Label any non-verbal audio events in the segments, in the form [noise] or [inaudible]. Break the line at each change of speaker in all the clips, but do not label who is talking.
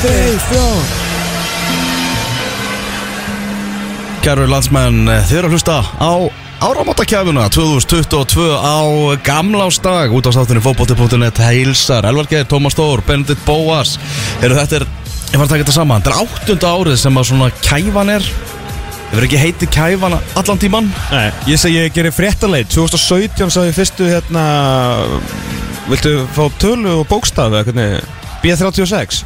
Kristján Kæru landsmenn, eh, þið eru að hlusta á áramótakjæfuna 2022 á gamlástag út á státtunni fótbolti.net heilsar, Elvar Geir, Tómas Þór, Benedikt Bóas Eru þetta er, ég var að taka þetta saman Þetta er áttunda árið sem að svona kæfan er Hefur ekki heiti kæfan allan tíman
Nei, ég segi ég gerir fréttaleit 2017 sagði ég fyrstu hérna Viltu fá tölu og bókstafi eða hvernig B36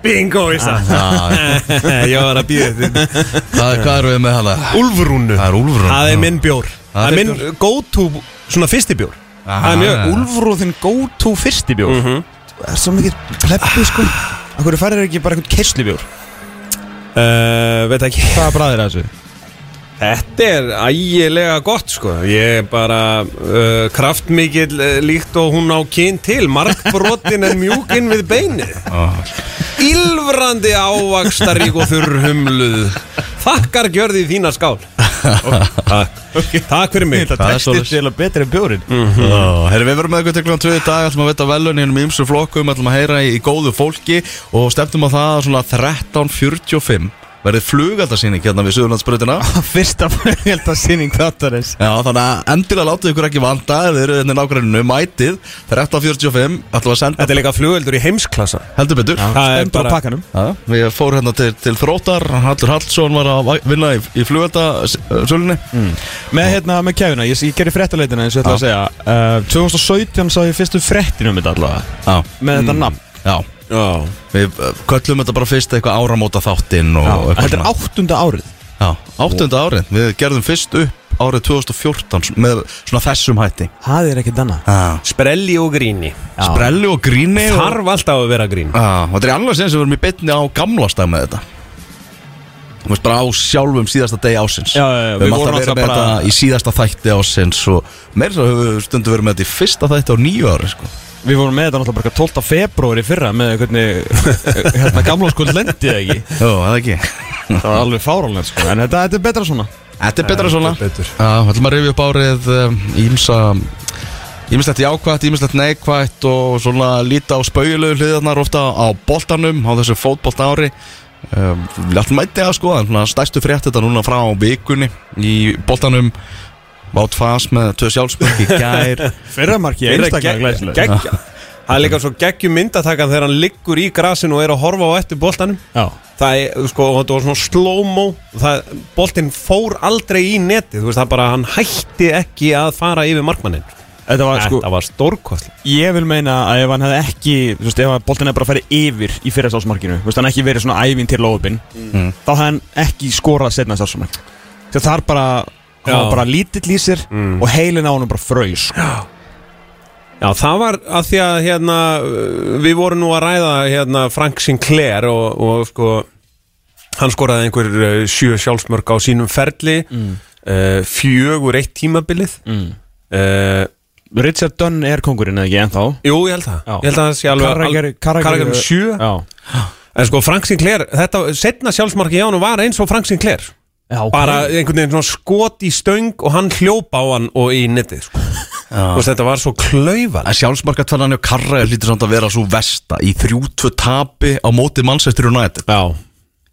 Bingo í stað
[laughs] Ég var að býða þetta
Hvað, hvað eru við með hana?
Úlfrúnu
Það er
Ah,
Úlfrún
Það er minn bjór
Það
Það
er
er minn Ah. go to Svona fyrsti bjór
Það er mjög Úlfrúð þinn go to fyrsti bjór mm
Mhm.
-hmm. Það er svo mikið pleppu sko
Ah.
Af hverju færir ekki bara einhvern kerslibjór?
uh, Veit ekki
Hvað er bræðir að þessu?
Þetta er ægilega gott sko Ég er bara uh, kraftmikil uh, líkt og hún á kyn til Markbrotin en mjúkin við beinið
Ah.
Ylfrandi ávaxtarík og þurr humluð Þakkar gjörði þína skál Takk, Takk fyrir mig
Það er
Textir
svoleiðis.
til að betri en bjórin
Mhm. Herri, við verum með eitthvað til klokkan 2 í dag ætlum að vita veluninum í ymsu flokkum ætlum að heyra í, í góðu fólki og stefnum á það að svona 13.45 verði flugaldarsýning hérna við Suðurlandsbröðina
Fyrsta [laughs] fjöldasýning þáttarins
Já, þannig að endilega látið ykkur ekki vanda ef þið eru hérna í nágræninu, mætið 13.45, ætlum að senda
Þetta er líka flugöldur í heimsklassa
heldur betur Já,
Það er
Endur á
bara-
pakkanum
við fórum hérna til, til þrótar Hallur Hallsson var að væ- vinna í, í flugeldasölunni mm.
Með hérna, með kefina, ég, ég gerir fréttaleitina eins og ég ætla að segja uh, 2017 sá ég fyrstu fréttinum þetta allavega
Já,
Með þetta nafn
já,
Já
við eh, köllum þetta bara fyrst eitthvað áramóta þáttinn og
Já,
eitthvað
Þetta er
svona.
áttunda árið
Já, áttunda árið, við gerðum fyrst upp árið 2014 með svona þessum hætti
Það er ekkert annað
ah.
Sprelli og gríni
Sprelli og gríni og...
Þarf alltaf að vera grín
Ah, og Þetta er annars eins og við erum í betni á gamlastag með þetta Þú veist bara á sjálfum síðasta degi ásins
Já, já, já,
Við
við
erum alltaf
vorum
verið
alltaf
með
bara-
þetta í síðasta þætti ásins og meira svo höfum við stundum verið með þetta í fyrsta þætti á nýju ári sko.
Við vorum með þetta náttúrulega bara 12. februari fyrra með hvernig hérna gamla skuld lendi það
[laughs]
ekki
Jó, eða ekki
Það var alveg fáralega sko En þetta, þetta er betra svona
Þetta er betra svona
Þetta er betur.
Já, við ætlum að rifja upp árið ímsa Ímislegt jákvætt, ímislegt neikvætt og svona líta á spaugulegu hliðarnar ofta á boltanum á þessu fótbolta ári um, Allt mætti að skoða, svona stærstu frétt þetta núna frá vikunni í boltanum Vátt fas með tvö sjálfsbyrg í gær [laughs]
Fyrra marki
Þeir eru gegg- geggja. Það er líka svo geggjum myndatakan þegar hann liggur í grasinu og er að horfa á eftir boltanum
Já
Það er, sko, þetta var svona slow-mo Það- Boltinn fór aldrei í netið Þú veist, það bara, hann hætti ekki að fara yfir markmannin
Þetta var sko
Þetta var stórkostli
Ég vil meina að ef hann hefði ekki Þú veist, ef að boltin hefði bara farið yfir í fyrra sálsmarkinu Þú veist, hann ekki verið svona ævinn til lóðbin Þá hefði hann ekki skorað setna sálsmark Þegar það er bara
Já. Mm.
Hann var bara lítill í sér Og heilin á hann bara sko. fröys
Já, það var að því að, hérna, við vorum nú að ræða, hérna, Frank Sinclair og, og sko, hann skoraði einhver eh, sjö sjálfsmörk á sínum ferli mm. Fjögur eitt tímabilið mm.
Richard Dunn er kongurinn eða ekki ennþá
Jú, ég held það
Já.
Ég held að það sé alveg
Carragher- Carragher-
Karagari um sjö
Já
En sko Frank Sinclair, þetta setna sjálfsmarki hjá hann var eins og Frank Sinclair
Já, ok.
Bara einhvern veginn svona skot í stöng og hann hljópa á hann og í netið sko. Þú veist, Þetta var svo klaufal
En sjálfsmarkatvennan hjá Karra er lítið samt að vera svo vesta í 3-2 tapi á móti mannsæstur og nætt
Já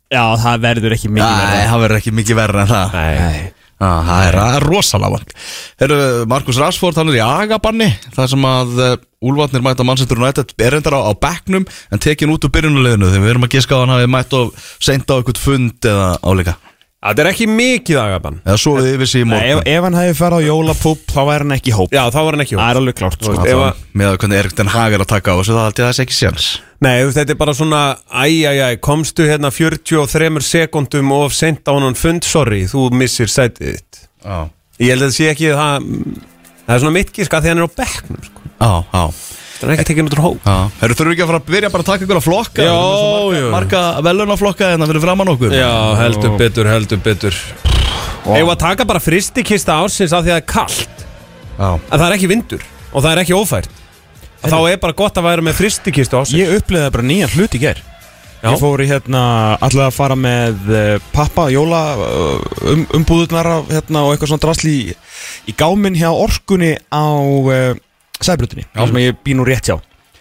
Já, það verður ekki mikið
Nei,
verra.
það verður ekki mikið verra en það
Nei.
Ah, það er ra- rosalega vant Herru, Markus Rashford, hann er í agabanni Það sem að uh, Úlfarnir mæta mannsettur United Er endara á, á bekknum En tekin út úr byrjunuleginu Þegar við erum að giska á að hann hafi mætt og Seint á eitthvað fund eða áleika
Þetta er ekki mikið agabann
Eða svo við yfir sig í
Nei, ef,
morgun
ef hann hefði farið á jólapúb þá væri hann ekki í hóp
Já, þá var hann ekki
Það
hóp
er alveg klárt
Þú
sko.
veist, ef að-
Með að hvernig Erik Den Hag er að taka á þessu Það held ég að það sé ekki séns
Nei, þú veist, þetta er bara svona Æj, æj, æj, komstu hérna 43 sekundum of sent á hann fund Sorry, þú missir sætið þitt
Á,
Ég held að það sé ekki það Það er svona mitt gíska því hann er á bekknum sko.
á, á
Það er ekki tekinn út úr hóp
Herru, þurfum við ekki að fara að byrja bara að taka ykkur að flokka
Já,
Við erum með svo
jú.
Marga, marga velunaflokka en það verður framann okkur
Já, heldur betur, heldur betur Eða að taka bara fristikista ársins af því að það er kallt
Já.
að það er ekki vindur og það er ekki ófært Að þá er bara gott að vera með fristikistu ársins
Ég upplifði bara nýjan hlut í ger
Já.
Ég fór í hérna alltaf að fara með eh, pappa, jóla eh, um, umbúðurnar af, hérna, og eitthvað svona drasli í, í gáminn hjá orkunni á eh, uh, sæbrutinni, þar sem ég bý nú rétt hjá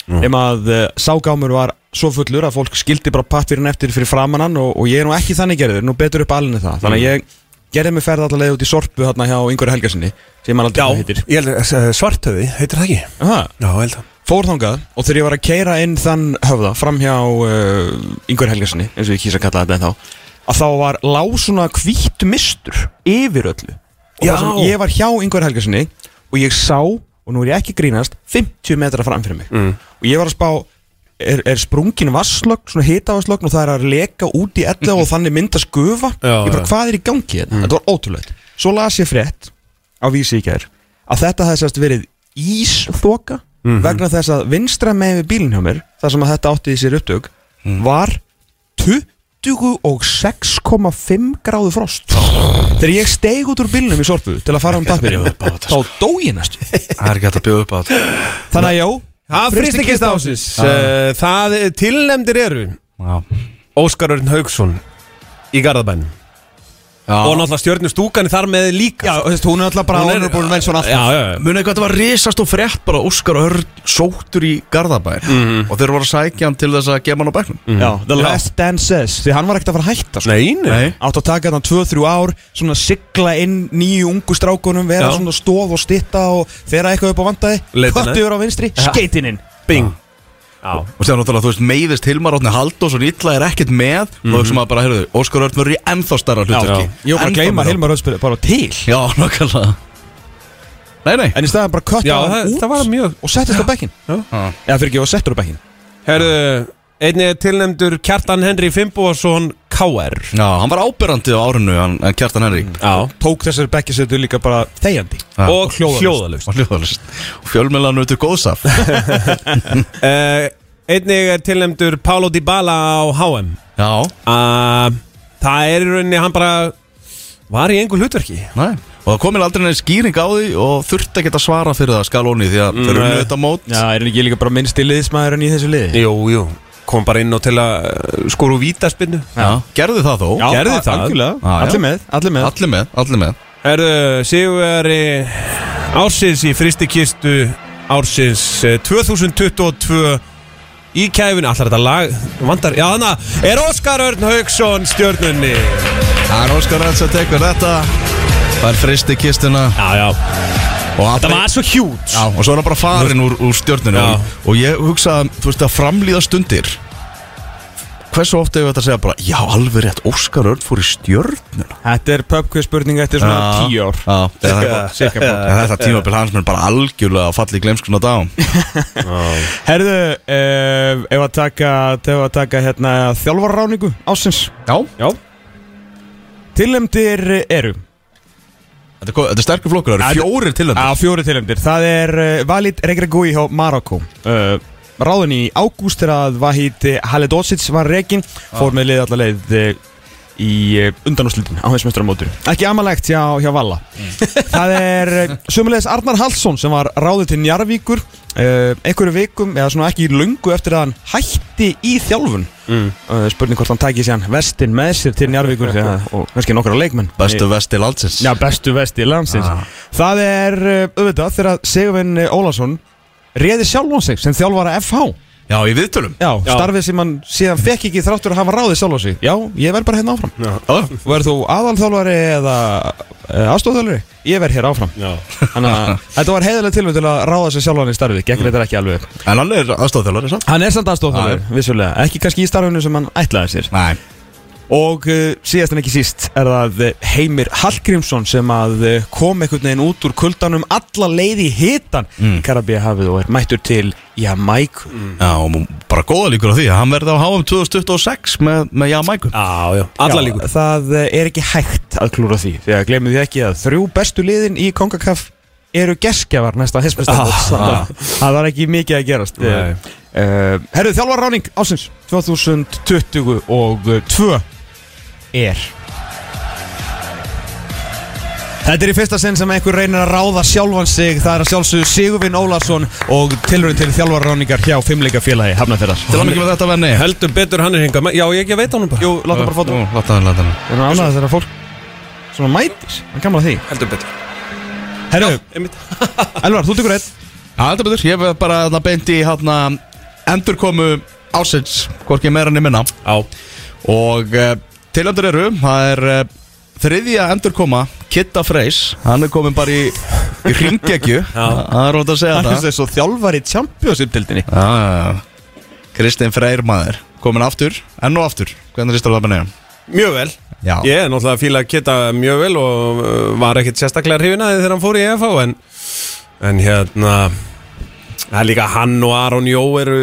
Nefn að uh, ságámur eh, var svo fullur að fólk skildi bara pappirinn eftir fyrir framannan og, og ég er nú ekki þannig gerður, nú betur upp alinu það þannig að ég gerði mig ferð allavega út í sorpu hérna hjá Ingvar Helgarsinni sem hann aldrei heitir
Ég held að eh, svartöði, heitir það ekki?
Aha,
Já, ég held að
fór þangað og þegar ég var að keira inn þann höfða fram hjá uh, Ingvar Helgarsinni eins og ég kýsa að kalla þetta en þá að þá var lág svona hvítt mistur yfir öllu og
Já.
það sem ég var hjá Ingvar Helgarsinni og ég sá, og nú er ég ekki að grínast 50 metra fram fyrir mig mm. og ég var að spá er, er sprungin vasslögn, svona hitavasslögn og það er að leka út í ellu og þannig myndast gufa
Já,
ég bara
já. Mm.
hvað er í gangi þetta, þetta var ótrúlegt svo las ég frétt á vísi í gær að þetta hafði sérst verið ísþoka
Mhm.
vegna þess að vinstra með við bílinn hjá mér þar sem að þetta átti í sér upptök
Mm.
var 26,5 gráðu frost þegar ég steig út úr bílnum í sorpu til að fara um pappir þá dó ég næstu
Það er ekki hægt að bjóða upp á þetta
þannig að já,
Það fristikist ásins Eh, Það eh, tilnefndir eru
Já,
Óskar Örn Haugsson í Garðabænum Og
já.
náttúrulega stjörnustúkan þar með líka
já þessi, hún er alltaf bara
Hún er-
honorable mention alltaf
Já, já, já
Munið hvað þetta var risast og frétt bara Óskar Örn sóttur í Garðabær og þeir voru að sækja hann til þess að gefa hann á bæknum
já, The Last Dance says því hann var ekkert að fara að hætta sko.
Nei, nei
átt að taka þarna 2-3 ár svona sigla inn nýju ungu strákunum vera
Já.
svona stóð og stitta og þeirra eitthvað upp á vandaði
Leitin
kvöttu yfir á vinstri, skeitin inn
Bing Já
Og sér náttúrulega, þú veist, meiðist Hilmar Átni Haldós og Nýtla er ekkert með mm -hmm. og þessum að bara, heyrðu, Óskar Örn verður í ennþá starra hlutverki
ég var bara að
Ennþá
gleyma
meira.
Hilmar Öðspil bara til
Já, nokkarlega Nei, nei
en í staðan bara kvöttu
Já,
hann
það,
út
það var mjög
og settist á bekkin
Já.
eða fyrir ekki, og settur á bekkin
Herðu, einnig er tilnefndur Kjartan Henry Fimboason K.R.
Já, hann var ábyrrandi á árinu, hann, hann Kjartan Henrik
Já
tók þessari bekkisetu líka bara þegjandi
Já.
Mm. Og
hljóðalaust.
hljóðalust
og hljóðalist og fjölmjölan auðvitað góðsaf
uh, Einnig er tilnefndur Paulo Dybala á HM
Já,
uh, Það er í rauninni, hann bara var í engu hlutverki
nei og það komin aldrei neins skýring á því og þurfti ekki að svara fyrir það skalóni því að mm, þeir eru
nei.
nöta mót
já, er hann ekki líka bara minnst í liðismæðurinn í þessu liði
Jú, jú Kom bara inn og til að uh, skoru vítaspinnu
Já, gerðu það þó
Já,
Gerði
a-
það.
algjörlega.
Já, já.
allir með, allir með
Allir með, allir með
Herðu, Sigurveri ársins í fristikistu ársins eh, 2022 í kæfinu Allar þetta lag vandar Já, þannig að er Óskar Örn Hauksson stjörnunni
Það er Óskar Ræts að tekur þetta Það er fristi kistuna
Já, já
og allir,
svo hjút
Já, og svo er hann bara farin úr, úr stjórninu
Já.
og, og ég hugsa, þú veist, að framlíða stundir Hversu ofta hefur þetta að segja bara Já, alveg rétt, Óskar Örn fór í stjórninu
þetta er pubquiz spurning eftir svona
Já.
10 ár
Já, eða eitthvað.
cirka bara.
En þetta tímabil hans menn bara algjörlega að falla í glemskuna dagum
Herðu, uh, ef að taka, ef að taka hérna, þjálfarráningu ásins
Já,
Já,
Tilnefndir eru
þetta er, ko- þetta er sterkur flokkur,
Já,
það eru fjórir til þetta
Á fjóri tilnefndir Það er uh, Valid Regregui hjá Marokko uh, Ráðin í ágúst þegar að Vahid Halidosic var rekin Fór með lið allar leið uh, í uh, undanúslitin á heimsmeistaramótur Ekki amalegt hjá, hjá Valla Það er sömulegis Arnar Hallsson sem var ráðið til Njarvíkur uh, einhverju vikum, eða svona ekki lungu eftir að hann hætti í þjálfun mm. spurning hvort hann tæki sér vestin með sér til Njarvíkur ja, og kannski nokkra leikmenn
Bestu vesti landsins
Já, bestu vesti landsins
Ah.
Það er uh, auðvitað þegar Sigurvin eh, Ólason réði sjálfan sig sem þjálfara FH
Já, í viðtölum
Já,
Já.
starfið sem hann síðan fekk ekki þráttur að hafa ráðið sjálfan sig Já, ég verð bara hérna áfram
Ó,
Verð þú aðalþjálfari eða aðstofþjálfari? Ég verð hér áfram
já
Þannig [laughs] að þetta var heiðilega tilvæg til að ráða sig sjálfan í starfið Gekk reyndar ekki alveg upp.
En hann er aðstofþjálfari, samt
Mm. Hann er samt aðstofþjálfari, vissulega Ekki kannski í starfinu sem hann ætlaði sér
Nei,
Og uh, síðast en ekki síst er það eh, Heimir Hallgrímsson sem að eh, kom einhvern veginn út úr kuldanum alla leið í hitan í Karabíu hafið og er mættur til Jamaiku.
já, og mú- bara góða líkur á því að hann verði á HM 2026 með, með Jamaiku
Já, já, alla líkur
Það eh, er ekki hægt að klúra því því að glemum því ekki að þrjú bestu liðin í Kongakaf eru geskjafar næsta hessmestarmóts. Ah, það var ekki mikið að gerast.
Nei.
Uh, herru, þjálfar ráning ásins 2022 er Þetta er í fyrsta sinn sem einhver reynir að ráða sjálfan sig Það er að sjálfsögðu Sigurvin Ólason og tilhörun til þjálfar ráningar hjá fimmleikafélagi Hafnarferðar
Til að mikið með þetta venni
Heldur betur hann er hingað Já, ég ekki veit hann bara
Jú, láta bara fóta
Láta hann, láta hann
Það er annað þegar fólk svona mætir Það er gamla því
Heldur betur
Herru,
Einmitt
Elvar, þú tekur eitt
Já, þetta betur, ég verð bara þarna beint í hérna endurkomu ásins Hvorki meira enn minna
Á
Og uh, tilöndur eru Það er uh, þriðja endurkoma Kitta Freys Hann er komin bara í, í ringegju Það er rót að segja
Hann er
það
sem svo þjálfari Champions-uppdildinni
Já, já, já. Kristinn Freyr maður Komin aftur, enn og aftur Hvernig líst þér á það benni?
Mjög vel
Já.
Ég er náttúrulega að fíla að geta mjög vel og uh, var ekkit sérstaklega hrifinaði þegar hann fór í EFA en, en hérna það er líka hann og Aron Jó eru,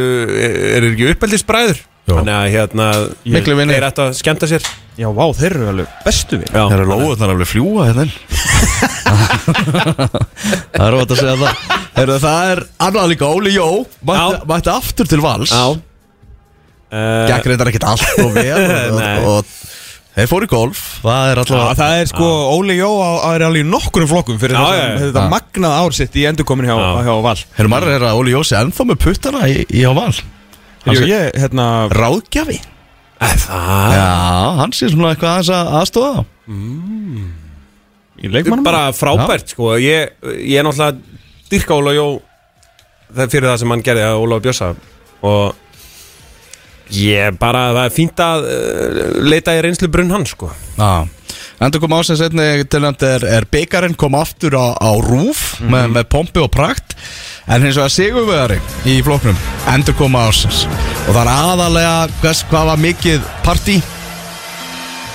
eru ekki uppeldisbræður
Jó.
þannig að hérna
Miklu vinir.
er þetta að skemmta sér
Já, vá, þeir eru alveg bestu við
Það eru lóðunar alveg fljúa hérna inn. Það er ótt að segja það Heru, Það er annað líka Óli Jó mætti,
Já.
mætti aftur til vals
Já uh,
Gekk reyndar ekkert allt og vel og,
Nei.
og, og þeir fóru í golf Það er
Já,
allavega
það er sko, Óli Jó á, á, er alveg í nokkurum flokkum fyrir
Já,
þess
já, já.
að þetta
Já.
magnað ár sitt í endurkomin hjá,
Já.
hjá Val
Heru, maður er að Óli Jó sé ennþá með puttana í, í á val Hann
Jú,
sé-
ég, hérna,
Ráðgjafi
eh, Það
Já, hann sé svona eitthvað aðeins að aðstofa þá.
í leikmannum
bara frábært sko ég, ég er náttúrulega dyrka Óla Jó það er fyrir það sem hann gerði að Óla Bjössa og ég bara það er fínt að uh, leita í reynslu brunn hann sko
Já Endur kom ásins einnig til nefnd er, er byggarinn kom aftur á, á rúf með, með pompi og prakt en hins vegar sigurvegari í floknum endur koma ásins og það er aðalega hvers, hvað var mikið partí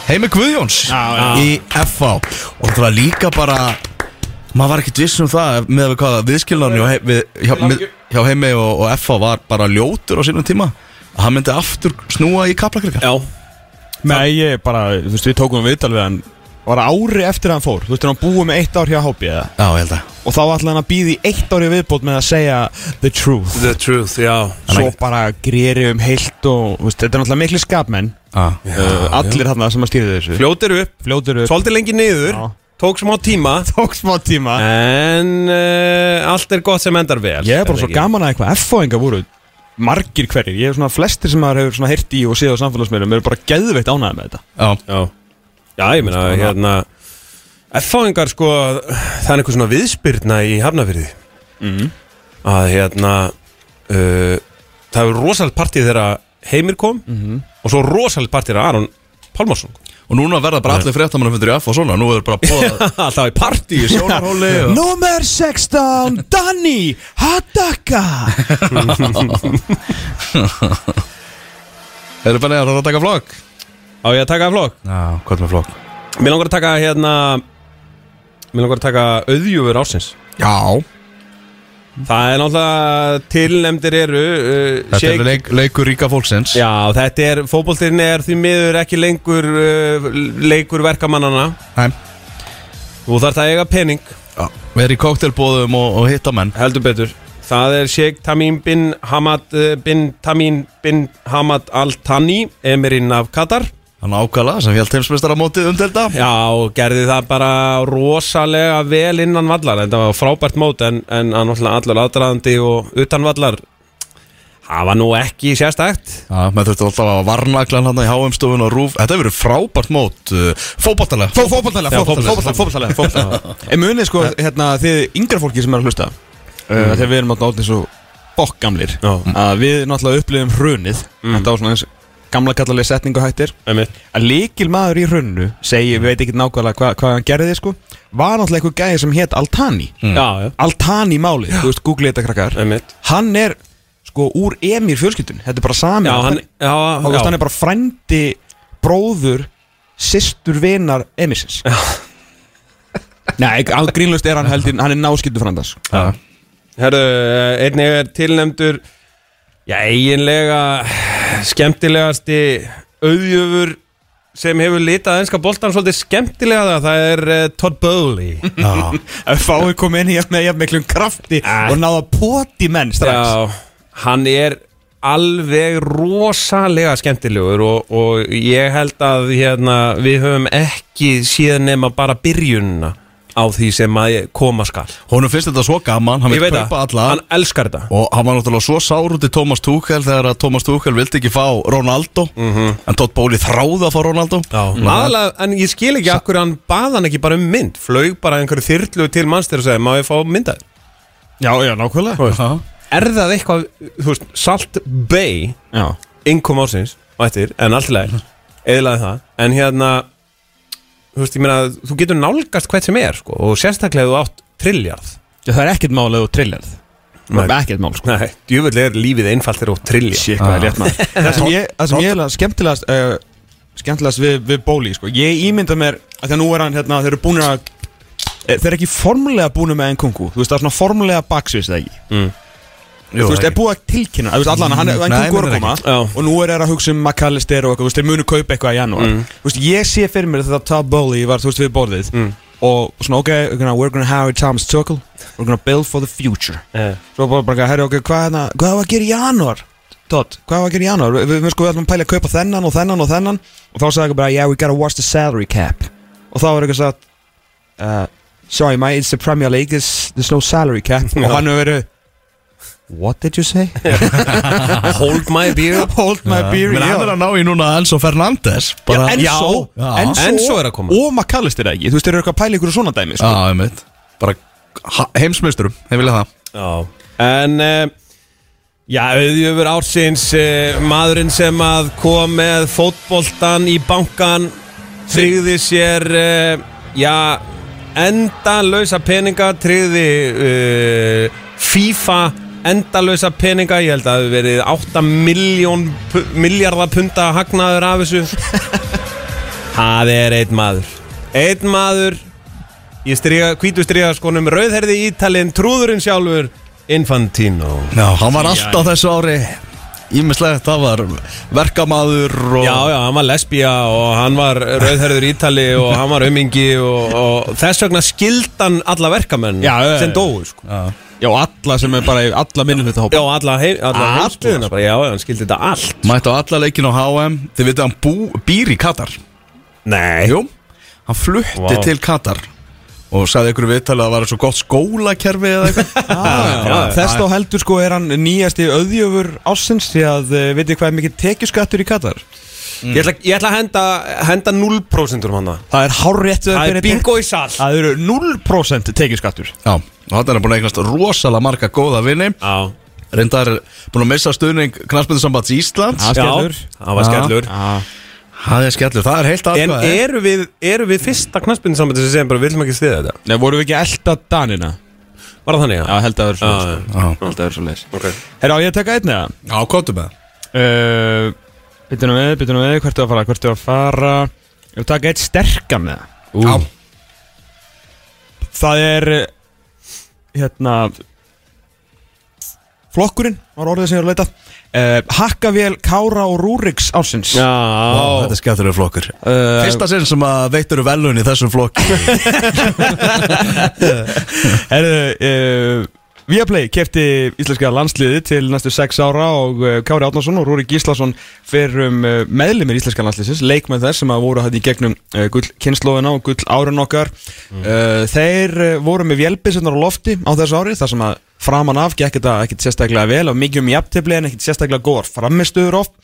Heimi Guðjóns
Já,
í FH og það var líka bara maður var ekkert viss um það með við hvað viðskilnarni hjá, hei- við, hjá, með, hjá Heimi og, og FH var bara ljótur á sínum tíma að hann myndi aftur snúa í kaplakrikar
Já,
Nei, ég bara, þú veist, við tókum um viðtal við hann Var ári eftir að hann fór Þú veist, er hann búið með eitt ár hjá Hópi eða
Já, ég held að
Og þá ætlaði hann að býði eitt ári viðbót með að segja the truth
the truth, já
Svo bara greri um heilt og, þú veist, þetta er náttúrulega miklu skapmenn
ah.
uh, Allir þarna sem að stýrði þessu
Fljótir upp,
Fljótur upp
svolítið lengi niður
Já.
Tók smá tíma
Tók smá tíma
En uh, allt er gott sem endar vel
Ég er bara
það
svo
ekki?
gaman að eitthvað F-fóðingar voru margir hverjir Ég er svona flestir sem maður hefur svona hirt í og séð á samfélagsmiðlum eru bara geðveitt ánægð með þetta
Já,
Já, já ég meina hérna F-fáingar sko Það er einhver svona viðspyrna í Hafnafyrði Að hérna uh, Það er rosalt partíð þegar Heimir kom Og svo rosalt partíð þegar Aron Pálmarsson kom
Og núna verða bara allir fréttamannafundur í F og svona Nú er bara [laughs] búið
Alltaf í partí
í sjónarhóli og...
Númer 16, Danny Hadaka
Erum bara neðar að taka flokk?
[laughs] Á ég að taka flokk
Já, hvað með flokk?
Mér langar að taka hérna Mér langar að taka auðjúfur ásins
Já,
Það er náttúrulega tilnefndir eru uh,
þetta er leik, leikur ríka fólksins
Já, þetta er, fótboltinn er því miður ekki lengur uh, leikur verkamannana
Nei.
Þú þarft að eiga pening,
Verið í koktelbóðum og, og hitta menn
heldur betur Það er Sheikh Tamim bin Hamad uh, bin Tamim bin Hamad Al-Thani, emirinn af Katar
Hann ákala sem hjált heimsmeistar á mótið umdelda
Já, og gerði það bara rosalega vel innan vallar Þetta var frábært mót en, en hann náttúrulega allar aðdraðandi og utan vallar Það var nú ekki sérstakt
Já, maður þurfti alltaf að varna allan hann í háumstofun og rúf Þetta hefur verið frábært mót uh, Fótbáttalega
Fó- Fótboltalega, fótboltalega,
fótboltalega,
fótboltalega, [laughs] fótboltalega [laughs] En munið sko, hérna, þið yngra fólki sem er að hlusta uh,
Mm.
Þegar við erum alltaf orðin svo bokkamlir
Já.
Að við náttúrulega upplifum hrunið Þetta var svona eins gamla kallarlega setningu hættir
Einmitt.
Að líkil maður í hrunnu Segir, við veit ekki nákvæmlega hva, hvað hann gerði sko Var náttúrulega eitthvað gæði sem hétt Altani
Mm.
Já, já,
Altani málið, þú veist, googlið þetta krakkar
einmitt
Hann er sko úr emir fjölskyldun Þetta er bara sami
Já, hann, já,
Þá veist, hann
já,
er bara frændi bróður sýstur vinar emisins Nei, á grínlust er hann heldur hann er náskyldu frændas
Já.
herðu, eh, einnig er tilnefndur Já, eiginlega skemmtilegasti auðjöfur sem hefur litað einska boltan svolítið skemmtilega það, það er eh, Todd Bowley
Já,
Fáið kom inn í- með jafn miklum krafti
Ah.
og náða poti menn strax
Já, hann er alveg rosalega skemmtilegur og, og ég held að hérna, við höfum ekki síðan nema bara byrjunna á því sem að koma skal
honum finnst þetta svo gaman Hann
Ég
vil
veit
kaupa
það,
alla
hann elskar þetta
Og hann var náttúrulega svo sár út í Thomas Tuchel þegar að Thomas Tuchel vildi ekki fá Ronaldo en Todd Bóli þráði að fá Ronaldo
Aðalega, Mhm. en ég skil ekki akkur hann bað hann ekki bara um mynd flög bara einhverju þyrlu til mannstir og segi má ég fá myndað
já, já nákvæmlega
Já.
er það eitthvað, þú veist, Salt Bay
Já,
innkom ásins og eftir, en allt í lagi eðlaði það, en hérna þú veist, ég meina, þú getur nálgast hvert sem er, sko, og sérstaklega ef þú átt trilljarð
Það er ekkert mál eða þú trillar Það er ekkert mál sko
Nei, djúvöld er lífið einfalt þegar þú átt trilljarð
Shit, hvað er létt maður Ah. [laughs] Það sem ég, það sem ég er skemmtilegast uh, skemmtilegast við, við bóli sko. Ég ímynda mér að þegar nú er hann hérna, þeir eru búinir að eh, þeir eru ekki formulega búinir með Nkunku Þú veist, það er svona formulega baksvist eða ekki Þú veist, Mm. er búið að tilkynna Þú veist, allan, hann, hann
Nei,
Nkunku er að
nei, nei,
koma
Já.
og nú er það að hugsa um McAllister og eitthvað Þú veist, þeir munu kaupa eitthvað í janúar Þú veist, ég sé fyrir mér þetta Todd Bowley var, þú veist, við borðið og svona, ok, we're gonna, we're gonna hire Thomas Tuchel we're gonna build for the future Svo bara bara, herri okkur, hvað hérna, hvað var að gera í janúar? Todd, hvað var að gera í janúar? Við, við sko, við ætlum að pæla að kaupa þennan og þennan og þennan Og þá sagði ekki bara, yeah, we gotta watch the salary cap Og þá var eitthvað sagt uh, Sorry, mate, it's the Premier League, there's, there's no salary cap Og hann hefur verið What did you say?
Hold my beer
Hold my beer,
Menn hann er
já
að ná í núna Enzo Fernandes
Já, Enzo,
Já,
Enzo,
Enzo er að koma.
Og maður kallist þér ekki, þú veist, þeir eru eitthvað að pæla ykkur og svona dæmi sko.
Já, ég veit Bara ha- heimsmeisturum, ég vilja það
Já, en uh, Já, auðjöfur ársins uh, maðurinn sem að kom með fótboltan í bankan tryggði sér uh, já, endalösa peninga tryggði uh, FIFA endalösa peninga, ég held að það hafi verið 8 miljón, miljardapunda hagnaður af þessu Það er einn maður Einn maður Ég stríga, hvítu stríga skonum rauðherði ítalinn trúðurinn sjálfur Infantino
Já, hann var alltaf þessu ári Ímislegt, það var verkamaður og
Já, já, hann var lesbía og hann var rauðherður ítali og hann var umingi og, og þess vegna skildan alla verkamenn
Já, já, já.
sem dóu sko.
Já, alla sem er bara, í- alla minnum þetta hópa
Já, alla, hei, alla
Allt,
heimsbyðina bara, já, já, hann skildi þetta allt
Mætti á alla leikin á HM Þið veitum hann bú, býr í Katar
Nei,
Jú, hann flutti
Vá.
til Katar Og sagði ykkur viðtalið að það var svo gott skólakerfi eða [laughs] eitthvað
Ah, Já,
já,
Þess þá heldur sko er hann nýjasti auðjöfur ásins því að uh, veitir hvað er mikið tekjuskattur í Katar
ég ætla, ég ætla að henda, henda 0% um hann
Það er hárétt
Það er bingo í sall
Það eru 0% tekjuskattur
Já, og hann er búin að eignast rosalega marga góða vinni
Já,
Reyndar er búin að missa stuðning knarspöndusambats Íslands
Já.
Já.
Skellur.
hann var
Já.
skellur
Það er skellur, það er heilt
En
aðkvæði
eru við, eru við fyrsta knassbyrðin saman sem segja bara, við viljum ekki stiða þetta
Nei, voru við ekki elda Danina?
Var það þannig,
Já, held að það eru
Já,
svo
Já,
Held að það eru svo leis
Ok.
Herra, á ég að taka einn eða?
já kóttu með það
Uh, Byttu nú við, byttu nú við, hvert er að fara, hvert er að fara Ég vil taka einn sterkan eða
Já,
Það er eh, hérna flokkurinn var orðið sem ég er að leita uh, Hakkavél, Kára og Rúriks ársins
Já,
þetta er skellur flokkur
Eh,
Fyrsta sinn sem að veittur velun í þessum flokk
Herðu, uh, Viaplay kefti íslenska landsliði til næstu 6 ára og uh, Kári Átnarsson og Rúri Gíslason fyrrum uh, meðlumir íslenska landsliðsins, leikmenn þess sem að voru hætti í gegnum uh, gull kynnslóðina og gull árun okkar uh, Þeir uh, voru með vélbissunar á lofti á þessu ári þar sem að framan af gekk þetta ekkit sérstaklega vel og mikið um jafntefli en ekkit sérstaklega góðar framistuður oft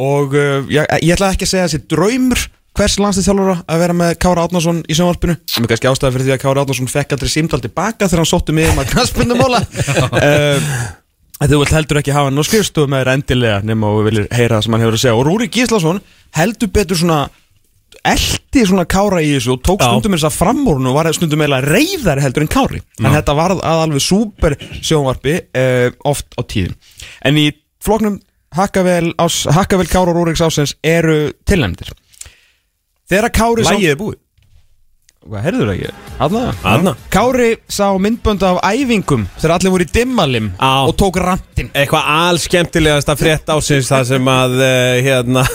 og uh, ég, ég ætla ekki að segja þessi draumur hvers landslýstjálfara að vera með Kára Átnarsson í sjónvarpinu sem er kannski ástæði fyrir því að Kára Átnarsson fekk aldrei símtal tilbaka þegar hann sótti mig um að knastbundumóla uh, Þú vilt heldur ekki hafa hann á skrifstofu með þér endilega nema og viljir heyra það sem hann hefur að segja og Rúri Gíslason heldur betur svona eldi svona Kára í þessu og tók
Já.
stundum eins að framúrun og var stundum eiginlega reyðari heldur en Kári en þetta var að alveg súper sjónvarpi uh, oft á tíðum en í floknum Hakkavel, ás, Hakkavel Kára og Rúriks Ásens eru tilnæmdir þegar Kári sá-
Lægið er búið
Hvað, heyrðu það ekki? Hanna?
Þarna.
Kári sá myndbönd af æfingum þegar allir voru í dimmalim
Á.
og tók rantinn
eitthvað alskemmtilegasta frétt ásins það sem að uh, hérna [laughs]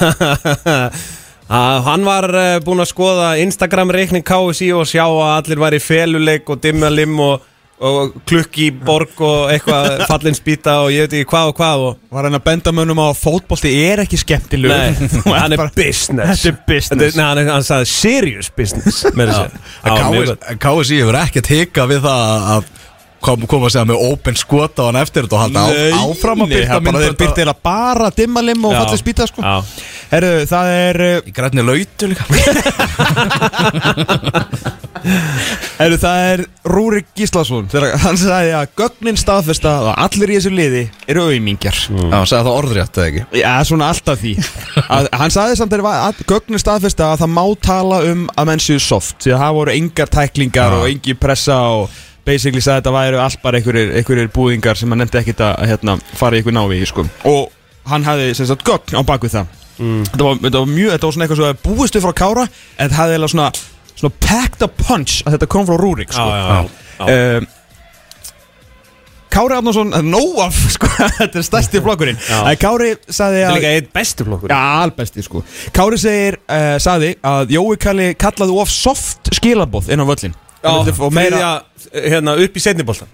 að hann var uh, búinn að skoða Instagram reikning KSI og sjá að allir var í feluleik og dimmalim og, og klukki í borg og
[laughs]
eitthvað fallin spýta og ég veit ekki hvað og hvað og
Var hann að benda mönnum á að fótbolti er ekki skemmtilegur
Nei,
[laughs] Þú
hann er
bara-
business
Þetta er business.
Þetta er- Nei, hann, er- hann sagði serious
[laughs]
business meira að segja. Já, mjög gott.
En KSI hefur ekkert hika við það að kom- koma að segja með open skot á hann eftir þetta og halda á- áfram að
Nei,
byrta
það bara þeir byrta
myndbönd
eða bara dimmalim og
Já.
fallið spýta sko
Já.
Herru, það er
Í grænni lautu líka
Herru, það er Rúrik Gíslason Þegar hann sagði að gögnin staðfesta að allir í þessu liði eru auðmingjar
Já, sagði það orðrétt eða ekki
Já, svona alltaf því að, Hann sagði samt að, að gögnin staðfesta að það má tala um að menn séu soft Því að það voru engar tæklingar
Já.
og engi pressa og basically sagði að þetta væru allt bara einhverjir, einhverjir búðingar sem hann nefndi ekkit að hérna, fara í einhver návi sko. og hann hafði sem sagt gögn á bakvið það
Mm.
þetta, var, þetta var mjög, þetta var svona eitthvað svo að búistu frá Kára en það hafði eiginlega svona, svona packed a punch að þetta kom frá Rúrik sko.
já, já.
Um, Kári Arnason, það er nóg af [laughs] sko, þetta er stærsti flokkurinn
Já.
En Kári sagði
Þetta er
að
líka eitt bestu flokkur
Já, albesti sko Kári segir, uh, sagði að Jói Kalli kallaði of soft skilaboð inn á völlin Hann vildi fá meira,
meira Hérna upp í setniboltan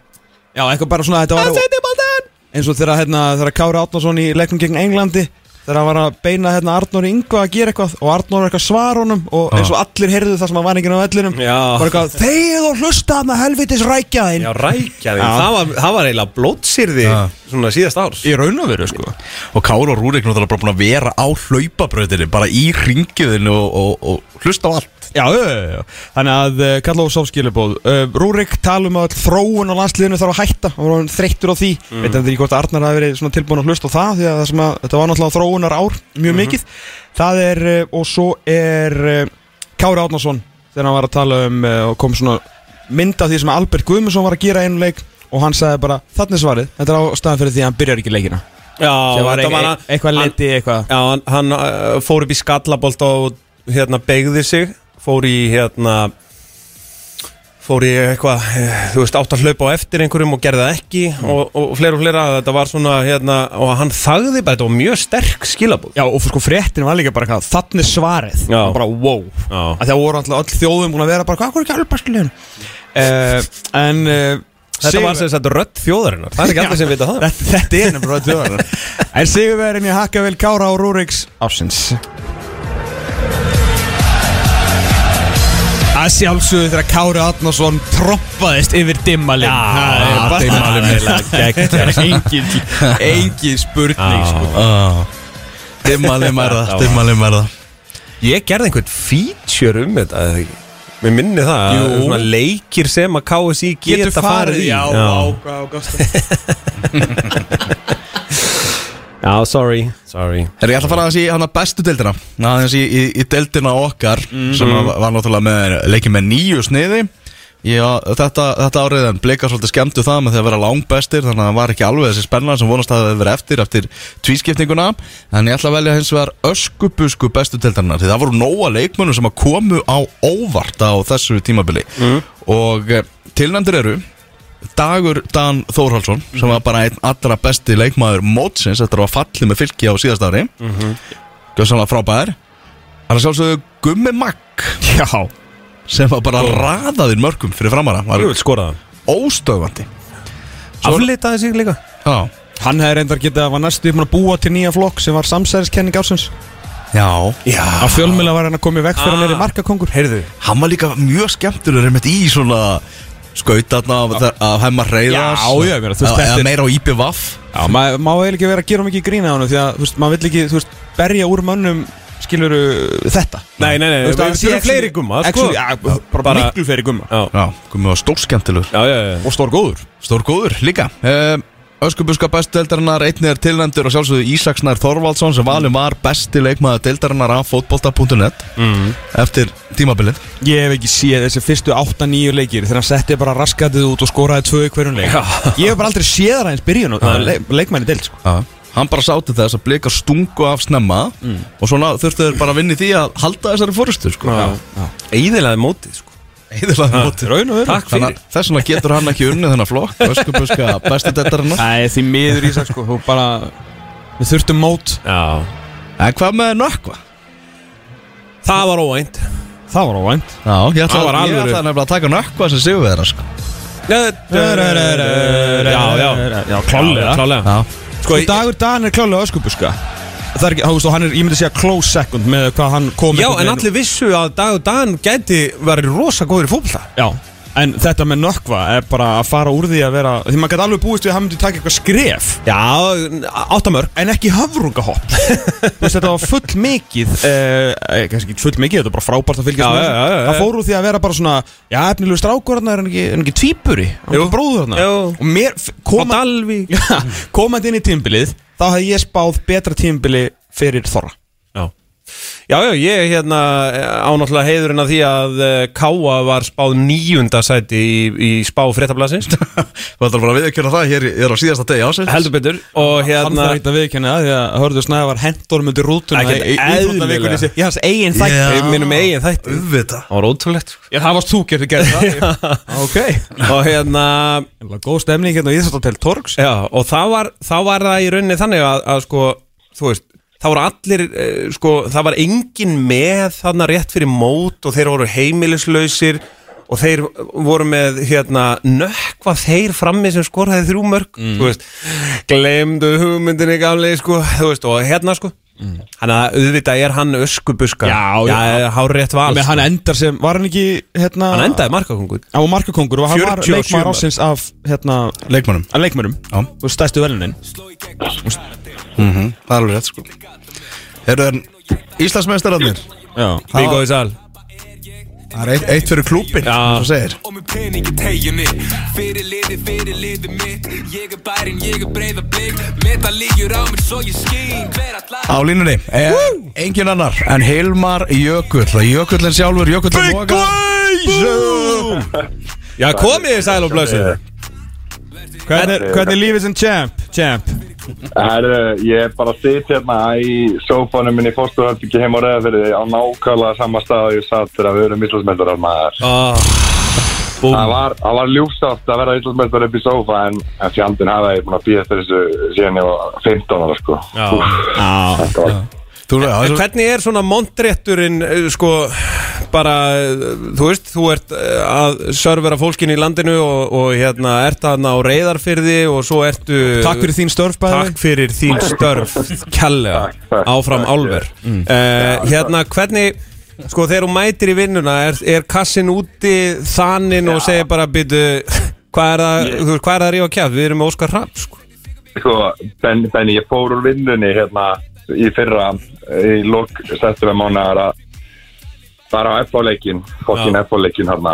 já, eitthvað bara svona þetta var
Setniboltan
eins og þegar, hérna, þegar Kári Arnason í leiknum gegn Englandi þegar hann var að beina hérna, Arnóri Ingva að gera eitthvað og Arnóri eitthvað svar honum og eins og allir heyrðu það sem að var enginn á vellinum
Já.
bara eitthvað, þeir og hlusta hann að helvitis rækja þinn
Já, rækja þig
Já.
það, var- það var eiginlega blótsýrði
Já.
Svona síðast árs
í raun og veru sko
Og Kár og Rúrik náttúrulega bara búin að vera á hlaupabröðinni Bara í ringiðinu og, og, og hlusta á allt
Já, já, já, já. þannig að uh, kalla á sáfskilubóð uh, Rúrik tala um að öll þróun á landsliðinu þarf að hætta og hann þreyttur á því mm. veit hann því hvort að Arnar hafi verið svona tilbúin að hlusta á það því að, það sem að þetta var náttúrulega þróunar ár mjög mikið það er, uh, og svo er uh, Kári Átnason þegar hann var að tala um uh, og kom svona mynd af því sem Albert Guðmundsson var að gera í einum leik og hann sagði bara, þannig svarið þetta er á staðan fyrir því að hann byrjar ekki leikina
Já,
Sem var
þetta
ein-
var
ein- eitthvað
hann-
liti, eitthvað
Já, hann, hann uh, fór upp í skallabolt og hérna beigði sig fór í hérna fór í eitthvað eh, þú veist, átt að hlaupa á eftir einhverjum og gerði það ekki
Mm.
og, og fleira og fleira þetta var svona hérna og hann þagði bara, þetta var mjög sterk skilabúð
Já, og sko fréttin var líka bara hvað, þannig svarið
Já.
Og bara wow
Já.
að það voru alltaf öll þjóðum búin að vera bara hvað voru ekki albærsliðin uh, en uh,
Þetta var sem sagt rödd þjóðarinnar Það er ekki allir sem vita það
[laughs] þetta, þetta er nefnir rödd þjóðar en sigurverðin ég hakka vel Kára og Rúriks ásins að sjálfsögðu þegar Kári Atnason trompaðist yfir dimmalinn það er bara-
[laughs] Dimmalinn
engin, [laughs] engin spurning sko.
ah. Dimmalið mærða, dimmalið mærða
Ég gerði einhvern feature um þetta eða ekki? Mér minni það
Jú.
að svona leikir sem að KSI geta,
getur farið í hvað ágast
já sorry, sorry.
Herra, ég ætla að fara aðeins í hana bestu deildina Aðeins í, í, í deildina okkar Sem að var náttúrulega með leikið með nýju sniði Já, þetta, þetta árið en blikar svolítið skemmtu það með því að vera langbestir þannig að það var ekki alveg þessi spennan sem vonast að það verið eftir eftir tvískiptinguna en ég ætla að velja hins vegar öskubusku bestu deildarna því það voru nóga leikmönnum sem að komu á óvart á þessu tímabili og eh, tilnefndir eru Dagur Dan Þórhalsson sem var bara einn allra besti leikmaður mótsins eftir að hafa fallið með fylki á síðast ári mm
Mhm.
-hmm. Gjössanlega frábæðir Hann er sjálfsögðu Gummi Magg
[laughs] já
sem var bara raðaðir mörgum fyrir framara var
Ég vil skora það
óstöðvandi
Aflitaði sig líka
Já,
Hann hefði reyndar getið að var næstu uppmátt að búa til nýja flokk sem var samsæðiskenning ásins
já
Já
að fjölmjöla var hann að koma í vekk fyrir hann er í
Ah.
markakongur
Heyrðu
Hann var líka mjög skemmtilegur einmitt í svona skautarna af, þar- af hemmar reyðas
Já, já, ég meina, þú veist,
Eða-
þetta
Eða
er-
meira á IPVAF
Já, maður má eiginlega ekki vera að gera mikið grína á hann því að, þú veist, maður vill ekki, þú veist, berja úr mönnum skilur þetta
Nei, nei,
Þú
nei,
veist,
við
hann sé
þurfum
actually-
fleiri gumma, sko.
actually, Já, bara,
Bara-
miklu fleiri gumma
Já,
Já, Gummi var stórskemmtilegur
já, já, já.
Og stór góður
Stór góður líka um, Öskubuska bestu deildarinnar, einnig er tilnæmdur og sjálfsögðu Ísaksnær Þorvaldsson sem valin var besti leikmaður deildarinnar af fótbolta.net
Mm.
eftir tímabilið
Ég hef ekki séð þessi fyrstu 8-9 leikir þegar hann setti bara raskatið út og skoraði tvö í hverjum leik
Já.
Ég hef bara aldrei séð það eins byrjun og
Nei.
leik, leikmæni deild, sko
Hann bara sátti þess að blika stungu af snemma og svona þurftu þeir bara að vinni því að halda þessari fórustu sko.
já.
Eyðilaði mótið sko
Eðurlega móti
Raun og veru
Takk fyrir
Þess vegna getur hann ekki unnið þennan flokk Öskubuska bestu deildarinnar
Nei, því miður Ísak sko, þú bara Við þurftum mót
Já
En hvað með nökkva?
Það var óænt
Það var óvænt
Já, ég ætla,
Það var
ég
alvöru.
ætla nefnilega að taka nökkva sem séu við þeirra sko.
Já, já
já
Já,
klálega
Klálega
Sko, Dagur Dan er klálega öskubuska Það er ekki, þú veist, og hann er, ég myndi segja close second með hvað hann kom
Já,
einhvern
en
veginn-
allir vissu að Dag og Dan gæti verið rosa góður í fótbolta
Já, En þetta með nökkva er bara að fara úr því að vera Því maður gæti alveg búist við að hann myndi taka eitthvað skref
Já, áttamörk
En ekki
[laughs]
höfrungahopp Þú veist þetta var full mikið eh, eh, Kannski ekki full mikið, þetta er bara frábært að fylgjast
Já,
með
já,
þessu.
já, já, já.
Það fór úr því að vera bara svona Já, efnilegu strákur hann er hann ekki, er hann ekki tvíburi Hann er
Jú.
ekki bróður hann
Jú.
Og mér, f-
Og
koma,
Dalvi
Já, [laughs] komandi inn í tímbilið Þá hefði ég spáð betra tímbili fyrir Þorra
Já Já, já, ég hérna ánáttúrulega heiðurinn að því að eh, Káa var spáð níunda sæti í, í spá fréttablasins
Þú ætlar bara að viðkjöna það hér er á síðasta degi ásins
[laughs] Heldur betur Og
Hann
hérna
þarf ekki að viðkjanna það því að Hörður Snæði var hendur myndi rútuna
Ekkert
í- í íþróttavikunni
eðlilega.
sinni, Í hans eigin þætti
Já.
Minnum eigin þætti
Uðvita
Það var [laughs] ótrúlegt
Já, það varst þú gerði gerði það Ok
Og hérna
Góð stemning hérna í Íþróttatel Torgs
Já, og það var, það var það í rauninni þannig að, að sko, þú veist Það voru allir, eh, sko, það var engin með þarna rétt fyrir mót og þeir voru heimilislausir og þeir voru með, hérna, nökkva þeir frammi sem skoraði þrjú mörg,
Mm.
þú veist, glemdu hugmyndinni gamlega, sko, þú veist, og hérna, sko, mm. hann að auðvitað er hann öskubuska,
Já, já.
já, hár rétt val, sko.
Með hann endar sem, var hann ekki hérna
hann endaði markakongur.
Á markakongur og hann var
47
leikmaður ásins af hérna
Leikmannum
Af leikmörum
Já.
Og stæstu velunin
Það er alveg rétt sko Eru þeir Íslandsmeistararnir
Já
Víkóði sal.
Það er eitt, eitt fyrir klúpin
Já.
Svo segir
og með pening í teginni Fyrir liði, fyrir liði mitt Ég er bærin, ég er breyða blik Meta líkjur á mér svo ég skín Hver allar
Á línunni er engin annar en Hilmar Jökull Það er Jökullin sjálfur, Jökullin Loga
Boom!
Já, komið þið sæl og blössuð.
Hvernig hvernig er lífið sem champ? Champ
Herru, ég bara sitt hérna í sófanum minni fórsturhaldingi heim á Reyðafyrði á nákvæmlega sama stað og ég satt þegar við erum Íslandsmeldar maður.
Ah, búm.
Það var, það var ljúfsátt að vera Íslandsmeldar upp í sófa en, en fjandinn hafa ég búin að býja eftir þessu síðan ég var 15 ára sko.
Já.
Já
Þetta var,
Þú veist, það
En
er svo-
hvernig er svona montrétturinn eh, sko bara, eh, þú veist, þú ert eh, að servera fólkin í landinu og, og hérna, ert aðna á reyðarfyrði og svo ertu
Takk fyrir þín störf bæði
Takk fyrir þín störf kjallega
Takk, takk,
áfram
takk,
álver mm. Hérna, hvernig sko þegar þú mætir í vinnuna er, er kassin úti þaninn og segir bara byrju, hvað er það þú veist, hvað er það að rífa kjátt, við erum með Óskar Rapp sko.
sko, ben, Benni, ég fór úr vinnunni hérna í fyrra í lok settum við mánuðar að bara á F-leikin, fokkin
Já. Mm.
F-leikin hérna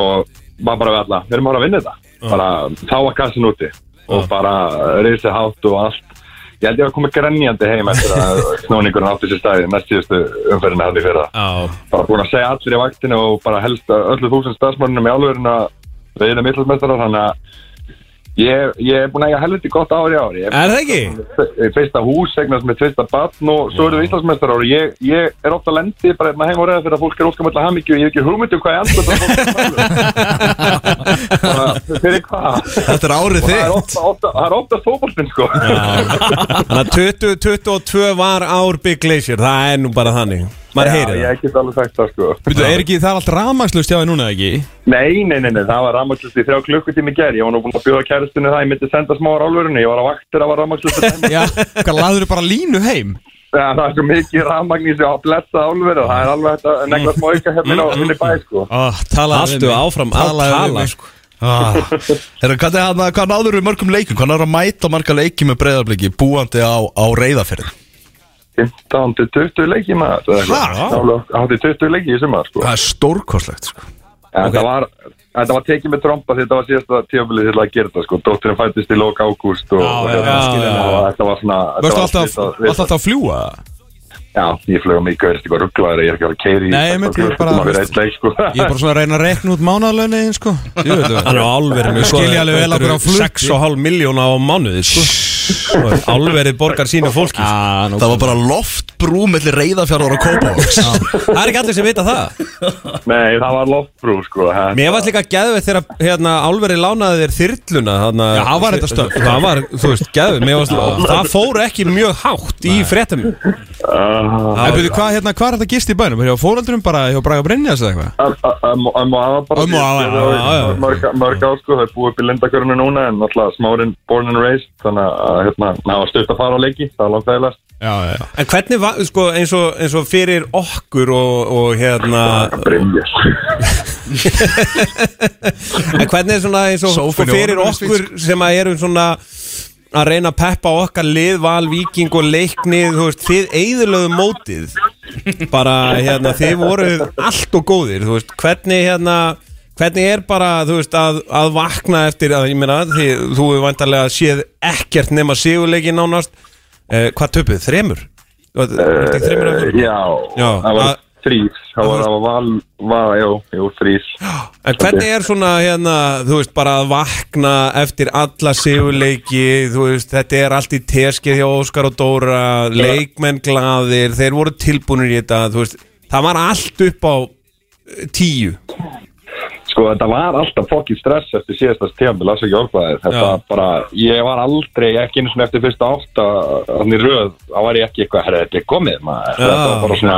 og var bara við alla, við erum bara að vinna þetta bara þá var kassin úti og bara reysið hátt og allt ég held ég að koma grenjandi heim
[laughs]
eftir að snóningurinn átti sér staði næst síðustu umferðina hann hérna í fyrra
Já,
bara búin að segja allir í vaktinu og bara helst að öllu þúsund starfsmörnum í álverðinu að við erum yllasmestrar þannig að ég, ég er búin að eiga helviti gott ári ári ég
er það ekki?
er eh, fyrsta hús, eignast með fyrsta batn og svo erum við yllasmestrar ári ég, ég er ofta lendi bara hérna heim og reyða fyrir að fólk er óskamölda hamingju ég hef ekki hugmyndi um hvað ég andur bara fyrir hvað
þetta er árið
það er
þitt
ofta, ofta, það er ofta fókbaltinn sko
Þannig að 2022 var ár Big Glacier, það er nú bara þannig maður heyrir það
ég get alveg sagt það sko
Býtu, er ekki, það er allt ramagslust hjá þið núna eða ekki?
Nei, nei, nei, nei, það var rafmagnslust í þrjá klukkutími í gær Ég var nú búin að bjóða kæristinu það, ég myndi senda smá rálverinu Ég var á vaktur að var rafmagnslust
[laughs]
í þeim.
Já, hvað laður bara línu heim?
Já, Það er svo mikið rafmagn í sig að blessa álveru Það er alveg þetta negla smá auka
Mm,
hérna á minni bæ, sko
Ah, talaðu
Haltu áfram að tala sko.
Ah. Herra, Hvað er hann- hvað náður við mörgum leikum? Hvað náður að mæta marga leiki með breyðarbliki búandi á, á reyðafyrði?
15 til 20 leiki maður eða eitthvað.
Ha?
Nálega Átti 20 leiki í sumar, sko
Það er stórkostlegt sko.
En Þetta var, þetta var tekið með tromba því þetta var síðasta tíafilið til að gera þetta, sko Dóttirinn fættist í lók ágúst og, og,
já,
hérna,
já, skilja, já.
og þetta var svona þetta
Vörstu
var
alltaf,
síðasta-
alltaf, alltaf að fljúa?
Já, ég flög mikið, veist eitthvað rugglaður, ég er ekki að keiri
Nei, einmitt, ég er bara- Ég er bara svona að reyna að rekna út mánaðlöni eins sko Jú,
Hann er á álverinu sko,
Skilja alveg vel að vera á flugi.
6,5 miljóna á mánuði sko. Álverið borgar sínu fólki sko.
Það var bara loftbrú mellir reyðafjörðar og kópavóks
Það er ekki allir sem vita það
Nei, það var loftbrú, sko þetta-
Mér varst líka geðveitt þegar hérna, álverið lánaði þér þyrluna hana,
Já, það var þetta stöf.
Það var, þú veist, geðveitt Það fór ekki mjög hátt í fréttum
Ah,
Það byrju, hvað hérna, hvað er þetta gist í bænum? Hjá fóröldrum bara, hjá Braga Brynjas eða eitthvað?
Öm öm- öm og afa bara
Ömmu og afa,
Ég-
já, já, já.
Mörg, mörg ár sko, það er búið upp í lindakörunni núna En náttúrulega smárinn born and raised Þannig að hérna, það var stutt að fara á leiki Það var langt aðeins
Já, já, já
En hvernig var, sko, eins og, eins og fyrir okkur og, og hérna
Brimjör
En hvernig er svona eins og sko,
Sófinn í
fyrir
orðinu,
okkur sem að erum svona að reyna að peppa okkar lið, val, viking og leikni þú veist, þið eigðulegu mótið bara hérna, þið voruð allt og góðir, þú veist, hvernig hérna Hvernig er bara, þú veist, að, að vakna eftir að, ég meina, því, þú er vantarlega séð ekkert nema sigurleiki nánast eh, Hvað töpuð, þremur? Þú veist, uh, þremur að
já,
Já,
það var
að-
þrýs það var,
að-
það var val, val, jú, jú, þrýs
En hvernig er svona hérna, þú veist, bara að vakna eftir alla sigurleiki, þú veist, þetta er allt í teskið hjá Óskar og Dóra, leikmenn glaðir, þeir voru tilbúinir í þetta, þú veist, það var allt upp á eh, tíu.
Sko þetta var alltaf fokkin stress eftir síðastast tíambil, það ekki orðbæðið. Þetta
Já.
bara, ég var aldrei, ekki eins og eftir fyrsta átta, hann í röð, þá var ég ekki eitthvað, herra, þetta er komið maður.
Já.
Þetta var bara svona,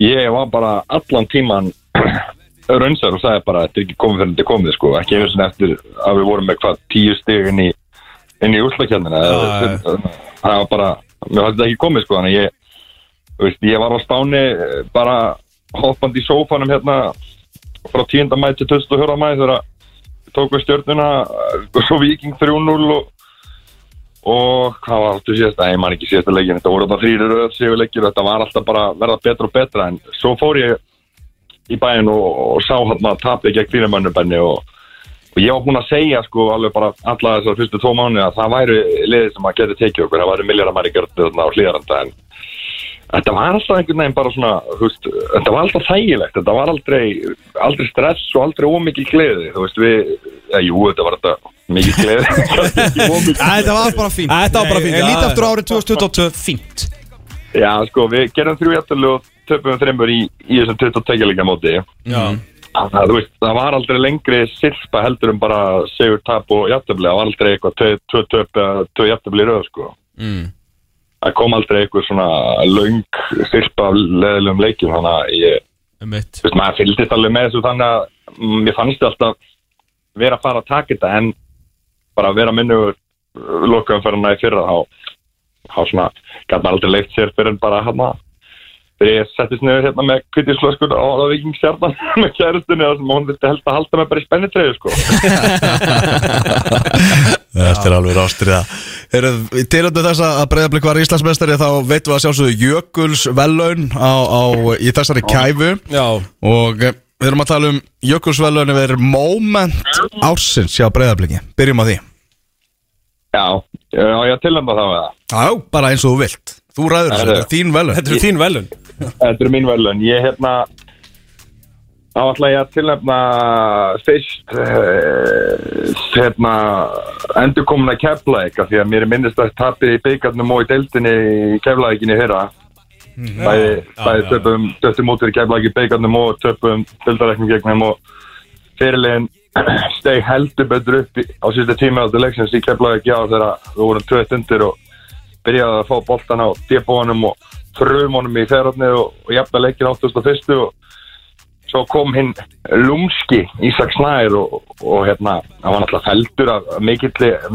ég var bara allan tíman [clears throat] raunsar og sagði bara, þetta er ekki komið fyrir þetta er komið, sko. Ekki eins og eftir að við vorum með hvað tíu stig inn í, inn í úrslakjarnina.
Já,
Það var bara, mér fannst þetta ekki komið, sko, þannig að ég, þú veist, ég var á spáni eh, bara hoppandi í sófanum hérna frá 10. mæti til 24. mæti þegar við tókum við stjörnuna eh, svo Viking 3-0 og, og hvað var alltaf síðast nei, maður ekki síðast að leikin, þetta voru þetta þrýrir sigurleikir, þetta var alltaf bara að verða betra og betra en svo fór ég í bæinn og, og sá hérna tapið gegn fyrirmönnubenni og, og ég var búinn að segja sko alveg bara alla þessar fyrstu tvo mánu að það væri liðið sem að geti tekið okkur, það væri milljaramæri gjörðu þarna á hlýðaranda en Þetta var alltaf einhvern veginn bara svona, þú veist, þetta var alltaf þægilegt, þetta var aldrei, aldrei stress og aldrei ómikið gleði, þú veist, við, ja, jú, þetta var þetta mikið gleði, [laughs] kannski ekki ómikið
Æ, Þetta var bara fínt
Æ, þetta var bara fínt,
Ég
já,
líti
já.
aftur á árið 2022, fínt
Já, sko, við gerum þrjú jættilu og töpum þreymur í, í þessum 22 leika móti.
Já.
Það, þú veist, það var aldrei lengri sirpa heldur um bara segur tap og jættilu, það var aldrei eitthvað tvö- tvö töp eða tvö jættilu í röð, sko.
Mm.
Það kom aldrei eitthvað svona löng sirpa af leðilegum leikjum, þannig að ég,
Um eitt
þú veist, maður fylgdist alveg með þessu þannig að mm, mér fannst þetta alltaf vera að fara að taka þetta en bara að vera minnugur lokaumferðina í fyrra þá, þá svona gæt maður aldrei leikt sér fyrir en bara hérna þegar ég settist niður hérna með kvittislöskur á það vikingstjarnan [laughs] með kærustunni þar sem hún vildi helst að halda mig bara í spennitreyju sko
[laughs] Þetta er alveg rástriða Eru tilöndu þess að breyðablik var Íslandsmeistari þá veitum við að sjálfsögðu Jökuls velun á, á, í þessari kæfu
Já.
og eh, við erum að tala um Jökuls velun yfir moment ársins hjá breyðabliki Byrjum á því
Já, eh, á ég að tilhenda það með það
Já, bara eins og þú vilt Þú ræður þessu,
Herðu.
þetta er þín velun
Þetta er þín velun.
Þetta er mín velun. Ég hérna þá ætla ég að tilnefna fyrst uh, hérna endurkomuna keflæk af því að mér er minnist að tapið í byggarnum og í deildinni í keflækinni fyrra bæði, bæði töpum töttum út fyrir keflæk í byggarnum og töpum deildarekning gegnum og [clears throat] fyrirlegin steg heldur betur upp í, á síðustu tíma áttu leiksins í keflæk já þegar við vorum tveitt undir og byrjaði að fá boltan á debónum og frumunum í ferðarnið og, og jafna leikin 81. og svo kom hinn Lumski Ísak Snær og, og hérna, hann var náttúrulega feldur af mikill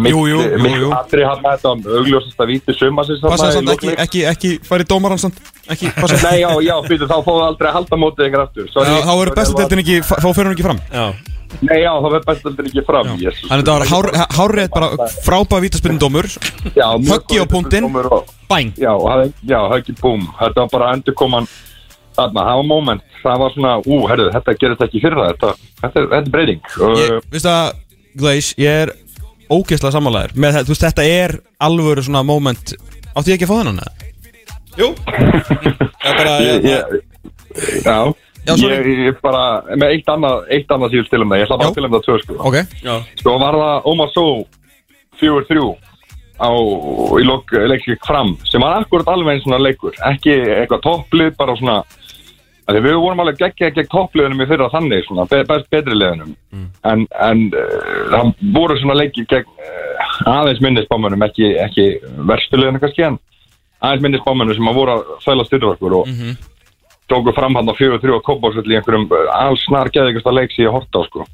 Jú, jú, jú, jú.
atri hann með þetta um augljósasta víti sumasins þarna
Passa
í
þess að ekki,
lokleik.
ekki, ekki fari dómaran samt Ekki, passa
Nei, já,
[laughs]
já, býtu, þá fóðu aldrei að halda mótið ykkur aftur
Já,
Sorry,
Þá verður bestudeldin ekki, þá fyrir hún ekki fram
Já.
Nei, já, þá verður bestudeldin ekki fram Jesus.
Þannig að þetta var hár- hárrétt bara frábæð vítaspinnin dómur
Já, mjög
höggi á
góður
punktinn.
dómur og-
Bæn
Já, það- já, höggi búm Þetta var bara endurkoman Þarna, það var moment, það var svona, ú, herru, þetta gerist ekki fyrir það, þetta, þetta, er, þetta er breyting.
Ég,
Uh,
Vistu að, Gleis, ég er ógeðslega sammálaður með þetta, þú veist, þetta er alvöru svona moment Áttu ég ekki að fá þennan? eða?
Jú. Það er bara,
ég, ég, já,
Já, sorry.
ég, ég bara, með eitt annað, eitt annað síðust til um það, ég ætla bara
Já.
að til um það tvö, sko.
Ok,
já.
Svo var það Omar Só 4-3 á, í lok, leikleik fram sem var akkurat alveg einn svona leikur ekki eitthvað topplið, bara svona af því við vorum alveg geggja gegn toppliðunum í fyrra þannig, svona, be, best betri liðunum en, en uh, það voru svona leiki gegn uh, aðeins minni spámönum, ekki, ekki verstu liðunum kannski en aðeins minni spámönum sem að voru að þælast yfir okkur og tóku eh, fram hann á 4-3 og kópásvöld í einhverjum alls snar geðingasta leik sem ég horta á sko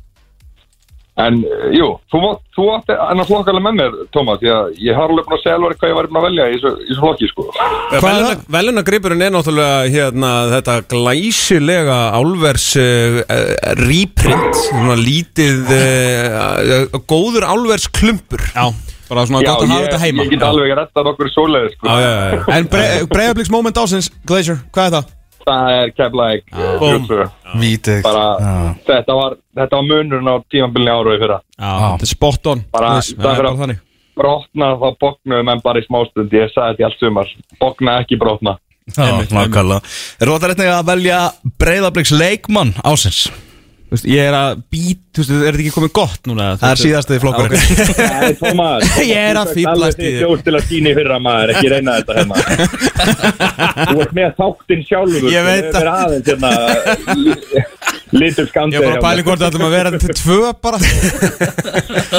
En eh, jú, þú, mátt- þú átti annars flokkarlega með mér, Tómas, því að ég har alveg búin að segja alveg hvað ég var búin að velja í þessu í þessu flokki, sko.
Hvað er
Veluna, velunagrippurinn er náttúrulega hérna, þetta glæsilega álvers uh, reprint, svona lítið uh, góður álvers klumpur
Já, bara svona gott að hafa þetta heima
ég get alveg að retta nokkur svoleiði, sko.
Já, já, já, já.
En breyðabliks moment ásins, Glacier, hvað er það?
Það er keflæk,
Búm.
Jössu.
Vítið
Bara, þetta var, þetta var munurinn á tímambilni ára í fyrra.
Já, þetta er spot on
Bara-
Glais,
það
það er
fyrir-
bara þannig
Brotna þá bóknuðu menn bara í smástund, ég sagði þetta í allt sumar. Bókna ekki brotna.
Nákvæmlega Er það réttnig að velja Breiðabliks leikmann ásins?
Þú veist, Ég er að být, þú veist, er þetta ekki komið gott núna?
Það er síðastið flokkur [laughs]
Nei, Tómas,
[laughs] Ég er að fíflast í
þig.
þér.
Þú ert til að sína í fyrra maður, ekki reyna þetta hérna. Þú ert með þáttinn sjálfur.
Ég veit
það. Þú ert aðeins hérna, litur
Ég
skandi.
var bara að pæli hvort það ætlum að vera til tvö bara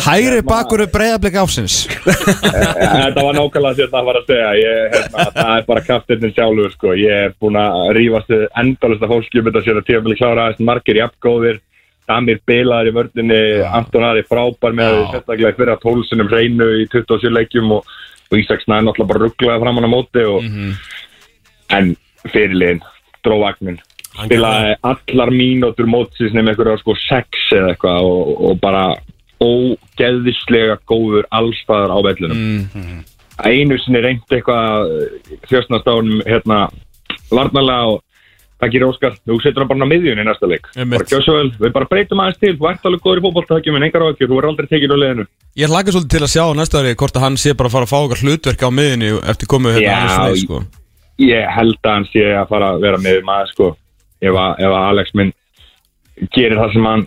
Hægri bakur er breyðablik ásins
[laughs] Þetta var nákvæmlega sér það var að segja. Ég, hérna, það er bara kraftirnir sjálfur, sko. Ég er búin að rífast endalista fólki um þetta sér að tíðanbili klára aðeins margir jafngóðir. Damir bilaðar í vördinni, Anton Ari frábær með að við sérstaklega í fyrra tólsunum reynu í 27 leikjum og, og Ísak Snæði náttúrulega bara rugglaði fram hann á móti
Mhm.
og en fyrirliðin, dróvagnin spilaði allar mínútur mótsins nefnir einhverja sko sex eða eitthvað og, og bara ógeðislega góður allstæðar á vellunum einu sinni reyndi eitthvað þjóstnastánum hérna varnalega og það gerir óskar, þú setur hann bara á miðjunni í næsta leik
Einmitt.
bara gjá svo vel, við bara breytum aðeins til þú ert alveg góður í fótboltaðakjum en engar á þú er aldrei tekinn á leiðinu
Ég hlaka svolítið til að sjá á næsta ári hvort að hann sé bara að fara að fá okkar hlutverk á miðinni eftir komið
Já,
hérna Arnar Snæ,
í-
sko.
ég held að hann sé að fara að vera með maður sko ef að, ef að Alex minn gerir það sem hann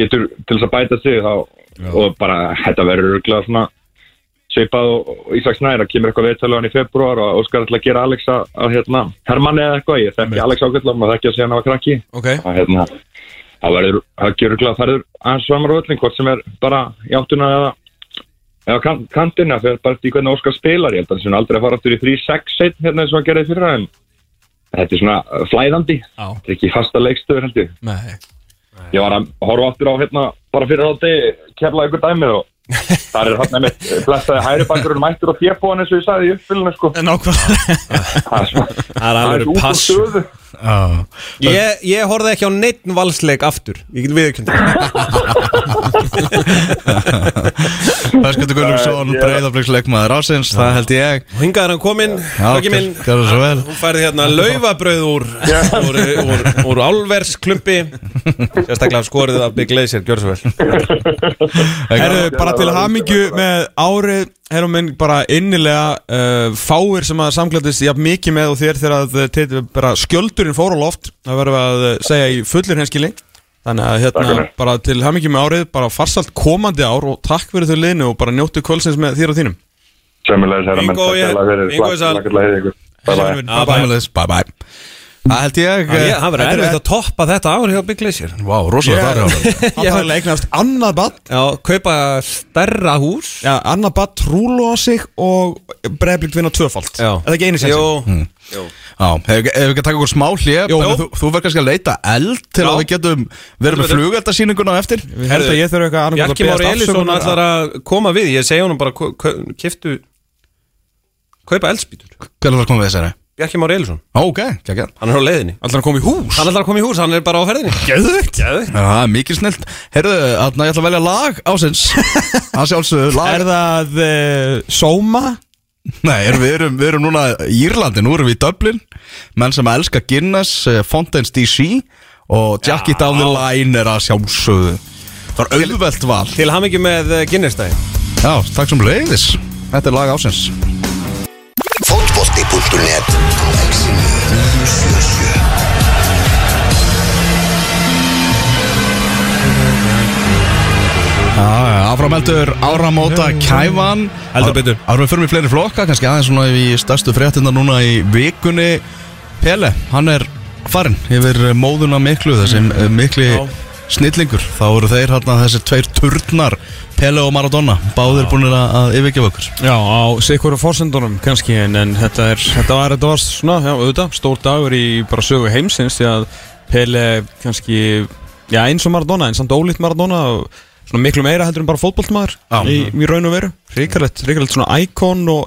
getur til þess að bæta sig þá, og bara þetta verður örgulega svona sveipað og, og Ísak Snæra kemur eitthvað viðtalið hann í februar og Óskar ætla að gera Alex að, að hérna, Hermanni eða eitthvað ég þekki Alex ákveðla, maður þekki að segja hann var krakki
Ok,
að hérna, það verður það gerur örgulega að ferður aðeins framar á öllin hvort sem er bara í áttuna eða eða kan, kantina, fyrir bara eftir hvernig Óskar spilar ég held að hann sé nú aldrei að fara aftur í 3-6-1 hérna eins og hann gerði fyrir hann þetta er svona uh, flæðandi
Já.
þetta er ekki fasta leikstöður held ég
nei
ég var að horfa aftur á hérna bara fyrir haldi kefla ykkur dæmið og
[laughs]
þar er hann með blessaði hæri bakurinn mættur og fjebúan eins og ég sagði í uppfylguna sko það er svona
Það er
það er
alveg
út úr
pass
stöðu
Ég, ég horfði ekki á neittn valsleik aftur Ég get viðurkjönd
Höskuldur Gunnlaugsson, Breiðabliks leikmaður ásins Það held ég
Og hingaður hann kominn,
gjör-
hrakki minn
gjörðu svo vel.
Hún færði hérna laufabröð úr úr, úr, úr álvers klumpi Sérstaklega skorið af Big Laser, gjör svo vel
Herru, bara til hamingju með árið Herru minn, bara innilega uh, Fáir sem að samklæðist jafn mikið með og þér Þegar að eh, til- bara skjöldurinn fór á loft Það verðum að eh, segja í fullir henskili Þannig að
Takk
hérna,
fyrir.
bara til hamingju með árið Bara farsalt komandi ár og takk fyrir þau liðinu Og bara njóttu kvölsins með þér og þínum
sömulegis herra menn
Ingo
takk
ég-
hérlega fyrir.
Ingo Ísal.
Takk hérlega fyrir ykkur. Bye, bye.
Bye, bye.
Bye bye Það held ég
Ég- eh, Það verður erfitt
erfitt
að toppa þetta ár hjá Big Laser
Vá, rosalega þar hjá
[laughs]
honum.
Það er leiknast annað bad
Já, kaupa stærra hús
Já, annað bad trúlu á sig Og breyðblikt vinna tvöfald Er það ekki einu sem
Jú,
[laughs] Já, hefur ekki- hefur ekki að taka okkur smá hljöp
Jó.
Þú, þú verður kannski að leita eld til
Já.
að við getum verið með flugeldasýninguna á eftir
Ég held að ég þurfa eitthvað annað
Bjarki Már Elísson ætlar að koma við Ég segi honum bara, kau- kau- kiftu Kaupa eldspýtur
Hvernig var að koma við þessari?
Bjarki Már Elísson,
Ó, Ok, kækja
hann er á leiðinni
Ætlar að koma í hús
Hann ætlar að koma í hús, hann er bara á ferðinni Gjöðvögt Gjöðvögt
Það er mikil snilt Herðu, þarna ég ætla að velja lag ásins Það sjálfsögðu lag
Er það uh, Soma?
Nei, erum, við, erum, við erum núna í Írlandi, nú erum við í Dublin Menn sem elska Guinness, eh, Fontaine's DC Og Jackie Down the Line er að sjálfsögðu Það var auðvelt val
Til hamingju með eh, Guinness dag
Já, takk sem leiðis Þetta er lag ásins
Fótbolti.net á exinu 977
Áframeldur, áramóta, kæfan
Heldur betur.
Árum við fyrir mig fleiri flokka, kannski aðeins svona í stærstu fréttina núna í vikunni Pele, hann er farinn yfir eh, móðuna miklu Þessi mm. mikli snillingur Þá eru þeir hérna þessi tveir turnar Pele og Maradona, báðir búinir að að yfirgefa okkur
Já, á sikkur og fórsendunum kannski en, en þetta, er, þetta var, þetta var svona, já, auðvitað, stór dagur í bara sögu heimsins því að Pele kannski, já, eins og Maradona en samt ólíkt Maradona og svona miklu meira heldur en bara fótboltmaður
Já.
í, í raun og veru, ríkarlegt, ríkarlegt svona íkon og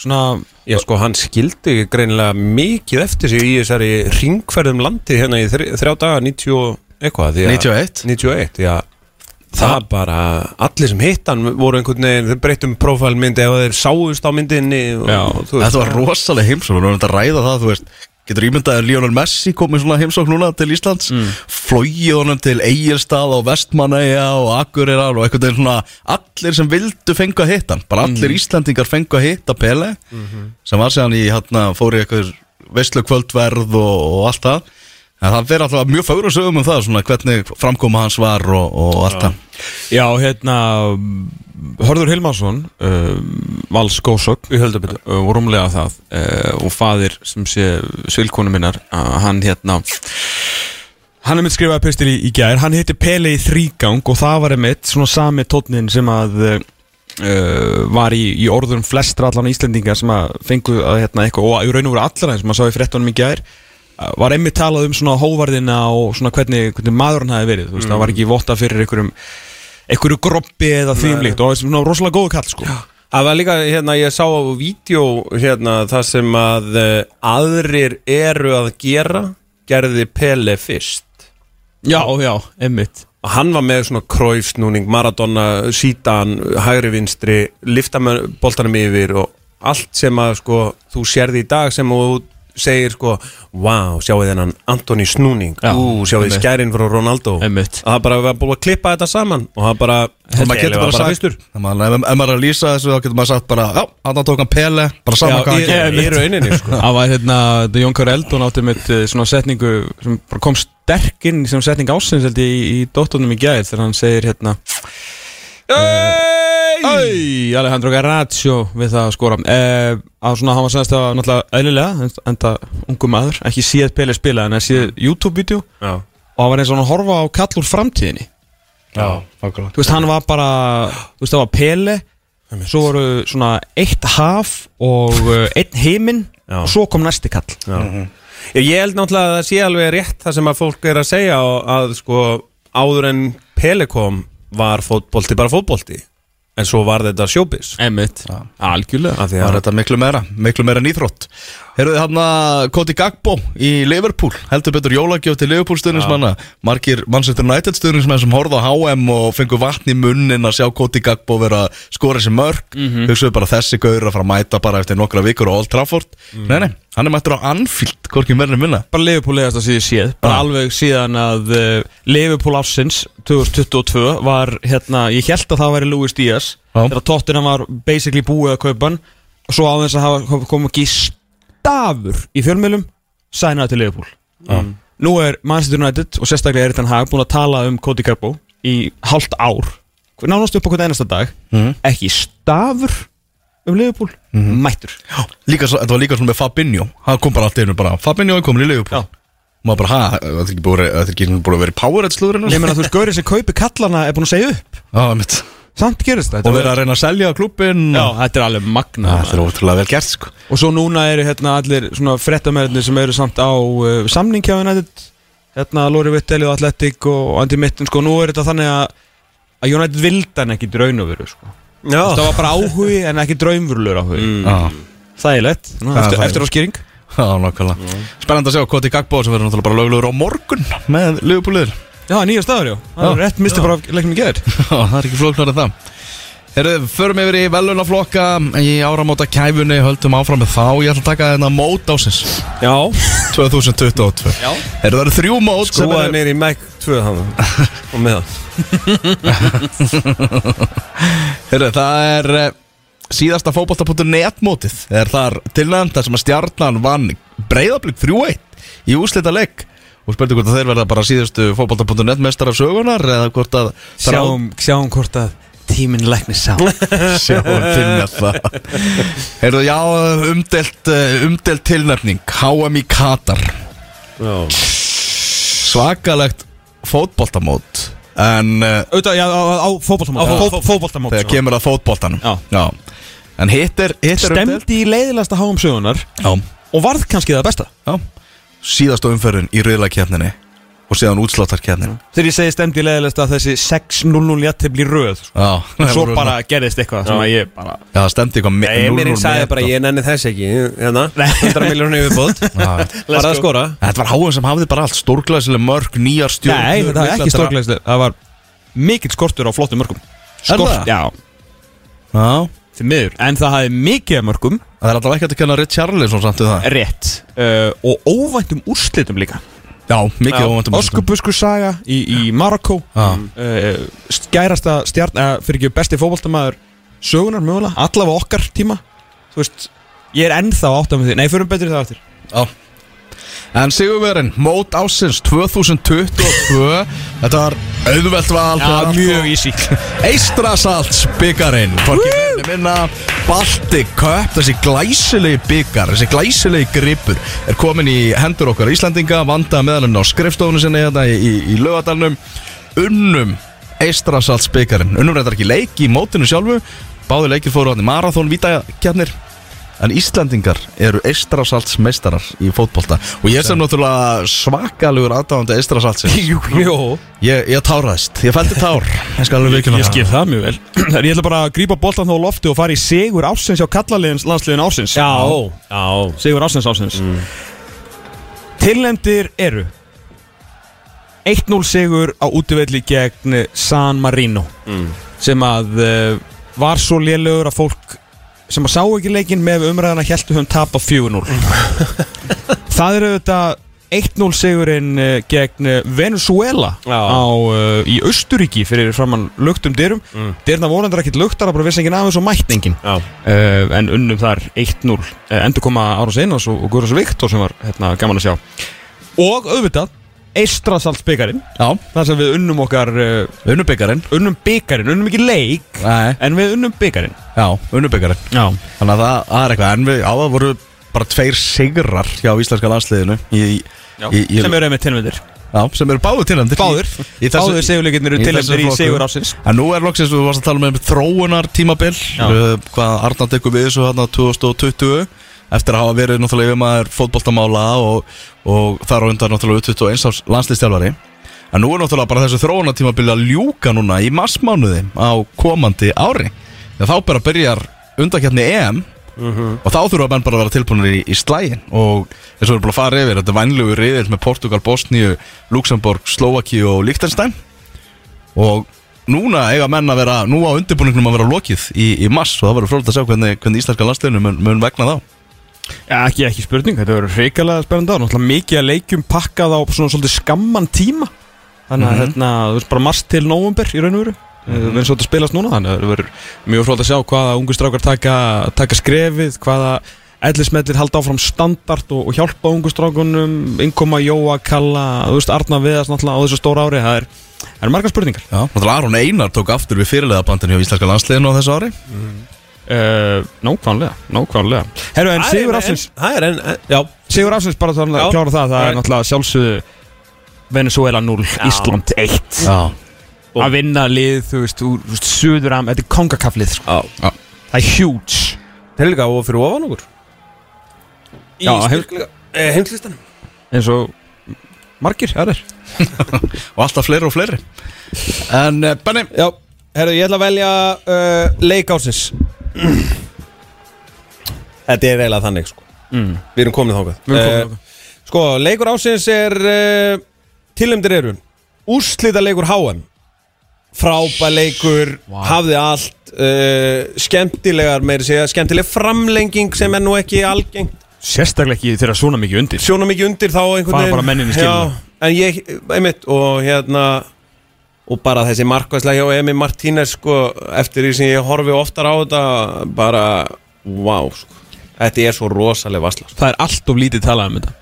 svona
Já sko, hann skildi greinilega mikið eftir sig í þessari ringferðum landi hérna í þri, þrjá daga 90 og eitthvað því að-
91?
91, já Það bara, allir sem hitt hann voru einhvern veginn, þeir breyttum prófælmyndi eða þeir sáust á myndinni og,
Já,
og, þú veist,
Þetta var rosalega heimsókn, við erum þetta að ræða það, þú veist Getur ímyndaðið Lionel Messi komið svona heimsókn núna til Íslands mm. Flóið honum til Egilstað og Vestmannaeyja og Akureyrar og einhvern veginn svona Allir sem vildu fengu að hitta hann, bara allir
Mm.
Íslandingar fengu að hitta Pele
Mhm.
Sem var séðan í hérna, fór í eitthvað veistlu kvöldverð og, og allt það En það verður alltaf mjög fagur að sögum um það, svona hvernig framkoma hans var og, og allt það
Já, hérna Hörður Hilmarsson uh, Vals Gósok uh, og rúmlega það uh, og faðir sem sé svilkonu minnar uh, hann hérna hann er mitt skrifaði pistil í, í gær hann hitti Pele í þrígang og það var einmitt svona sami tónnin sem að uh, var í, í orðum flestra allan Íslendingar sem að fengu að hérna eitthvað og í raun og veru allra eins og maður sá í frettunum í gær uh, var einmitt talað um svona hóvarðina og svona hvernig, hvernig maður hann hafi verið þú veist, það var ekki votta fyrir einhverjum einhverju groppi eða því um líkt og það er svona rosalega góðu kall sko
Það var líka, hérna, ég sá á vídeo hérna, það sem að eh, aðrir eru að gera gerði Pele fyrst
Já, já, einmitt
og hann var með svona króifsnúning Maradona, sítan, hægri vinstri lifta með boltanum yfir og allt sem að sko þú sérði í dag sem þú segir sko, wow, sjáu þennan Antoni snúning,
Já,
ú, sjáu þið
einmitt.
skærin frá Ronaldo,
Einmitt.
það bara var búið að klippa þetta saman og það bara
og maður getur bara sagt ef maður ef- ef maður er að lýsa þessu þá getur maður sagt bara já, hann tók hann pele bara saman hvað hann
Já,
gerir
í, í rauninni
[laughs]
sko
Það var hérna, The Jónkar Eldon átti með svona setningu sem bara kom sterk inn sem setning ásins held ég í, í dóttunum í gæð þegar hann segir hérna Æj, Alejandro Garaccio við það að skora eh, að svona hann var sennast að náttúrulega eðlilega en- enda ungu maður, ekki síðað Pele spila en að síðað YouTube-vídeó
Já,
og hann var eins og hann að horfa á kall úr framtíðinni
já, fagurlega
þú veist, hann var bara þú veist, það var Pele svo voru svona eitt haf og uh, einn heiminn
Já.
og svo kom næsti kall
Ég ég held náttúrulega að það sé alveg rétt það sem að fólk er að segja og að sko áður en Pelekom var fótbolti bara fótbolti en svo var þetta sjóbis
Emmitt, algjörlega
að því
var
að
þetta miklu meira miklu meira nýþrótt heyrðu þið hann að Koti Gagbo í Liverpool heldur betur jólagjöf til Liverpool stuðnismanna margir Manchester United stuðnismenn sem horfðu á HM og fengu vatn í munnin að sjá Koti Gagbo vera að skora sér mörg
Mhm.
hugsaðu bara þessi gaur að fara að mæta bara eftir nokkra vikur á Old Trafford
Mhm.
nei nei, hann er mættur á Anfield hvorki meirinu minna
bara Liverpool eðast að síðu séð bara alveg síðan að uh, Liverpool ársins 2022 var hérna, ég held að það væri Luis Díaz
Já.
þegar tóttina var basically búið að kaupa hann og svo aðeins að hafa kom ekki stafur í fjölmjölum sænaði til Liverpool
mm.
Nú er Manchester United og sérstaklega Eritan Hag búin að tala um Cody Gabbo í hálft ár nánast upp á hvern einasta dag ekki stafur um Liverpool mættur
líka, svo- þetta var líka svona með Fabinho hann kom bara allt í einu bara Fabinho er komin í Liverpool
Já.
maður bara, ha, þetta er ekki búið þetta er ekki búið að vera í Powerhead slúðurinn
Ég meina þú veist, Gauri sem kaupi kallana er búin að segja upp
og
samt gerist þetta
verið að reyna að selja klubbin
Já, þetta er alveg magna
þetta er ótrúlega vel gert sko
Og svo núna eru hérna allir svona frettamæðinni sem eru samt á uh, samning hjá United Hérna Lóri Vittel og Atletic og Andy Mitten sko Nú er þetta þannig að, að United vildan ekki draun og veru sko
Já,
Það var bara áhugi en ekki draunvurlur áhugi mm.
Já,
Þægilegt, eftir,
þægilegt.
eftir á skýring
já, nokkala
Mm.
Spennandi að sjá Koti Gagbo sem verður náttúrulega bara lögluður á morgun með [laughs] Liverpooliður
Já, nýja staður, já, það
Já.
er rétt misti bara af leiknum í geður
Það er ekki flóknar en það Herðu, förum yfir í velunaflokka í áramóta kæfunni, höldum áfram með þá Ég ætla að taka þennan mót ásins
[laughs]
já
2022
Já.
Herðu, það eru þrjú mót
Sko,
sem
Skrúaði
eru-
niður í Mac 2 hann og með það
Heyrðu, það er eh, síðasta fótbolta.net mótið er þar tilnæðan þar sem að stjarnan vann breyðablík 3-1 í úslita legg og spurning hvort að þeir verða bara síðustu fótbolta.net mestar af sögunar eða hvort að það er á-
Sjáum, sjáum hvort að tíminn læknir sá
[laughs] sjáum til með það Heyrðu, já, umdelt, eh, umdelt tilnæfning HM í Katar
Já,
svakalegt fótboltamót en uh,
[laughs] Auðvitað, já, á, á, á fótboltamót
Já.
Á fótboltamót sko.
þegar kemur að fótboltanum
Já.
en hitt er, hitt er umdeilt.
Stemdi í leiðilegasta háum sögunar
já
og varð kannski það besta
Já, síðasta umferðin í riðlakefninni og síðan útsláttarkefnin
Þegar ég segi stemdi leðilegast að þessi 6-0-0 jættibli röð sko.
Já,
Svo bara gerðist eitthvað sem að ég bara
Já, það stemdi eitthvað me-
Nei,
0-0
Emirinn sagði
met
bara
og-
ég nenni þess ekki
[laughs]
hérna, 100 miljónu yfirbót
Já.
bara að skora
Þetta var háum sem hafði bara allt stórglæsileg mörg, nýjar stjórn
Nei, þetta var ekki stórglæslega Það var mikill skortur á flottum mörgum
það?
Já,
Já,
til miður En það hafði mikið af mörgum
það er alltaf ekki hægt að kenna Rich Charlison samt við það
rétt uh, Og óvæntum úrslitum líka
Já, mikið óvæntum
Óskubusku saga í, í Marokko
Já.
uh, Skærasta stjarn uh, Fyrir ekki besti fótboltamaður Sögunar mögulega, allavega okkar tíma Þú veist, ég er ennþá átt af því Nei, förum betri það aftur
Já En Sigurverin, mót ásins 2022 Þetta var auðvelt val það var allt og-
easy
Eistrasalts byggarinn Fólki minni minna Baltic Cup, þessi glæsilegi byggar Þessi glæsilegi gripur Er komin í hendur okkar Íslandinga Vanda meðalinn á skrifstofunum sinni hérna í, í, í lögadalnum Unnum Eistrasalts byggarinn Unnum reyndar ekki leik í mótinu sjálfu Báði leikir fóru hann í marathón vítakjarnir En Íslandingar eru Eistrasalts meistarar í fótbolta Og ég sem náttúrulega svakalugur aðdáðandi Eistrasaltsins
Jó,
Ég, ég táraðist, ég fældi tár Ég skal alveg vikuna
ég skil það mjög vel Ég ætla bara að grípa boltan þá á lofti og fara í Sigur Ásins á kallaliðins landsliðin Ásins
Já, já
Sigur Ásins Ásins mm. Tilnefndir eru 1-0 Sigur á útivelli gegn San Marino sem að uh, var svo lélugur að fólk sem að sá ekki leikinn með umræðana heldur höfum tap á [laughs] 4-0 Það eru þetta 1-0 sigurinn eh, gegn eh, Venezuela
Já.
á, uh, í Östuríki fyrir framann luktum dyrum mm. dyrna vonandar ekkit luktar að bara vissi enginn aðeins og mætt enginn
Já.
uh, en unnum þar 1-0 uh, endur koma Árás Einars og, og Guðrós Viktor sem var hérna, gaman að sjá og auðvitað Eistrasalds byggarinn
Já,
þar sem við unnum okkar uh,
unnubyggarinn
unnum byggarinn, unnum ekki leik
Nei,
en við unnum byggarinn
já, unnubyggarinn
Já.
Þannig að það, það er eitthvað En við á það voru bara tveir sigrar hjá íslenska landsliðinu í,
Já.
Í, í,
sem eru einmitt tilmyndir
já, sem eru báður tilnæmdir
Báður.
í, í þessu,
Báður sigurleikinnir eru
í þessu
tilnefndir í
flokku.
sigur ársins.
En nú er loksins, við varst að tala með þróunar tímabil uh, Hvað Arnar tekur við þessu hérna 2020 Eftir að hafa verið náttúrulega yfirmaður fótboltamála og, og þar á undan náttúrulega 21 árs landslistjálfari En nú er náttúrulega bara þessu þróunartímabili að ljúka núna í massmánuði á komandi ári Þegar þá bara byrjar undakjarni EM og þá þurfa menn bara að vera tilbúinir í, í slægin og eins og við erum búin að fara yfir þetta er vænlegu riðil með Portugal, Bosníu, Luxemburg, Slovakíu og Liechtenstein og núna eiga menn að vera nú á undirbúningnum að vera lokið í, í mass og það verður frólægt að sjá hvernig, hvernig íslenska landsliðinu mun, mun vegna þá
Já, ekki, ekki spurning, þetta verður reikalega spennandi á Náttúrulega mikið að leikjum pakkað á svona svolítið skamman tíma Þannig að hérna, þú veist bara mars til nóvumber í raun og veru mm -hmm. Við erum svolítið að spilast núna Þannig að það verður mjög frólt að sjá hvaða ungu strákar taka, taka skrefið Hvaða ellismellir halda áfram standart og, og hjálpa ungu strákunum Innkoma Jóa, Kalla, þú veist Arna Viðas náttúrulega á þessu stóra ári Það er, það er margar spurningar
Já, náttúrulega Aron Einar tók aftur við fyrirlega bandinu hjá íslenska landsliðinu á þessu ári
uh, Nókvæmlega, nókvæmlega Herru, en
Það er
Sigur
en-
Afsins
Það er enn, já
Sigur Afsins bara þannig að
Já.
klára það Það
Já.
er náttúrulega sjálfsögðu Venezuela 0, Ísland 1
Já,
Að vinna lið, þú veist, úr þú veist, Suðuram Þetta er kongakaflið, sko
Já.
Það er huge
Helga og fyrir ofan okkur Í
Já, heim-
styrkleika- eh, heimslistanum
En svo margir, það er
og alltaf fleiri og fleiri En eh, Benni,
Já, herru, ég ætla að velja uh, leikásins [clears throat] Þetta er eiginlega þannig, sko
Mm.
Við erum komin þákað
Við erum komin þangað.
Sko, leikur ásins er uh, Tilhemdir eru Úrslita leikur HM Frápa leikur, hafði allt uh, Skemmtilegar, meiri segja Skemmtileg framlenging sem er nú ekki algengt
Sérstaklega ekki þegar svona mikið undir
sjóna mikið undir þá einhvern
Fara bara mennin í skiluna.
Já, En ég, einmitt, og hérna Og bara þessi markvæsla hjá Emi Martínez sko, Eftir því sem ég horfi oftar á þetta Bara, wow sko. Þetta er svo rosaleg vasla sko.
Það er allt of lítið talað um þetta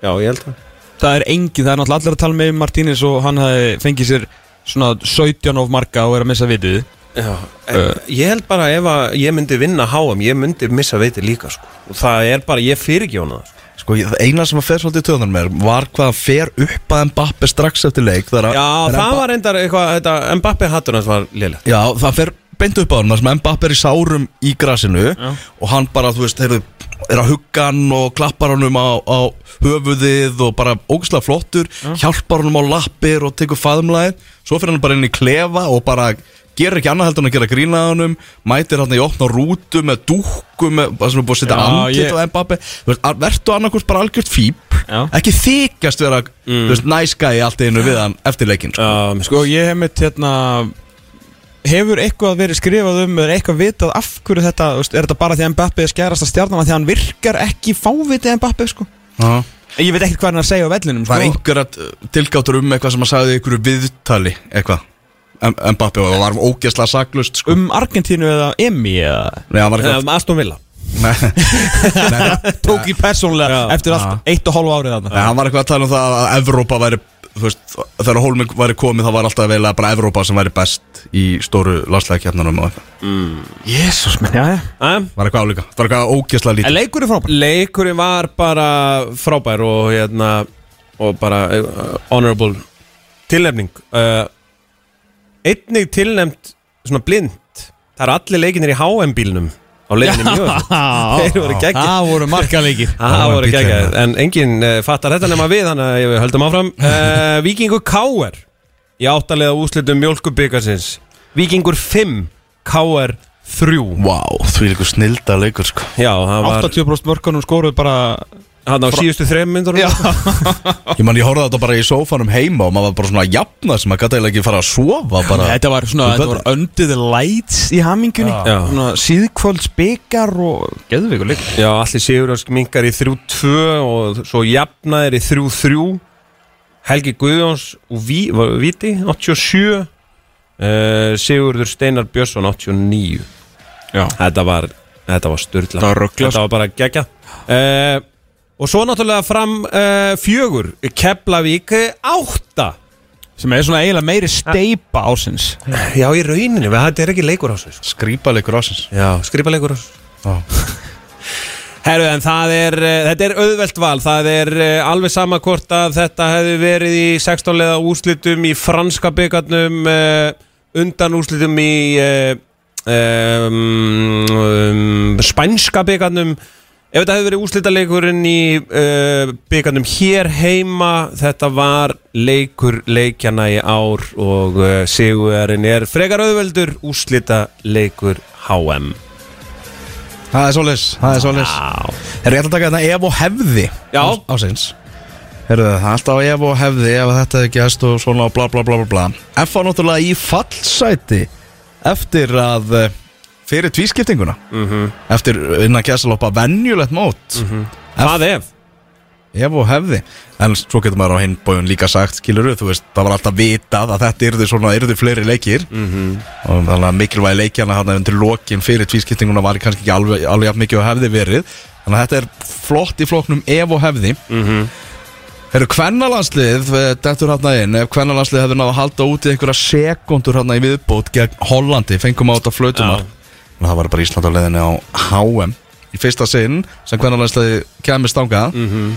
Já, ég held það
Það er engin, það er náttúrulega allir að tala með Martínis og hann hafi fengið sér svona 17 of marga og er að missa vitið
Já, en, ég held bara ef að ég myndi vinna HM, ég myndi missa veiti líka sko. og það er bara, ég fyrir ekki hana sko.
sko, ég- það eina sem að fer svolítið í töðunar mér var hvað hann fer upp að Mbappe strax eftir leik
Já, það var reyndar eitthvað, þetta Mbappi hattur hans var lélegt
Já, það fer beint upp á hann þar sem Mbapp er í sárum í grasinu og hann bara, þú veist, heyrðu, er að hugga hann og klappar honum á, á höfuðið og bara ógislega flottur hjálpar honum á lappir og tekur faðumlæð svo fyrir hann bara inn í klefa og bara gerir ekki annað heldur en að gera grínað honum mætir hann í opna rútu með dúkku með, það sem er búið að setja
Já,
andlit
ég-
á Mbappe Þú veist, að- vertu annarkvist bara algjört fíp
Já.
ekki þykast vera mm. veist, næskæði allt í einu við hann eftir leikin sko.
um, Sko ég hef mitt hérna Hefur eitthvað verið skrifað um eða eitthvað vitað af hverju þetta þú veist, Er þetta bara því að Mbappi er skærast að stjarnana því að hann virkar ekki fávitið Mbappi sko
Já.
Ég veit ekkert hvað hann er að segja á vellinum
Það er
sko.
einhverja tilgáttur um eitthvað sem að sagði í einhverju viðtali eitthvað en, en Bappi og það var ógeðslega saklust sko.
Um Argentínu eða Emi eða
Nei, það var
Eh,
Um
eitthvað
Aston Villa
[laughs] Nei,
[laughs] Tók í persónulega
Já.
eftir allt eitt og hálfu árið þarna
það var eitthvað að tala um það að Evrópa væri þú veist, þegar Holming væri komið þá var alltaf vel bara Evrópa sem væri best í stóru landslæðakefnunum og eitthvað
Jésús menn, já, já
Eh?
var eitthvað álíka, það var eitthvað ógeðslega
En
lítið
leikur er frábær
Leikurinn var bara frábær og hérna og bara uh, honorable tilnefning uh, einnig tilnefnd svona blind það eru allir leikinir í HM bílnum á leikinni mjög þeir voru geggjað
Það voru markaleikir
Það voru
bíllinn,
geggjað, en enginn uh, fattar þetta nema við, þannig að við höldum áfram uh, Víkingur K.R. í áttalega úslitum mjölkubikarsins Víkingur 5, K.R. 3
Vá, því líka snilda leikur sko
Já, það var
80% mörkunum skoruð bara
hann á síðustu þreim myndur
Ég man, ég horfði þetta bara í sófanum heima og maður var bara svona að jafna sem að gæti eiginlega ekki fara að sofa bara
Þetta var svona, þetta var under the lights í hamingunni
Já.
Svona síðkvölds byggar og Geðvíkur líka
Já, allir Sigurjónsk minkar í 3-2 og svo jafnaðir í 3-3 Helgi Guðjóns og Ví, var- Víti, 87 uh, Eh, Sigurður Steinar Björnsson, 89
Já.
Þetta var, þetta var styrla
Þetta var ruglað.
Þetta var bara gegja uh, Og svo náttúrulega fram uh, fjögur Keflavík eh, átta
Sem er svona eiginlega meiri steipa ásins
Já, í rauninni, við- þetta er ekki leikur á sig
Skrýpa leikur ásins
Já, skrifaleikur
Já.
Herru, en það er, eh, þetta er auðvelt val Það er eh, alveg sama hvort að þetta hefði verið í 16 leða úrslitum í franska byggarnum undan úrslitum í eh, um, um, spænska byggarnum Ef þetta hefði verið úrslitaleikurinn í uh, byggarnum hér heima, þetta var leikur leikjana í ár og uh, sigurinn er frekar auðveldur úrslitaleikur HM.
Það er svolítið, það er svolítið Herru, ég ætla að taka þetta ef og hefði
Já.
Ás- Ásins Herru, það er alltaf ef og hefði Ef þetta er gæst og svona og bla bla bla bla bla F var náttúrulega í fallsæti Eftir að eh, Fyrir tvískiptinguna -hmm. Eftir innan gæstaloppa venjulegt mót
Hvað ef?
Ef og hefði En svo getur maður á hinn bójun líka sagt Skilur þú veist, það var alltaf vitað Að þetta yrðu svona, yrðu fleiri leikir mm -hmm. Og þannig að mikilvægi leikjana Þannig að undir lokin fyrir tvískiptinguna Var kannski ekki alveg, alveg jafn mikið og hefði verið Þannig að þetta er flott í floknum Ef og hefði mm -hmm. Herru, kvennalandslið Dettur hann inn Ef kvennalandslið hefði náða að halda út Í einhverja sekundur hann í viðbót Gegn Hollandi, fengum á þetta flötumar og það var bara Ísland á leiðinni á HM í fyrsta sinn sem kvennarlandsliði kemist ángað mm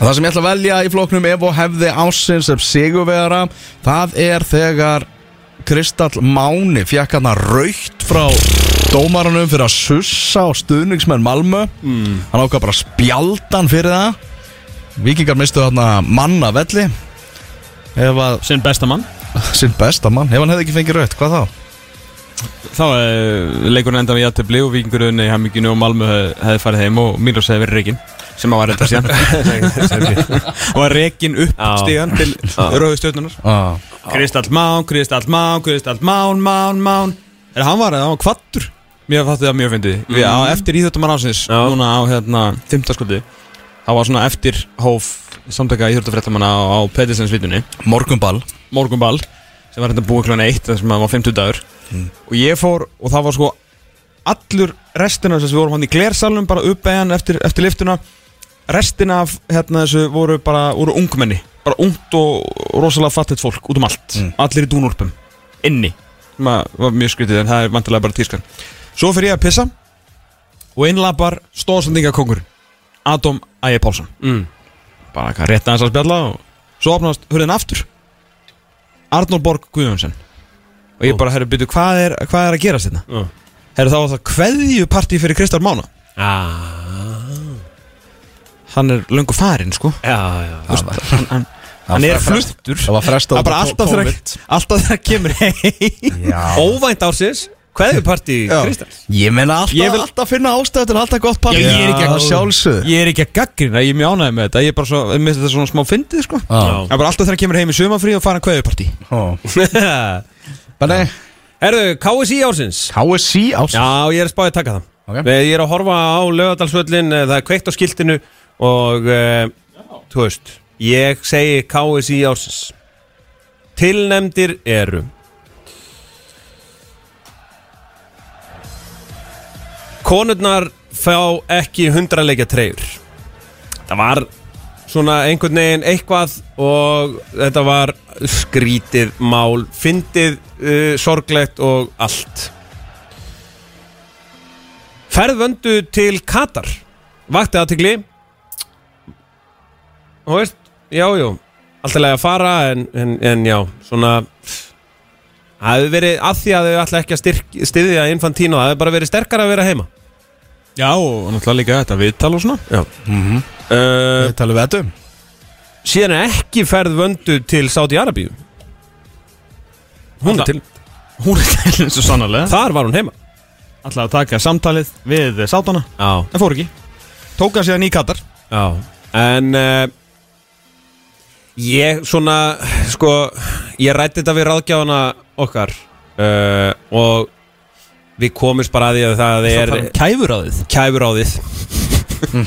það sem ég ætla að velja í floknum ef og hefði ásins sem sigurvegara það er þegar Kristall Máni fjekk hann að raukt frá dómaranum fyrir að sussa á stuðningsmenn Malmö hann ákvað bara spjaldan fyrir það vikingar mistu þarna mann af velli ef að
Sinn besta mann
sinn besta mann, ef hann hefði ekki fengið raukt, hvað þá?
Þá eh, leikurinn endaði í aðtöfli og vikingurinn í haminginu og Malmö hef- hefði farið heim og Mílos hefði verið reikinn sem að var þetta síðan og var reikinn upp
Já.
stíðan [laughs] til rauðu stjórnunar
Ah.
Kristall Mán, Kristall Mán, Kristall Mán, Mán, Mán Er hann var, hann var kvattur Mér fattu það mjög fyndið Við á eftir íþjóttamann ásins
Já.
Núna á hérna, fimmtaskuldi Það var svona eftir hóf Samtaka íþjóttafréttamanna á, á Pettersens vitunni
Morgumball
Morgunball Sem var hérna búið kljóna eitt Það sem var 50 dagur Og ég fór og það var sko Allur restina þess að við vorum hann í glersalunum Bara uppeigjan eftir, eftir liftuna Restina af hérna þessu voru bara Voru ungmenni Bara ungt og rosalega fattitt fólk út um allt Allir í dúnúlpum Inni Það var mjög skrítið en það er vantilega bara tískan Svo fyrir ég að pissa Og innlapar stóðsendingakongurinn Adam Ægir Pálsson
Mm.
Bara eitthvað rétt aðeins að spjalla og Svo opnast hurðin aftur Arnór Borg Guðjónsson og ég bara, herru, byrju, hvað er, hvað er að gera sérna?
Já.
Herru, þá var það kveðjupartí fyrir Kristján Mána Hann er löngu farinn, sko
Já, já, já
Hann, hann, hann er fluttur
Það var
Það
frestað
er bara
út
alltaf
af
þegar alltaf þegar hann kemur heim
Óvænt ársins, kveðjuparti Kristjáns [laughs]
Ég meina alltaf,
Ég vil-
alltaf finna ástæðu til að halda gott pappi
Já, ég er ekki að-
sjálfsög
Ég er ekki að gaggrina, ég er mjög ánægði með þetta Ég er bara svo, mér finnst þetta svona smá fyndið, sko
Já.
Það er bara alltaf þegar hann kemur heim í sumanfrí og fara hann kveðjupartí
Bara nei,
Herðu, KSI ársins
KSC ástæðu
Já, ég er spáðið að taka það
Ok.
okay. Ég er að horfa á lögadalsvöllin Það er kveikt á skiltinu Og, eh, þú veist Ég segi KSI ársins Tilnemdir eru Konurnar fá ekki hundraleikja treyjur Það var svona einhvern veginn eitthvað og þetta var skrítið mál, fyndið, uh, sorglegt og allt ferðvöndu til Katar vakti aðtikli og veist, já, já alltaf leið að fara en, en, en já, svona það hefur verið að því að þau ætla ekki að styrk, styðja Infantino, það hefur bara verið sterkara að vera heima
Já, og náttúrulega líka þetta viðtal og svona
uh,
Talum við þetta um
síðan er ekki ferðvöndu til Saudi Arabíu hún er til
Hún er tælinn svo sannarlega
þar var hún heima
Alltaf að taka samtalið við sátana
já,
En fór ekki Tók hann síðan í Katar
Já, en uh, ég svona, sko, ég rætti þetta við ráðgjafana okkar uh, og við komumst bara að því að það er
kæfur á þið
kæfuráðið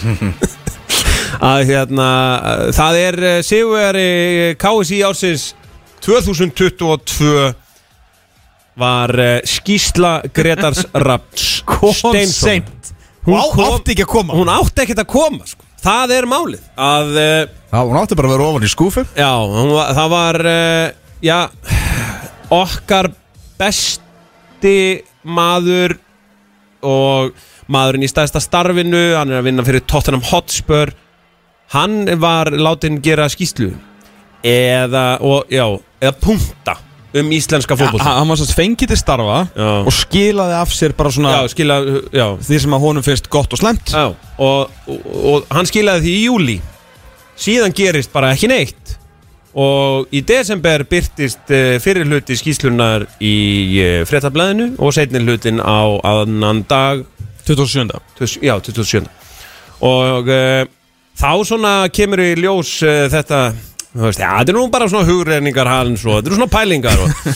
að hérna, uh, það er uh, Sigurveri KSI ársins 2022 var uh, skýsla Gretars Raps Steinsson
Hún
Hún kom-
átti ekki að koma
hún átti ekkert að koma sko. það er málið að, uh,
Já, hún átti bara að vera ofan í skúfu
já, hún var, það var uh, já, [sighs] okkar besti maður og maðurinn í stæðsta starfinu hann er að vinna fyrir Tottenham Hotspur hann var látin gera skýslu eða, og, já, eða punta um íslenska
Ha-
fótbolta
Hann var svo fengið til starfa
Já.
Og skilaði af sér bara svona
já, skila, já,
Því sem að honum finnst gott og slemt
Já, og, og, og hann skilaði því í júli Síðan gerist bara ekki neitt Og í desember byrtist uh, fyrir hluti skýslunar í uh, fréttablaðinu og seinni hlutin á annan dag
27.
tjus- já, 27. Og uh, þá svona kemur í ljós uh, þetta, þú veist, já, þetta er nú bara svona hugreiningar hans og þetta eru svona pælingar og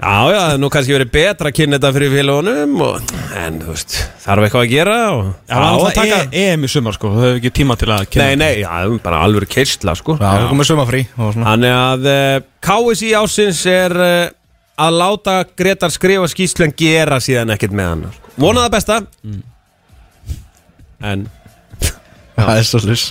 Já, já, það er nú kannski verið betra að kynna þetta fyrir félagunum og, en, þú veist, þarf eitthvað að gera og
Það var alltaf
taka-
taka EM í sumar sko Það hefur ekki tíma til að
Nei, nei, já, það er bara alveg keistla sko
Já, hún kom með sumafrí og svona.
Þannig að uh, KSI ásins er uh, að láta Gretar skrifa skýslu en gera síðan ekkert með hann sko. Vona það besta En
Það er svo slis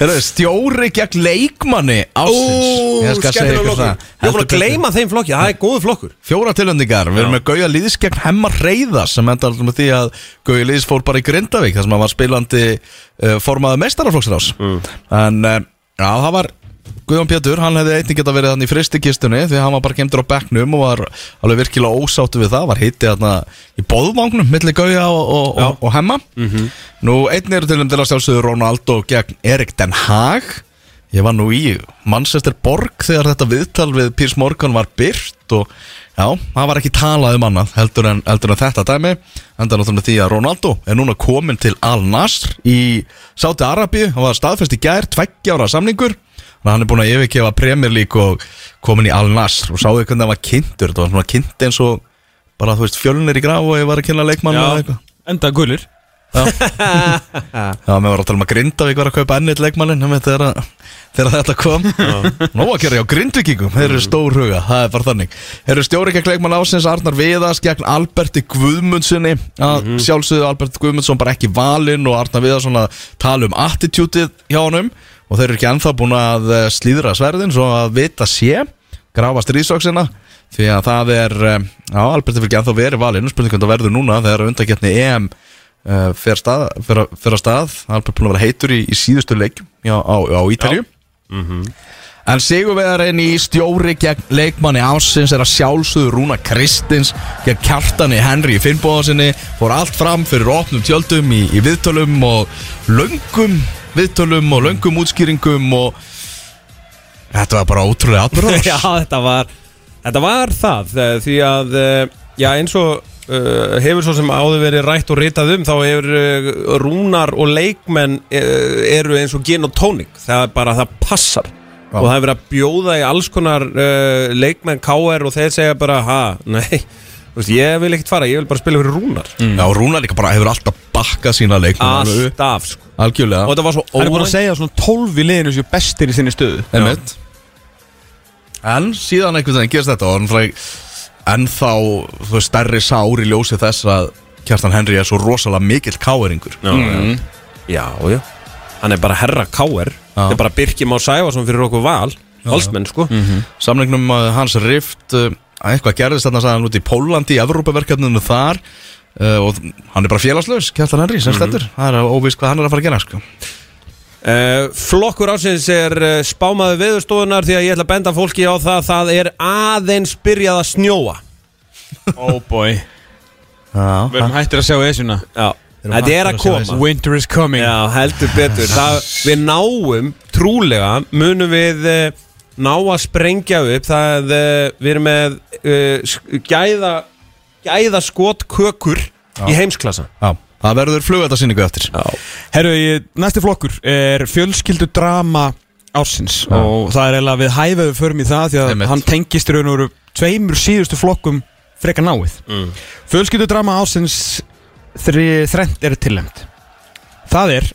Herra, stjóri gegn leikmanni ástins Ég skal segja ykkur það
Ég er búin að gleyma þeim flokki, það er góðu flokkur
Fjóra tilöndingar, við erum með Gauja Lýðis gegn Hemma Reyða sem enda alltaf með því að Gauja Lýðis fór bara í Grindavík þar sem hann var spilandi uh, formaði mestaraflokksrás en uh, já, það var Guðjón Pétur, hann hefði einnig geta verið hann í fristikistunni því hann var bara kemdur á bekknum og var alveg virkilega ósáttu við það, var hitti þarna í boðvangnum milli Gauja og, og, og, og Hemma Nú, einnig eru tilöndin að sjálfsögðu Ronaldo gegn Erik Den Haag Ég var nú í Manchester Borg þegar þetta viðtal við Piers Morgan var byrt og já, það var ekki talað um annað heldur en, heldur en þetta dæmi enda náttúrulega því að Ronaldo er núna komin til Al-Nasr í Sáti Arabíu, hann var staðfest í gær tveggja ára samningur, þannig að hann er búin að yfirgefa Premier League og komin í Al-Nasr og sáðu hvernig það var kynntur þetta var svona kynnt eins og bara þú veist fjölnir í graf og ég var að kynna leikmann eða eitthvað
Enda gulir
Já, mér var að tala um að Grindavík var að kaupa ennit leikmannin þegar, að- þegar þetta kom Nó að gera hjá Grindvíkingum, þeir eru stór huga, það er bara þannig Þeir eru stjórikæk leikmann ásins Arnar Viðars gegn Alberti Guðmundssoni að Sjálfsögðu Alberti Guðmundsson bara ekki valinn og Arnar Viðars svona tala um attitútið hjá honum og þeir eru ekki ennþá búin að eh, slíðra sverðin svo að vita sé grafa stríðsóksina því að það er, eh, já, Alberti fyrir ekki ennþá verið valinn spurning hvernig það verður núna þegar undagetni EM uh, fyrir stað, fer
Mhm.
að- fer að stað Albert búin að vera heitur í, í síðustu leikjum já, á, á Ítalju En sigurvegarinn í stjóri gegn leikmanni ásins er að sjálfsögðu Rúna Kristins gegn kjartani Henry Finnbóðarsinni fór allt fram fyrir opnum tjöldum í, í viðtölum og löngum viðtölum og löngum útskýringum og þetta var bara ótrúlega atbyrðar
[laughs] Já, þetta var, þetta var það eh, Því að, eh, já eins og uh, hefur svo sem áður verið rætt og ritað um þá hefur uh, rúnar og leikmenn uh, eru eins og gin og tónik Það er bara, það passar Og það er verið að bjóða í alls konar uh, leikmenn KR og þeir segja bara, ha, nei Þú veist, ég vil ekkert fara, ég vil bara spila fyrir rúnar
Já, og Rúna líka bara hefur alltaf bakkað sína leikmann alveg upp.
Alltaf, sko
Algjörlega
Og þetta var svo
Hann er búin að
óvænt
segja svona 12 í liðinu sem bestir í sinni stöðu
Einmitt. En síðan einhvern veginn gerist þetta og hann fræk ennþá þú veist, stærri sár í ljósi þess að Kjartan Henry er svo rosalega mikill káeringur
Já, já, já, já Hann er bara herra KR Þetta er bara Birkir Má Sævason fyrir okkur val Valsmenn,
Mm.
sko
Samningnum uh, hans rift uh, eitthvað gerðist þarna sagði hann út í Pólandi í Evrópaverkefninu þar uh, og hann er bara félagslaus, Kjartan Henry sem stendur, það er óvíst hvað hann er að fara að gera sko.
Uh, flokkur ásins er uh, spámaður veðurstofunar því að ég ætla að benda fólki á það það er aðeins byrjað að snjóa
Oh boy Við
Já,
erum hættir að sjá esuna
já. þetta er að koma
Winter is coming
já, heldur betur það, við náum, trúlega munum við uh, ná að sprengja upp það uh, við erum með uh, sk- gæða gæða skotkökur í heimsklassa
já, það verður flugöldarsýningu eftir
Herru, ég- næsti flokkur er fjölskyldudrama ársins Og það er eiginlega við hæfið við förum í það Því að
Einmitt.
hann tengist í raun og veru tveimur síðustu flokkum frekar náið
Mm.
Fjölskyldudrama ársins þri, þrennt er tilnæmt Það er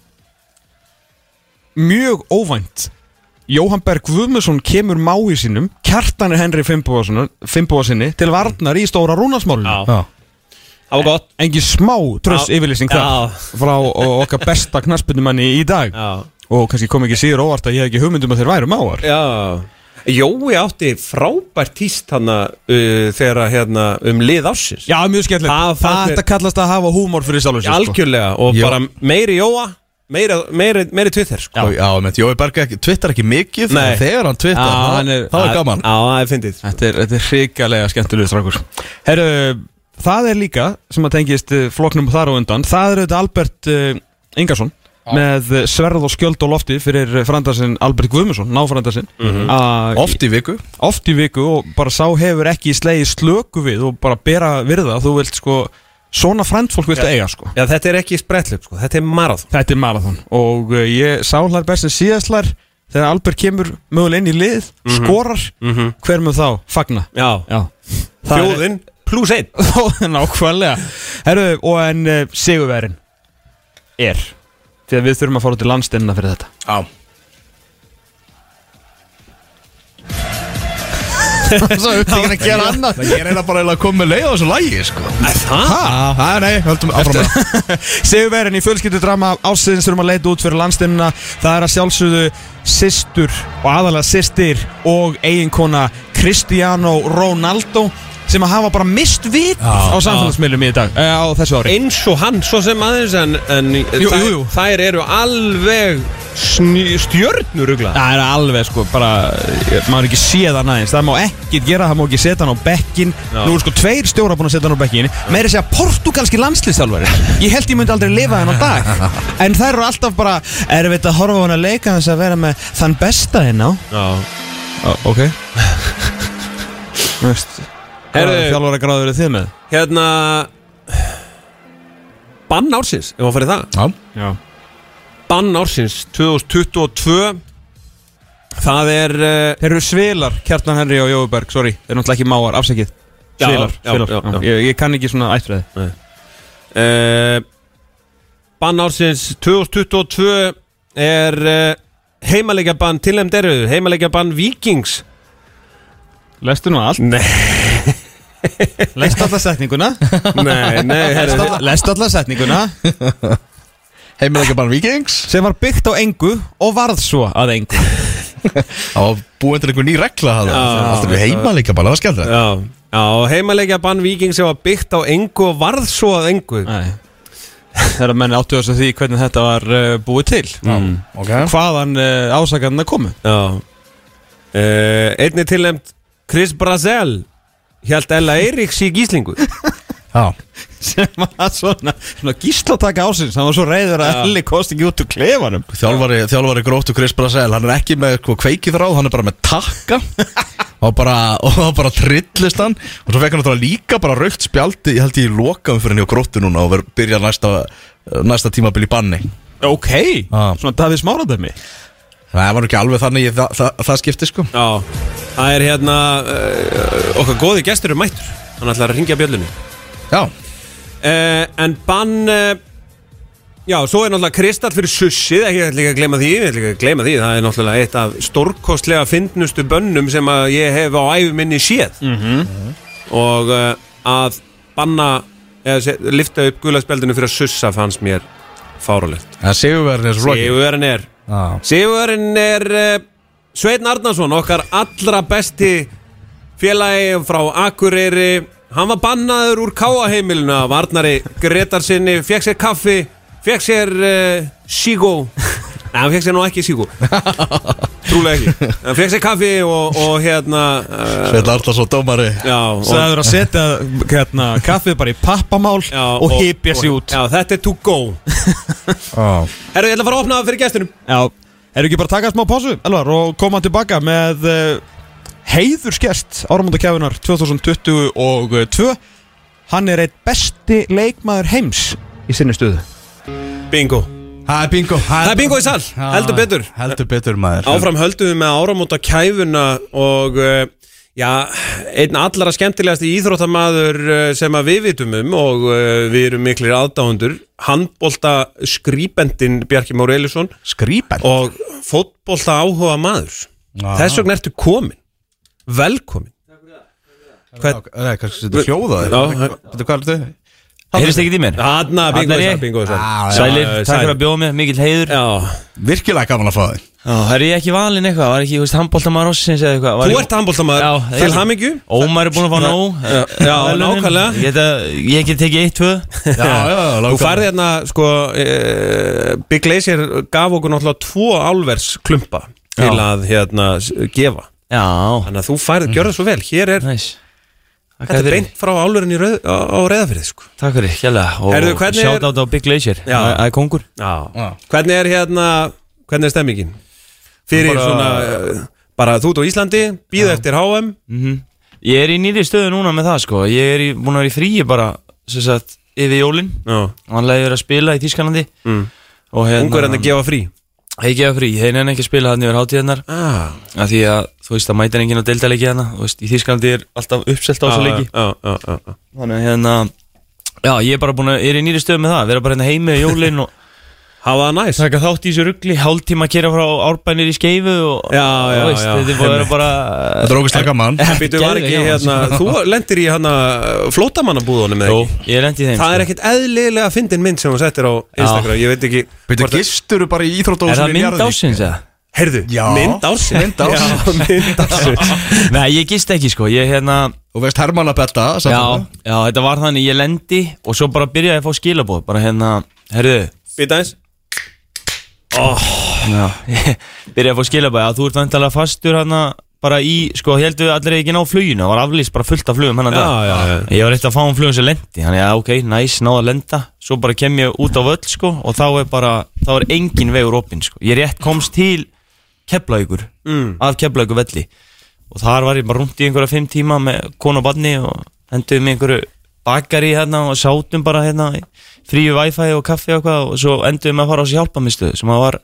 mjög óvænt Jóhann Berg Guðmusson kemur mái sínum Kjartanir Henry Fimboasinni til varnar í stóra rúnarsmálinu
Já.
það var gott
Engi smá tröss
Já.
yfirlýsing
Já.
það frá o- okkar besta knaspunumanni í dag
já
og kannski kom ekki síður óvart að ég hef ekki hugmyndum að þeir væru máar
Já Jói átti frábært tíst hana uh, þegar að, hérna um lið ásins
Já, mjög skemmtilegt
Það
Það
fannst mér-
þetta kallast að hafa húmor fyrir sjálfum sér sko.
Algjörlega og
Jó.
bara meiri Jóa meiri, meiri, meiri tvittir sko.
Já, já með Jói Berg ekki, twittar ekki mikið
Nei.
en þegar hann twittar,
Já,
þá-
hann er-
þá er gaman
Já, það er fyndið
Þetta er, þetta er hrikalega skemmtilegur strákur Herru, það er líka sem að tengist eh, flokknum þar á undan Það er auðvitað Albert uh, Ingarsson með eh, sverð og skjöld og lofti fyrir frandarsinn Albert Guðmundsson, náfrandarsinn
Mhm.
mm
Oft í viku
oft í viku og bara sá hefur ekki slegið slöku við og bara bera virða þú vilt sko, svona frendfólk vilt eiga sko
Já, þetta er ekki spretlum, sko. þetta er marathon
Þetta er marathon og uh, ég sá hlar best en síðastlar þegar Albert kemur möguleg inn í lið,
Mhm.
skorar hver mun þá fagna
Já,
Já. Það er-
þjóðin pluss einn
[laughs] Þjóðin ákvæðlega Herru, og en uh, sigurverin er því að við þurfum að fara út í landsteinna fyrir þetta
Já Svo við þykir að gera annað Ég er eiginlega bara eiginlega að koma með leið á þessu lægi sko.
Það?
Hæ, nei, höldum áfram með það.
Sigurverin í fjölskyldudrama ásiðins þurfum að leita út fyrir landsteinna það er að sjálfsögðu systur og aðalega systir og eiginkona Cristiano Ronaldo sem að hafa bara mist vit á samfélagsmiðlum í dag eh, á þessu ári
Eins og hann, svo sem aðeins en, en
Jú,
þær,
jú, jú.
þær eru alveg stjörnurugla
Það er alveg sko bara, eh, maður ekki séð hann aðeins Það má ekkert gera, það má ekki setja hann á bekkin
Já.
Nú er sko tveir stjóra búin að setja hann á bekkin Meiri segja portugalski landslýstálfari Ég held ég myndi aldrei lifa hann á dag [laughs] En þær eru alltaf bara, er við að horfa á hann að leika Þess að vera með þann besta hérna. henn á
Já
Ok Veist
Herðu-
Þjálfara gráður þið með
Hérna Bann ársins, ef maður farið það
Já,
Já
bann ársins 2022 það er uh,
Þeir eru svilar, Kjartan Henry og Jóuberg, sorry Þeir eru náttúrulega ekki máar, afsakið
Já,
Svilar,
já,
svilar
já, já.
Ég, ég kann ekki svona ættræði
uh, bann ársins 2022 er uh, heimaleikjabann tilnæmd eru heimaleikjabann Vikings
Lestu nú allt
Nei.
[laughs] Lestu alla setninguna
nei, [laughs] nei,
Lestu alla- Lestu alla setninguna
heimilega bara vikings
Sem var byggt á engu og varð svo að engu
Það var búin til einhver ný regla það
Já.
Alltaf við heimalega bara, það var skemmt
já, já, heimaleikjabann Vikings sem var byggt á engu og varð svo að engu
Nei Þegar menn áttu þess að því hvernig þetta var uh, búið til mm.
okay.
Hvaðan uh, ásakarnar komu
já uh, Einni tilnæmt Chris Brazel Hjælt Ella Eiríks í gíslingu
Já,
[laughs] sem var svona, svona gíslataka ásins hann var svo reyður að Elli kosti ekki út úr klefanum
þjálfari, þjálfari gróttu Chris Brasel Hann er ekki með eitthvað kveikið þráð, hann er bara með [laughs] takka Og bara, og það bara trillist hann Og svo fekk hann náttúrulega líka bara raukt spjaldi Ég held ég lokaðum fyrir henni á gróttu núna Og verð- byrja næsta, næsta tímabil í banni
ok,
Já.
svona Davíð Smáradömi
Það var nú ekki alveg þannig ég, það, það, það skipti sko
Já Það er hérna uh, Okkar góði gestur er mættur Hann ætlar að ringja bjöllunni
Já,
uh, En bann uh, Já, svo er náttúrulega kristall fyrir sussið, ekki ég ætla ekki að gleyma því, ég ætla ekki að gleyma því, það er náttúrulega eitt af stórkostlega fyndnustu bönnum sem að ég hef á æfuminni séð. -hmm. Og uh, að banna, eða se- lyfta upp gulaspjaldinu fyrir að sussa fannst mér fárulegt.
það sigurverðin er svo lokið
Sigurinn er,
Já.
Sigurinn er uh, Sveinn Arnarsson, okkar allra besti félagi frá Akureyri hann var bannaður úr káaheimilinu af Arnari Gretarsinni, fekk sér kaffi fekk sér uh,
[laughs]
sígó Nei, hann fekk sér nú ekki sígó Trúlega ekki Hann fekk sér kaffi og, og hérna uh,
Sveinn Arnarsson dómari
Já, og,
Sæður að setja hérna, kaffið bara í pappamál
já,
og, hypja sig út
Já, þetta er to go
Já,
Herru, ég ætla að fara að opna fyrir gestinum
Já, erum ekki bara að taka smá pásu Elvar, og koma tilbaka með uh, heiðurskjast áramundakjafunar 2022 Hann er eitt besti leikmaður heims í sinni stöðu
Bingo
Það er bingo Það
er bingo í sal. Heldur betur.
Heldur betur maður
Áfram höldum við með áramóta kæfuna og uh, já, einn allra skemmtilegasti íþróttamaður uh, sem að við vitum um og uh, við erum miklir aðdáðundur handbólta skrýbendin Bjarki Már Eilisson
Skrýpen
og fótbólta áhuga maður þess vegna ertu komin velkomin
Hvern... Nei, kannski þetta hljóða
Já,
þér Þetta hvað er þetta?
Heyrðist ekki í mér?
Hanna, bingo
Þarna er
þessar,
ég. Ah,
bingo
Já,
þessar
Sælir, takk fyrir að
bjóða
bjóða mér, mikill heiður
Já,
Virkilega gaman að fá þig
Það er ég ekki valinn eitthvað, var ekki, þú veist, handbóltamaður rossins eða eitthvað var
þú
ég-
ert handbóltamaður
Já,
til
já.
hamingju
Ómar er búinn að fá nóg
Já, já,
Verðlaunin.
nákvæmlega.
Ég get að- Ég get tekið eitt, tvö
Já, já,
Þú færði hérna, sko, e, Big Glacier gaf okkur náttúrulega tvo álvers klumpa til
Já.
að hérna s- gefa.
Já,
Þannig að þú færði, gjör það svo vel, hér er,
næs
þetta er beint frá álverin í rauð, á, á reyðafyrði, sko.
Takk fyrir, kjærlega
Heyrðu,
Og
hvernig er-
sjátt á Big Leisure
Já.
Það er kongur
Já. Hvernig er hérna, hvernig er stemmingin? Fyrir
Bara-
svona, e, bara þú ert á Íslandi, býða eftir HM,
Ég er í nýri stöðu núna með það, sko Ég er í- búinn að vera í fríi bara, sem sagt, yfir jólin
Já.
Vanlega ég er að spila í Tískanandi mm. Og
ungur hérna gefa frí.
Ég gefa frí, þeir nefn ekki að spila hann yfir hátíðarnar
Ah,
að því að þú veist að mætir enginn á deildalegi hérna þú veist, í Þýskalandi er alltaf uppselt á þessu leiki
Já, já, já, já.
þannig að hérna já, ég er bara búin að, er í nýri stöðu með það vera bara hérna heimi og jólin og
Hafa það næs.
[laughs] taka þátt í þessu ruggli hálftíma að kera frá árbænir í skeifu og
Já, já,
þú veist,
já.
þetta er búin að vera bara
Þetta er ógæslega gaman
Býtu var ekki
Geðveik, já.
hérna, þú lendir í hérna flótamannabúðunum eða
Jú,
ekki?
ég er endið þeim
Það er
sko.
ekkert eðlilega fyndin mynd sem hún settir á Instagram, ég veit ekki
Býtu
hvort að-
gistur bara í íþrótt
er það mynd ásins eða?
Heyrðu,
Já.
mynd ársins
Mynd ársins.
Já, mynd ársins
Nei, ég gist ekki sko, ég hérna
Og veist Hermann að betta
já, já, þetta var þannig, ég lendi og svo bara byrjaði ég að fá skilabóð bara hérna, herðu
Býta eins
[laughs] byrjaði að fá skilabæði að þú ert vantalega fastur hana bara í, sko, heldur við allir ekki ná fluginu það var aflýst bara fullt af flugum hennan
Já,
dag
já, já
ég var eitt að fá um flugum sem lendi þannig að ok, næs, nice, náða að lenda svo bara kem ég út á völl, sko og þá er bara, þá er engin vegur opinn, sko ég rétt komst til Keflaugur mm. af Keflaugur velli og þar var ég bara rundt í einhverja fimm tíma með konu og barni og enduðum í einhverju bakari hérna og sátum bara hérna í fríu wifi og kaffi og hvað og svo enduðum að fara á þessi hjálpamistu sem að var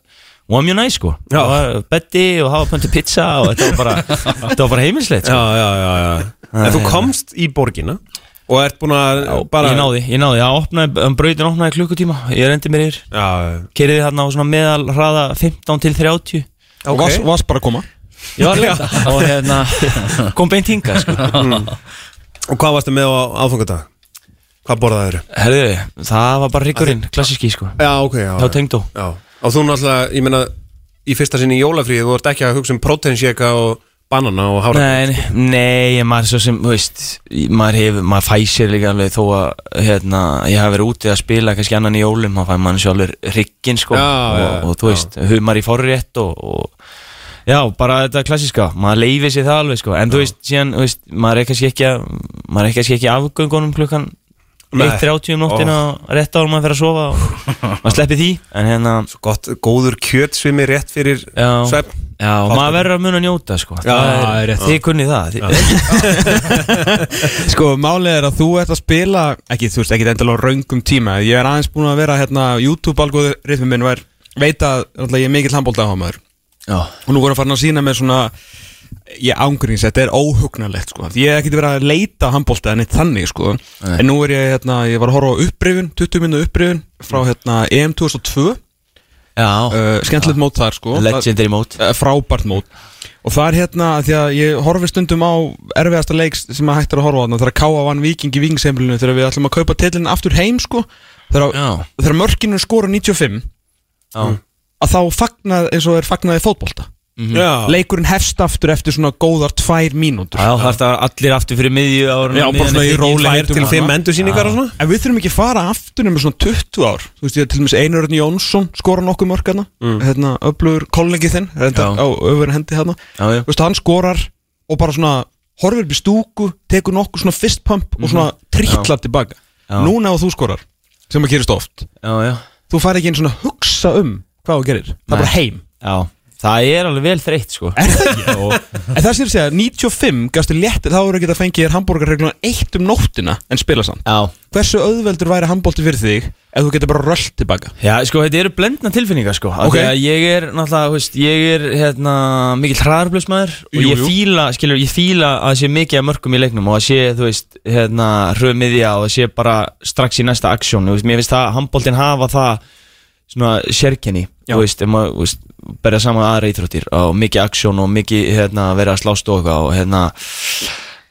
var mjög næs sko, það var betti og hafa pöntu pizza og þetta var bara, þetta var bara heimilslegt sko.
Já, já, já, Ah, já En þú komst í borgina og ert búin að bara
ég náði, ég náði, já, opnaði, um, brautin opnaði klukkutíma, ég rendi mér yfir
Já,
keiriði hérna á svona meðal hraða 15 til
okay.
30
og varst, varst bara að koma
ég var lenda [laughs] og hérna [laughs] kom beint hinga sko.
og hvað varstu með á áfangadag? Hvað borðaði þeirra?
herðu, það var bara riggurinn, klassíski sko
Já, ok, já
hjá tengdó
Já, og þú náttúrulega, ég meina í fyrsta sinni í jólafríði, þú ert ekki að hugsa um proteinsjeka og banana og hára
Nei, nei, nei, ég- maður svo sem, þú veist, maður hefur, maður fæ sér líka alveg þó að, hérna, ég hafi verið úti að spila kannski annan í jólum, þá fæ mann sjálfur riggin, sko,
Já,
og,
já,
og þú veist, humar í forrétt og, og Já, bara þetta klassiska, maður leifir sér það alveg sko En þú veist, síðan, þú veist, maður er kannski ekki að, Maður er kannski ekki í afgöngunum klukkan
Nei.
1.30 um nóttina og rétt ára maður fer að sofa og maður sleppi því En hérna,
Svo gott, góður kjötsvimi rétt fyrir
Já.
svefn
já, maður verður að muna að njóta sko Já,
það er rétt.
Þið kunni það þið-
Sko, málið er að þú ert að spila ekki, þú veist, ekki endilega á raungum tíma ég er aðeins búin að vera hérna YouTube-algoritmi minn og er, veit að náttúrulega, ég er mikill handbóldahámaður
Já,
og nú voru að fara að sína með svona ég ángrýns, þetta er óhugnalegt sko. ég hef ekkert verið að leita á handbólta en eitt þannig, sko
Nei.
en nú er ég, hérna, ég var að horfa á upprifun 20 minna upprifun frá hérna EM 2002 uh,
já,
skemmtilegt mót þar, sko
legendary mót
Eh, frábært mót og það er hérna af því að ég horfi stundum á erfiðasta leik sem að hægt er að horfa á þarna þegar K.A. vann Viking í Vikingsheimilinu þegar við ætlum að kaupa titlinn aftur heim sko þegar,
Já,
þegar mörkinu skora 95
já,
að þá fagnað eins og er fagnaði fótbolta
Já.
leikurinn hefst aftur eftir svona góðar tvær mínútur
já, það er allir aftur fyrir miðju ára
Já, bara svona í
Tvær
rólegheitum
til
þarna.
fimm endursýningar og svona
En við þurfum ekki að fara aftur nema svona 20 ár Þú veist, ég til dæmis Einar Örn Jónsson skora nokkuð mörg hérna Hérna, öflugur kollegi þinn hérna,
Mm. Já.
á öfverðin hendi hérna
Já, já.
Þú veist, hann skorar og bara svona horfir upp í stúku, tekur nokkuð svona fist pump og svona trítla tilbaka
Mhm. Já.
Núna ef þú skorar, sem að gerist oft
Já, já,
Þú fær ekki einn svona að hugsa um hvað þú gerir Það
Nei.
er bara heim
já, það er alveg vel þreytt sko
Er það
[laughs]
ekki? en það sem ég er að segja, 95 gastu létt, þá eru ekki að fengið þér hambúrgarregluna eitt um nóttina en spila samt
Já,
Hversu auðveldur væri handbólti fyrir þig ef þú getur bara röll tilbaka?
Já, sko, þetta eru blendna tilfinningar, sko
Ok.
okay. Þegar ég er, náttúrulega, þú veist, ég er, hérna, mikill hraðarblöðsmaður Og
Jú,
ég
jú.
fíla, skilur, ég fíla að það sé mikið að mörgum í leiknum Og að sé, þú veist, hérna, hröðmiðja og að sé bara strax í næsta aksjón Þú veist, mér finnst það, handbóltin hafa það, svona, sérkenni
Já.
Þú veist, ef maður, þú veist, berja saman við aðra íþróttir Og mikið aksjón og mikið, hérna, vera að slást og eitthvað Og, hérna,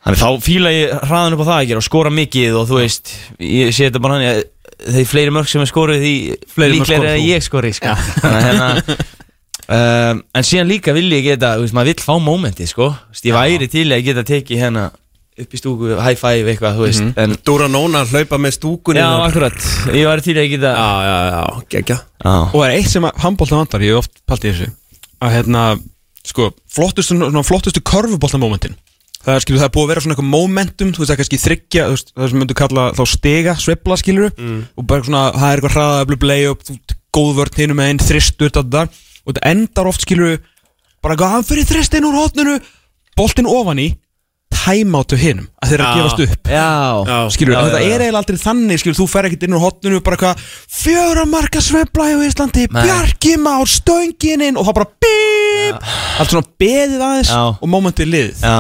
Þannig þá fíla ég hraðan upp á það að gera og skora mikið og þú veist, ég sé þetta bara hann, þeir fleiri mörg sem er skorið því
Fleiri mörk
líklega
skorar
er
þú.
ég skorið, sko. Þannig að hérna, um, en síðan líka vil ég geta, þú veist, maður vill fá mómenti, sko. Þú veist, ég væri til að geta tekið hérna upp í stúku, high five eitthvað, þú veist, en...
Dóra Nóna hlaupa með stúkunni
Mhm. Já, akkurat, ég væri til að geta...
já, já, já, geggja
Já,
Og það er eitt sem handbólta vantar, ég hef oft pælt í þessu að hérna, sko, flottustu, svona, flottustu körfubóltamómentin það er, skilur, það er búið að vera svona eitthvað momentum þú veist, það er kannski þryggja, þú veist, það sem myndu kalla þá stiga, sveifla, skilur og bara svona, það er eitthvað hraða, blub, layup þú- góð vörn hinum með einn, þristur, þetta og þetta endar oft, skilur bara eitthvað, hann fyrir þristin úr hotninu boltin ofan í, tæmáttu hinum að þeirra gefast upp
já,
skilur, já, þetta er eiginlega aldrei þannig skilur, þú fer ekkert inn úr hotninu bara eitthvað fjöra marka svefla í Íslandi
Nei.
Bjarki Már stöngininn og það bara bíp allt svona beðið aðeins
Já.
og momentið lið
já.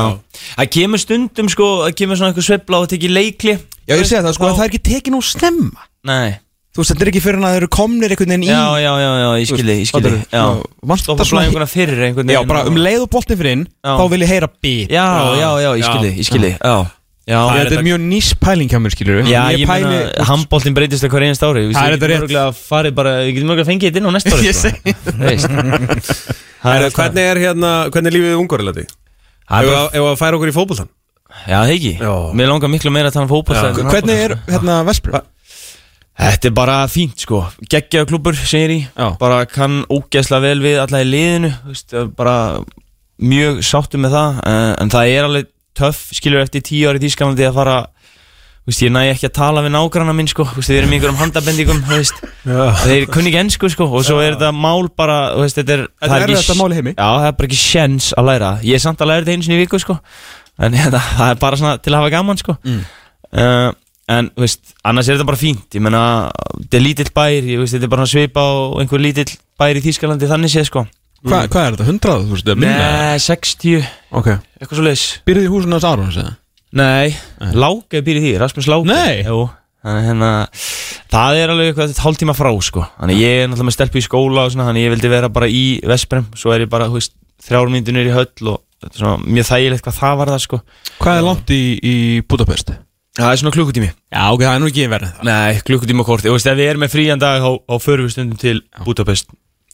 Það kemur stundum, sko, það kemur svona eitthvað sveifla og tekið leikli.
já ég segja það sko,
Þá-
að það er ekki tekið nú snemma
Nei.
þú veist þetta er ekki fyrir en að þeir eru komnir einhvern veginn í
Já, já, já, já, ég skildi, ég skildi
Fattarðu?
Já,
Já, vantar
stoppa
svona-
blæðinguna fyrir einhvern
já
veginn
bara um leið og boltið fyrir inn
Já.
þá vil ég heyra bíp
Já, já, já, ég skildi, ég skildi, já Já,
Ég, þetta er mjög nýs pæling hjá mér skilur
já ég meina, handbóltin breytist það hver einast ári
Það er þetta rétt.
mörgulega farið bara, við getum mörgulega fengið þetta inn á næsta ári
[laughs] Ég
sko. Þú
[laughs]
veist. Það er
Herra,
alltaf-
hvernig er hérna, hvernig er lífið ungarilandi?
Það er
Ef
bara-
að- ef að færa okkur í fótboltan
Já, það ekki,
Já.
mér langar miklu meira að tala um fótbolta en handbolta,
hvernig er
sko.
hérna Vespur
Þetta er bara fínt sko, geggjaðu klubur sem ég er í
Já.
Bara kann ógeðslega vel við alla í liðinu þú veist, Bara mjög sáttu með það eh, En það er alveg töff, skilur eftir tíu ári tískamandi að fara þú veist, Ég næ ekki að tala við nágrana minn sko þú veist, Þeir eru með einhverjum handabendingum þú veist. Þeir kunni ekki ennsku sko Og svo er þetta mál bara þú veist, Þetta er,
Þetta
það
er
ekki
erfiðasta
s-
mál í heimi.
Já, það er bara ekki sjens að læra Ég er samt að læra þetta einu sinni í viku sko En [laughs] hérna, það er bara svona til að hafa gaman sko uh, En, þú veist, annars er þetta bara fínt Ég meina, þetta er lítill bær Ég veist, þetta er bara svona svipa á einhver lítill bær í Þýskalandi Þannig séð sko
Hva, hvað er þetta 100 þú veist eða minna
Nei, 60,
okay.
eitthvað svo leis
býrðu í húsinu hans Arons eða
Nei, Láke býr í því, Rasmus Láke
Nei.
Jú, þannig hérna Það er alveg eitthvað hálftíma frá sko Þannig ég er náttúrulega með stelpu í skóla og svona Þannig ég vildi vera bara í Vesprem Svo er ég bara, þú veist, þrjár myndunir í höll Og þetta er svona mjög þægilegt hvað það var það sko
hvað er langt í, í Budapest
Það er svona klukkutími
Já, ok, það er nú ekki verið
Nei, klukkutíma kort Þú veist, ef við erum með frían dag Þá, þá förum við stundum til Budapest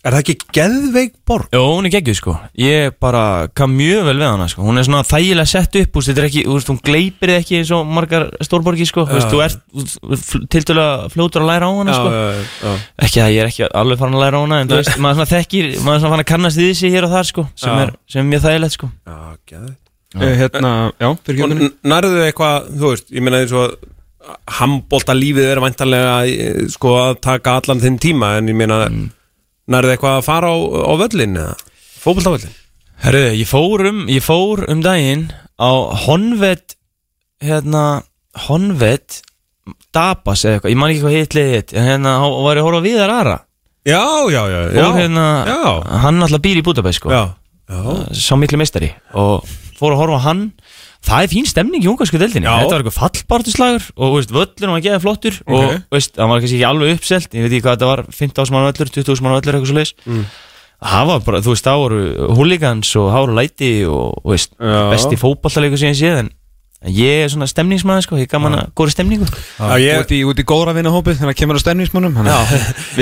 Er það ekki geðveik borg?
Jó, hún er geggjuð sko Ég bara kam mjög vel við hana sko Hún er svona þægilega sett upp úst, Þetta er ekki, úst, hún gleipir þig ekki eins og margar stórborgi sko Þú veist, Þú ert til dæla fljótur að læra á hana sko
já, já.
Ekki að ég er ekki alveg farin að læra á hana En þú veist, maður svona þekkir Maður svona farin að kannast við þessi hér og þar sko Sem,
Já.
er, sem er mjög þægilegt sko
já geðveik
Eh, Hérna, já, fyrir
Og
kjöndunni
n- nærðu eitthvað, þú veist, ég meina eins og handbólta lífið er vantarlega sko að taka allan þinn tíma en ég meina, nærðu eitthvað að fara á, á völlin eða? Fókbólta völlin?
Herru, ég fór um, ég fór um daginn á Honved hérna, Honved Dabas eða eitthvað, ég man ekki hvað hitt liðið hitt en hérna, hún var ég að horfa á Viðar Ara
Já, já, já, já.
og hérna,
já,
hann alltaf býr í Budapest sko,
já, já.
sá miklu meistari og fór að horfa á hann það er fín stemning í ungarsku deildinni
Já.
þetta var eitthvað fallbartuslagur og veist, völlur var að geða flottur og veist, hann var kannski ekki alveg uppselt ég veit ekki hvað þetta var, 15.000 mann völlur 20.000 mann völlur, eitthvað svo leis
Mm.
það var bara, þú veist, það voru húligans og háru læti og veist,
Já.
besti fótballtaleikur síðan séð en en ég er svona stemningsmaður sko, ég gaman að góra stemningu
Já, ég-
Út í, út í góðra vinahópi, þannig að kemur á stemningsmönnum Já,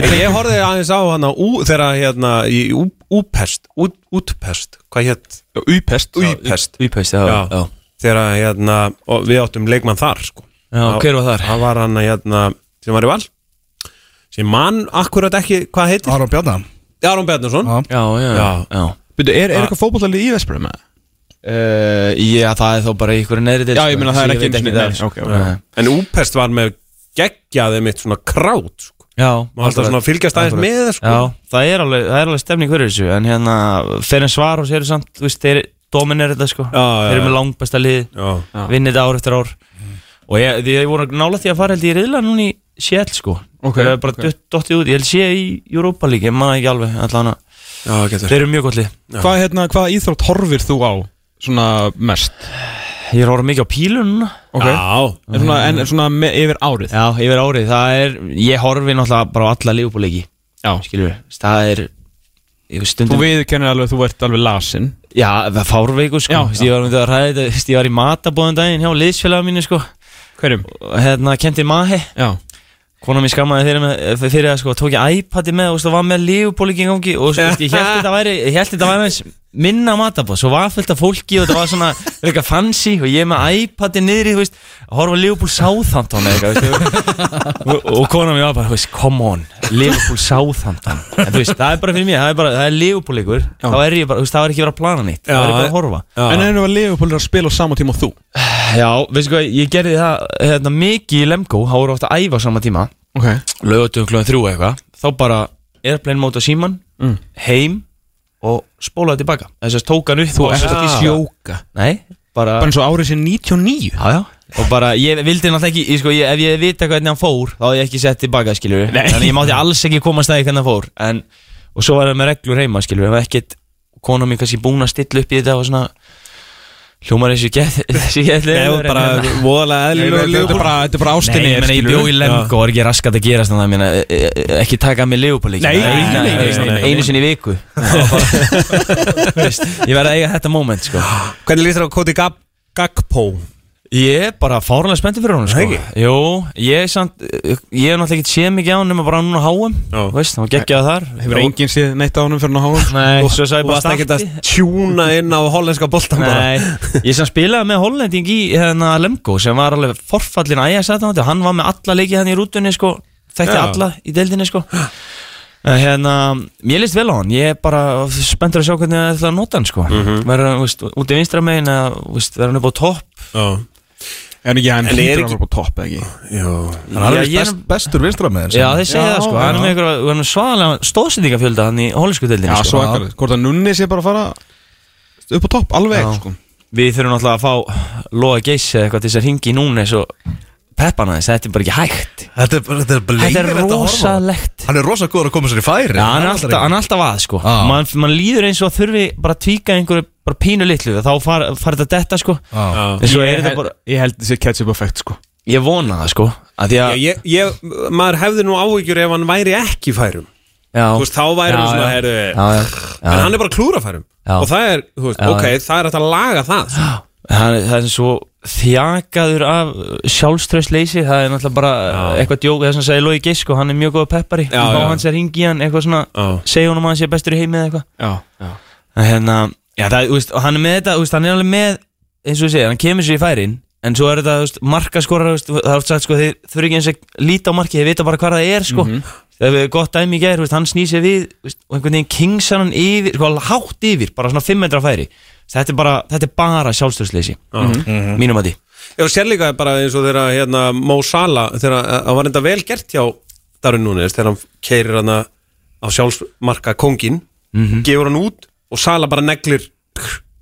En [laughs] ég horfði aðeins á hana ú, þegar hérna í ú, úpest, ú, útpest, hvað hétt?
Úpest
Úpest,
Úpest, já,
Já.
já.
þegar hérna, og við áttum leikmann þar sko.
já,
Já.
hver var þar?
Það var hann hérna, sem var í val, sem mann akkurat ekki, hvað heitir?
Aron Bjarnar
Aron Bjarnason.
Já.
Já, já, já,
Já.
já.
Byrju, er, er eitthvað fótbollalið í Vespurum?
Uh, já, það er þó bara í einhverju neðri deild
Já,
sko,
ég meina, það
svo
er ekki
veit
einu sinni-
það er,
nei,
sko.
ok, ok.
Nei.
En úpest var með geggjaði mitt svona krát sko.
Já,
Má alltaf svona fylgjast aðeins
Akkurat.
með sko.
Já, það er alveg, það er alveg stemning fyrir þessu En hérna, fyrir en svar og sér samt Þú veist, þeir dominir þetta sko
Já, já,
Þeir eru
já.
með langbæsta lið,
Já.
vinnir þetta ár eftir ár Og ég, því ég voru nála því að fara held ég í riðla núna í Sjell sko
Ok,
Þeir eru bara
ok.
okay. dottið út, ég held sé í Europa líka Ég manna ekki alveg, allan að
Já, getur
Þeir eru mjög gott lið
Hvað hérna, hvaða íþrótt horfir þú á svona mest?
Ég er orðið mikið á pílun núna
Okay.
Já,
En svona, en svona me, yfir árið
Já, yfir árið, það er Ég horfi náttúrulega bara á alla lífbúleiki
Já.
Skilur við, það er ég veist,
Þú
Stundum
viðkennir alveg að þú ert alveg lasin
Já, það er fárveiku sko
Já,
Þú veist, Ég var myndið að ræða þetta þú veist, Ég var í matabóðum daginn hjá liðsfélaga mínu sko
Hverjum?
Og Hérna, kendi mahi
Já
Kona mér skammaði fyrir, með, fyrir að sko Tók ég iPadi með og þú veist, og var með lífupólik í gangi Og þú veist, ég held þetta væri Ég held þetta væri aðeins minna matabóð Svo var fullt af fólki og þetta var svona Eitthvað fancy og ég með iPadi niðri Þú veist, að horfa Liverpool Southampton eða eitthvað, veist, og, og kona mér var bara, þú veist, come on Liverpool Southampton En þú veist, það er bara fyrir mér, það er bara, það er Liverpool-leikur Þá er ég bara, þú veist, það er ekki verið að plana nýtt Það er ég bara að horfa
En ennum var Leopold að spila á sama tíma og þú
Já, veistu hvað, ég gerði það hérna, mikið í Lemko, þá voru oft að æfa á sama tíma
Ok
Lögatum klóðin þrjú eitthvað Þá bara airplane móta síman
Mm.
Heim og spólaði tilbaka Þess að tók hann upp
Þú
og-
ert ekki sjóka
Nei, bara
Bara eins og árið sér 99
Já, já Og bara, ég vildi náttúrulega ekki, ég, sko, ég, ef ég vita hvernig hann fór Þá hef ég ekki sett tilbaka, skiljur
Nei.
Þannig ég mátti alls ekki komast að því hvernig hann fór en, Og svo var það með reglur heima, skiljur Ef ekkert, konan mér kannski búin að stilla upp í þetta Og svona, hljómar þessu gett [laughs] Þessu gett hérna.
Nei, og bara
hérna.
voðalega eðlilega
Þetta er
Liverpool.
bara, þetta er bara
Nei,
ástinni
ég meina, ég bjó í Lemgo og er ekki raskat að gerast þannig að minna, e, ekki taka mig Leopold
Nei, nei, nei, nei, nei, nei.
einu sinni í viku [laughs] Veist, ég verði að eiga þetta moment sko.
Hvernig líst þér á Koti Gab- Gagpo?
ég er bara fárlega spenntið fyrir hún sko.
Nei.
Jú, ég er samt ég hef náttúrulega ekki séð mikið á hann nema bara núna á HM,
Já.
veist, hann geggjaði þar
Hefur enginn séð neitt á honum fyrir hann á háum
Nei, svo sagði
Þú
ég bara
varst ekkert að
starti
tjúna inn á hollenska boltan bara
Nei, ég sem spilaði með Hollending í hérna Lemgo sem var alveg forfallin ægast að þetta hann var með alla leikið hann í rútunni sko þekkti
Já.
alla í deildinni sko En hérna, ég leist vel á hann ég er bara spenntur að sjá hvernig það ætla að nota hann sko
Mhm.
verður hann, veist, út í vinstra megin eða, veist, verður hann upp á topp
Já.
En ekki, hann
En er
hlýtur
ekki-
hann bara á topp, eða ekki
Já.
Hann er
Já,
alveg
ég er-
best, bestur vinstra með
Já, þeir segja
Já,
það sko, hann er
já.
með einhverja hann er svaðalega stóðsendingafjölda hann í hollensku deildinni
Já,
sko.
svo ekkert Hvort að nunni sé bara að fara upp á topp, alveg,
Já.
sko
Við þurfum náttúrulega að fá Lóa Geiss eða eitthvað til þess að ringi í núna eins og peppan aðeins, þetta er bara ekki hægt
Þetta er, bara- þetta er
Þetta er
bleikir
rosalegt
Hann er rosa góður að koma sér í færi
Já, hann er alltaf, hann er alltaf að sko
Já.
Man, man líður eins og að þurfi bara að tvíka einhverju bara pínu litlu þá far, far þetta detta sko
Já.
En svo er
Ég
þetta
hel-
bara,
Ég held þessi ketchup effect, sko
ég vona það sko að Því
Já,
að,
ég, ég, maður hefði nú áhyggjur ef hann væri ekki í færum
já,
Þú veist, þá væri
Já,
hann svona,
já.
herru
já, já,
En
já.
hann er bara klúrafærum
Já.
Og það er, þú veist,
Já,
ok, það er hægt að laga það sko.
Það, það er svo þjakaður af sjálfströðsleysi það er náttúrulega bara eitthvað djók það sem segir Lói Gisk og sko, hann er mjög góð peppari
Já,
og
já.
hans er hingi í hann eitthvað svona
Já.
segja honum að hann sé bestur í heimi eða eitthvað
Já, já.
en hérna já, það, þú veist, og hann er með þetta þú veist, hann er alveg með eins og ég segja hann kemur sér í færin en svo er þetta þú veist, markaskorar þú veist, það er oft sagt sko þeir þurfi ekki eins að líta á markið þeir vita bara hvað það er sko
Mhm.
það er gott dæmi í gær þú veist, hann snýr sér við þú veist, og einhvern veginn kingsan hann yfir sko, hátt yfir bara svona 5 metra færi þetta er bara, þetta er bara sjálfstörsleysi
Mhm.
mínum að því
Ég sér líka bara eins og þegar hérna, Mo Salah, þegar að- það var enda vel gert hjá Darun Núnes þegar hann keirir hann á sjálfsmarka kongin,
Mhm.
gefur hann út og Salah bara neglir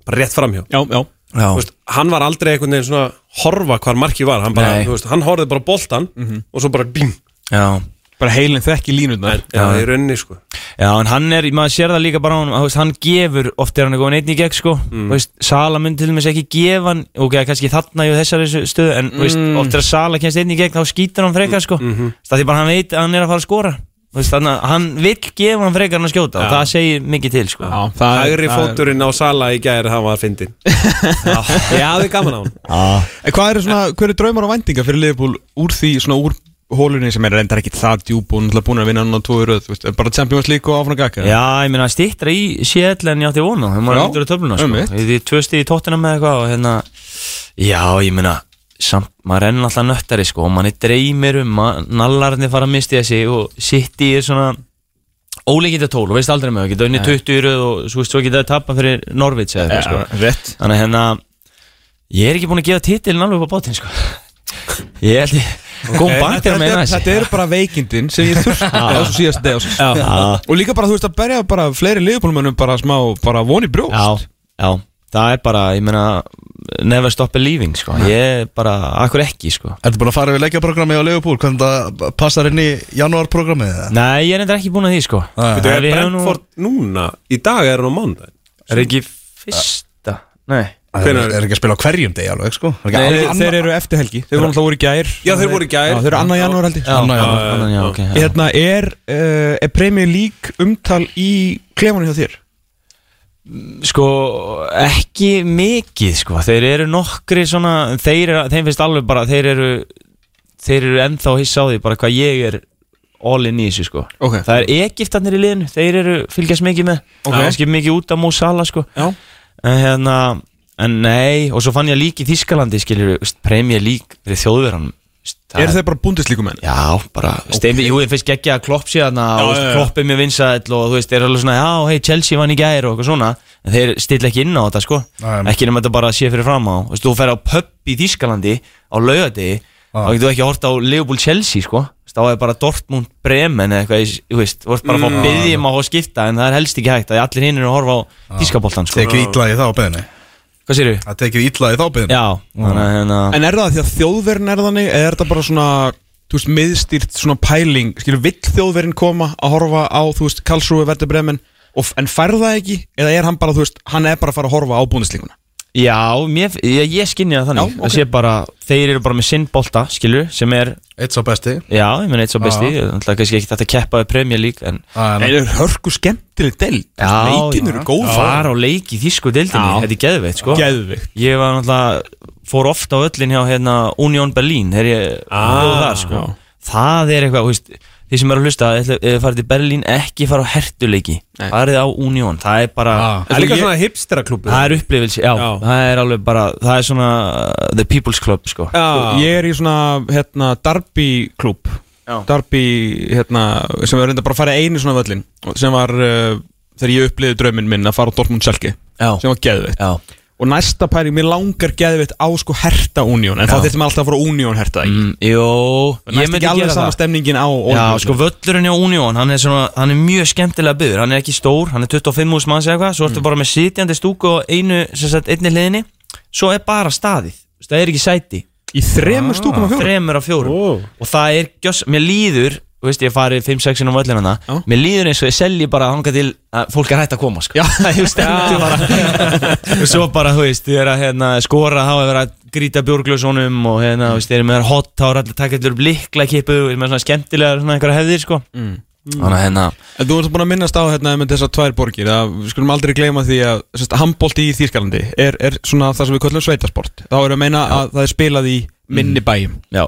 bara rétt framhjá
já, já.
Já.
Þú veist, hann var aldrei einhvern veginn svona horfa hvar markið var, hann, bara,
Nei.
þú veist, hann horfði bara á boltan
Mhm.
og svo bara bím
Já,
Bara heilin þekki línurnar
já, í rauninni sko
já en hann er, maður sér það líka bara á honum, að, þú veist, hann gefur, oft er hann eitthvað einn í gegn sko, mm. veist, Sala mun til dæmis ekki gefa hann, ok, kannski þarna í þessari stöðu, en mm. veist, oft er að Sala kemst einn í gegn, þá skýtur hann frekar sko mm -hmm. það er bara hann veit að hann er að fara að skora Þú veist, þannig að hann vill gefa hann frekar en að skjóta og það segir mikið til sko
Já, það er- það
Hægri
er-
fóturinn á Sala í gæri, hann var
[laughs]
fyndin Ég hafði gaman á hann
En Hvað eru svona, hver er draumar og væntingar fyrir Liverpool úr því, svona úr hólunni sem er reyndar ekki það djúb og náttúrulega búin að vinna hann á tói röð, þú veist, bara Champions League og áfram að gaka
Já, ég meina stýttra í Seattle en ég átti vona Það maður
Já,
heldur að töfluna sko.
einmitt.
Því tvö stig í tóttina með eitthvað og hérna Já, ég meina samt, maður enn alltaf nöttari sko og manni dreymir um að nallarni fara að misti þessi og sitt í svona óleikinda tól og veist aldrei með það geta unni 20 í röð og svo veist svo geta það tappa fyrir Norvits eða eitthvað sko
rétt
Þannig að hérna ég er ekki búin að gefa titilin alveg upp á bátinn sko Ég held ég Góðum bant er að meina
Eh, Þetta
þessi
er bara veikindin sem ég [laughs] þurfti á svo síðast deg ásins
Já.
Og líka bara, þú veist, að berja bara fleiri Liverpoolmönnum bara smá, bara voni brjóst
já, já, það er bara, ég meina never stop believing, sko ég er bara, akkur ekki, sko
Ertu búin að fara við leggjaprogrammi á Leopold Hvernig það passar inn í janúarprogrammi eða?
nei, ég er enda ekki búin að því, sko
Nei.
Þú
Nei,
er
við höfum nú-
Brentford núna, í dag er hann á mándaginn
er ekki fyrsta, nei
Það er ekki að spila á hverjum degi alveg sko Það er
Þeir,
ekki annar-
þeir eru eftir helgi, þeir voru alltaf úr í gær
Já, þeir voru í gær.
Já, Þeir eru annar janúar held ég
já,
Annað, já,
annan, já, ok já.
Hérna, er, uh, er Premier League umtal í klefanum hjá þér?
sko, ekki mikið, sko þeir eru nokkri svona þeir, eru- þeim finnst alveg bara, þeir eru þeir eru ennþá hissa á því bara hvað ég er all in í þessu, sko
Ok.
það er Egiptarnir í liðinu, þeir eru fylgjast mikið með,
Ok.
kannski mikið út af Mó Sala, sko
Já
en hérna en nei, og svo fann ég lík í Þískalandi skilur, Premier League fyrir þjóðverðan
Eru þeir bara búndislíkumenn?
Já, bara, okay. steindi, jú, ég finnst geggja að klopp síðan og
já,
já,
já.
klopp er mjög vinsæll og þú veist, þeir eru alveg svona, já, hei, Chelsea vann í gæri og eitthvað svona, en þeir stilla ekki inn á þetta, sko,
Nei.
ekki nema þetta bara sé fyrir fram á, þú veist, þú fer á pub í Þískalandi á laugadegi, þá getur þú ekki að horta á Liverpool Chelsea, sko, Þú veist, þá er bara Dortmund Bremen eða eitthvað, í- þú veist, þú veist bara að fá byggjum á að skipta, en það er helst ekki hægt að allir hinn eru að horfa á Þískaboltan, sko,
Tekið illa í þá beðinni
hvað séru?
Það tekið illa í þá beðinni
Já, þannig að hérna
En er það því að þjóðverin er þannig eða er það bara svona, þú veist, miðstýrt svona pæling, skilur, vill þjóðverin koma að horfa á, þú veist, Karlsruhe Vette Bremen, og, en fær það ekki eða er hann bara, þú veist, hann er bara að fara að horfa á búndislíkuna
Já, mér, ég, ég skinni það þannig
Já,
Já,
ok.
okay. sé bara, Þeir eru bara með sinn bolta, skilur Sem er,
Eitt sá besti
já, ég meina eitt svo besti Það er kannski ekki þetta að keppa við Premier League En
En
Það
er hörku skemmtileg del
já.
Leikin eru góð
fara og leiki þísku deildinni
Já.
Þetta er geðveitt, sko
Geðvikt
Ég var náttúrulega, fór ofta á öllin hjá hérna, Union Berlin Þegar ég ah, það, sko
já.
Það er eitthvað, þú veist Þið sem eru að hlusta, ef þið farið til Berlín ekki fara á hertuleiki Farið á Union, það er bara
Ah.
Það er líka svona hipsteraklúbu
Það er upplifilsi, já,
Já.
það er alveg bara Það er svona uh, the people's club, sko
Já,
Ég er í svona, hérna, Darby klub
Já.
Darby, hérna, sem var reynda bara að fara einu svona völlin sem var, uh, þegar ég uppliði drauminn minn að fara á Dortmund Selke
Já.
sem var geðveikt
Já,
og næsta pæling, mér langar geðvitt á sko herta Union, en þá þurftum við alltaf að fara á Union herta ekki,
mm, jú
næst
Ég myndi
ekki alveg
gera
sama
það
stemningin á Old
Já,
Trafford.
sko völlurinn hjá Union, hann er, svona, hann er mjög skemmtilega byggður Hann er ekki stór, hann er 25 úrs manns eða eitthvað Svo ertu bara með sitjandi stúku og einu, sem sagt, einni hliðinni Svo er bara staðið, Þú veist, það er ekki sæti
í þremur stúkum af fjórum
Þremur af fjórum Og það er, gjöss, mér líður, þú veist, ég farið 5-6 inn á völlinu hana
Já.
Mér líður eins og ég selji bara hanga til að fólk er hægt að koma,
[laughs]
sko Já, þú stendur bara [laughs] Og svo bara, þú veist, þið er að hérna, skora þá er verið að grýta björgljósónum og hérna, þú veist, þið er með hot, þá er allir að taka allir upp líkla kipu með svona skemmtilegar svona einhverja hefðir, sko mm. Þannig að hérna
En þú ert búin að minnast á hérna með þessar tvær borgir að við skulum aldrei gleyma því að sérst, handbólti í Þýskalandi er, er svona það sem við köllum sveitasport þá erum við að meina að það er spilað í minni bæjum
Já,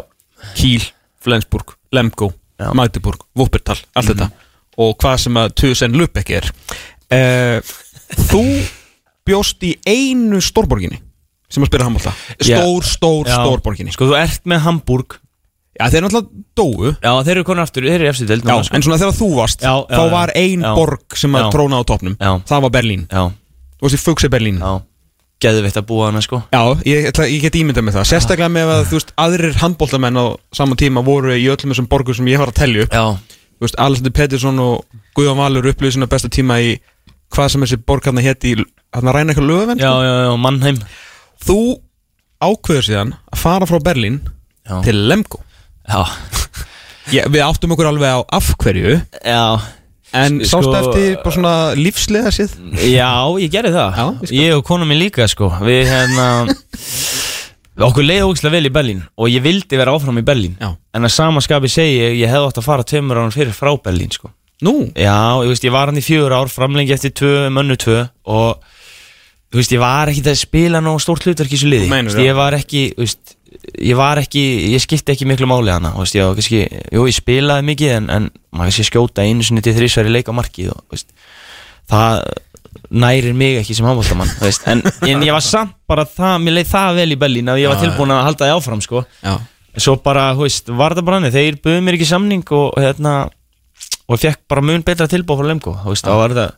Kíl, Flensburg, Lemgo,
Já. Mhm.
Magdeburg, Wuppertal, allt þetta og hvað sem að Tusen Lübeck er uh, Þú bjóst í einu stórborginni sem að spila handbólta
Já.
Stór, stór,
já.
stórborginni
Sko þú ert með Hamburg
Já, þeir náttúrulega dóu
Já, þeir eru konar aftur, þeir eru eftir deild
Já,
núna, sko.
en svona þegar þú varst
Já, já,
þá
já.
var ein
Já.
borg sem að
Já.
tróna á topnum
Já.
það var Berlín
Já,
Þú veist, ég fugsi Berlín
já Geðvitt að búa hana sko
Já, ég, ætla, ég get ímyndað með það Sérstaklega með að, þú veist, aðrir handbóltamenn á sama tíma voru í öllum þessum borgum sem ég var að telja upp
Já,
Þú veist, Alexander Pettersson og Guðjón Valur upplýðu sína besta tíma í hvað sem þessi borg hérna hétt í hérna ræna eitthvað lögvenn
já, já, já, Mannheim
Þú ákveður síðan að fara frá Berlín
Já.
til Lemgo
Já,
ég, Við áttum okkur alveg á af hverju
já
En
Sko-
sást eftir bara svona lífslega síð
Já, ég gerði það
Já, ég skil.
Ég og konu mín líka sko Við hérna Okkur leiði ógislega vel í Berlín Og ég vildi vera áfram í Berlín
Já.
En að sama skapi segi ég Ég hefði átt að fara tveimur ánum fyrir frá Berlín sko
Nú,
Já, ég veist, ég var hann í fjögur ár Framlengi eftir tvö, mönnu tvö Og þú veist, ég var ekki að spila Nó stórt hlutverk í þessu liði
Þú meinar
Þú veist,
það?
Ég var ekki, þú veist Ég var ekki, ég skipti ekki miklu máli hana þú veist, ég, var kannski, Jú, ég spilaði mikið En, en maður kannski skjóta einu sinni til þrísværi leika markið og, þú veist, það nærir mig ekki sem handbóltamann þú veist. en, en ég var samt bara það mér leið það vel í Berlín að ég var tilbúin að halda því áfram sko.
Já.
svo bara, þú veist, var það bara hannig þeir buðu mér ekki samning og hérna og ég fekk bara mun betra tilbúið frá Lemko þú veist, þá var það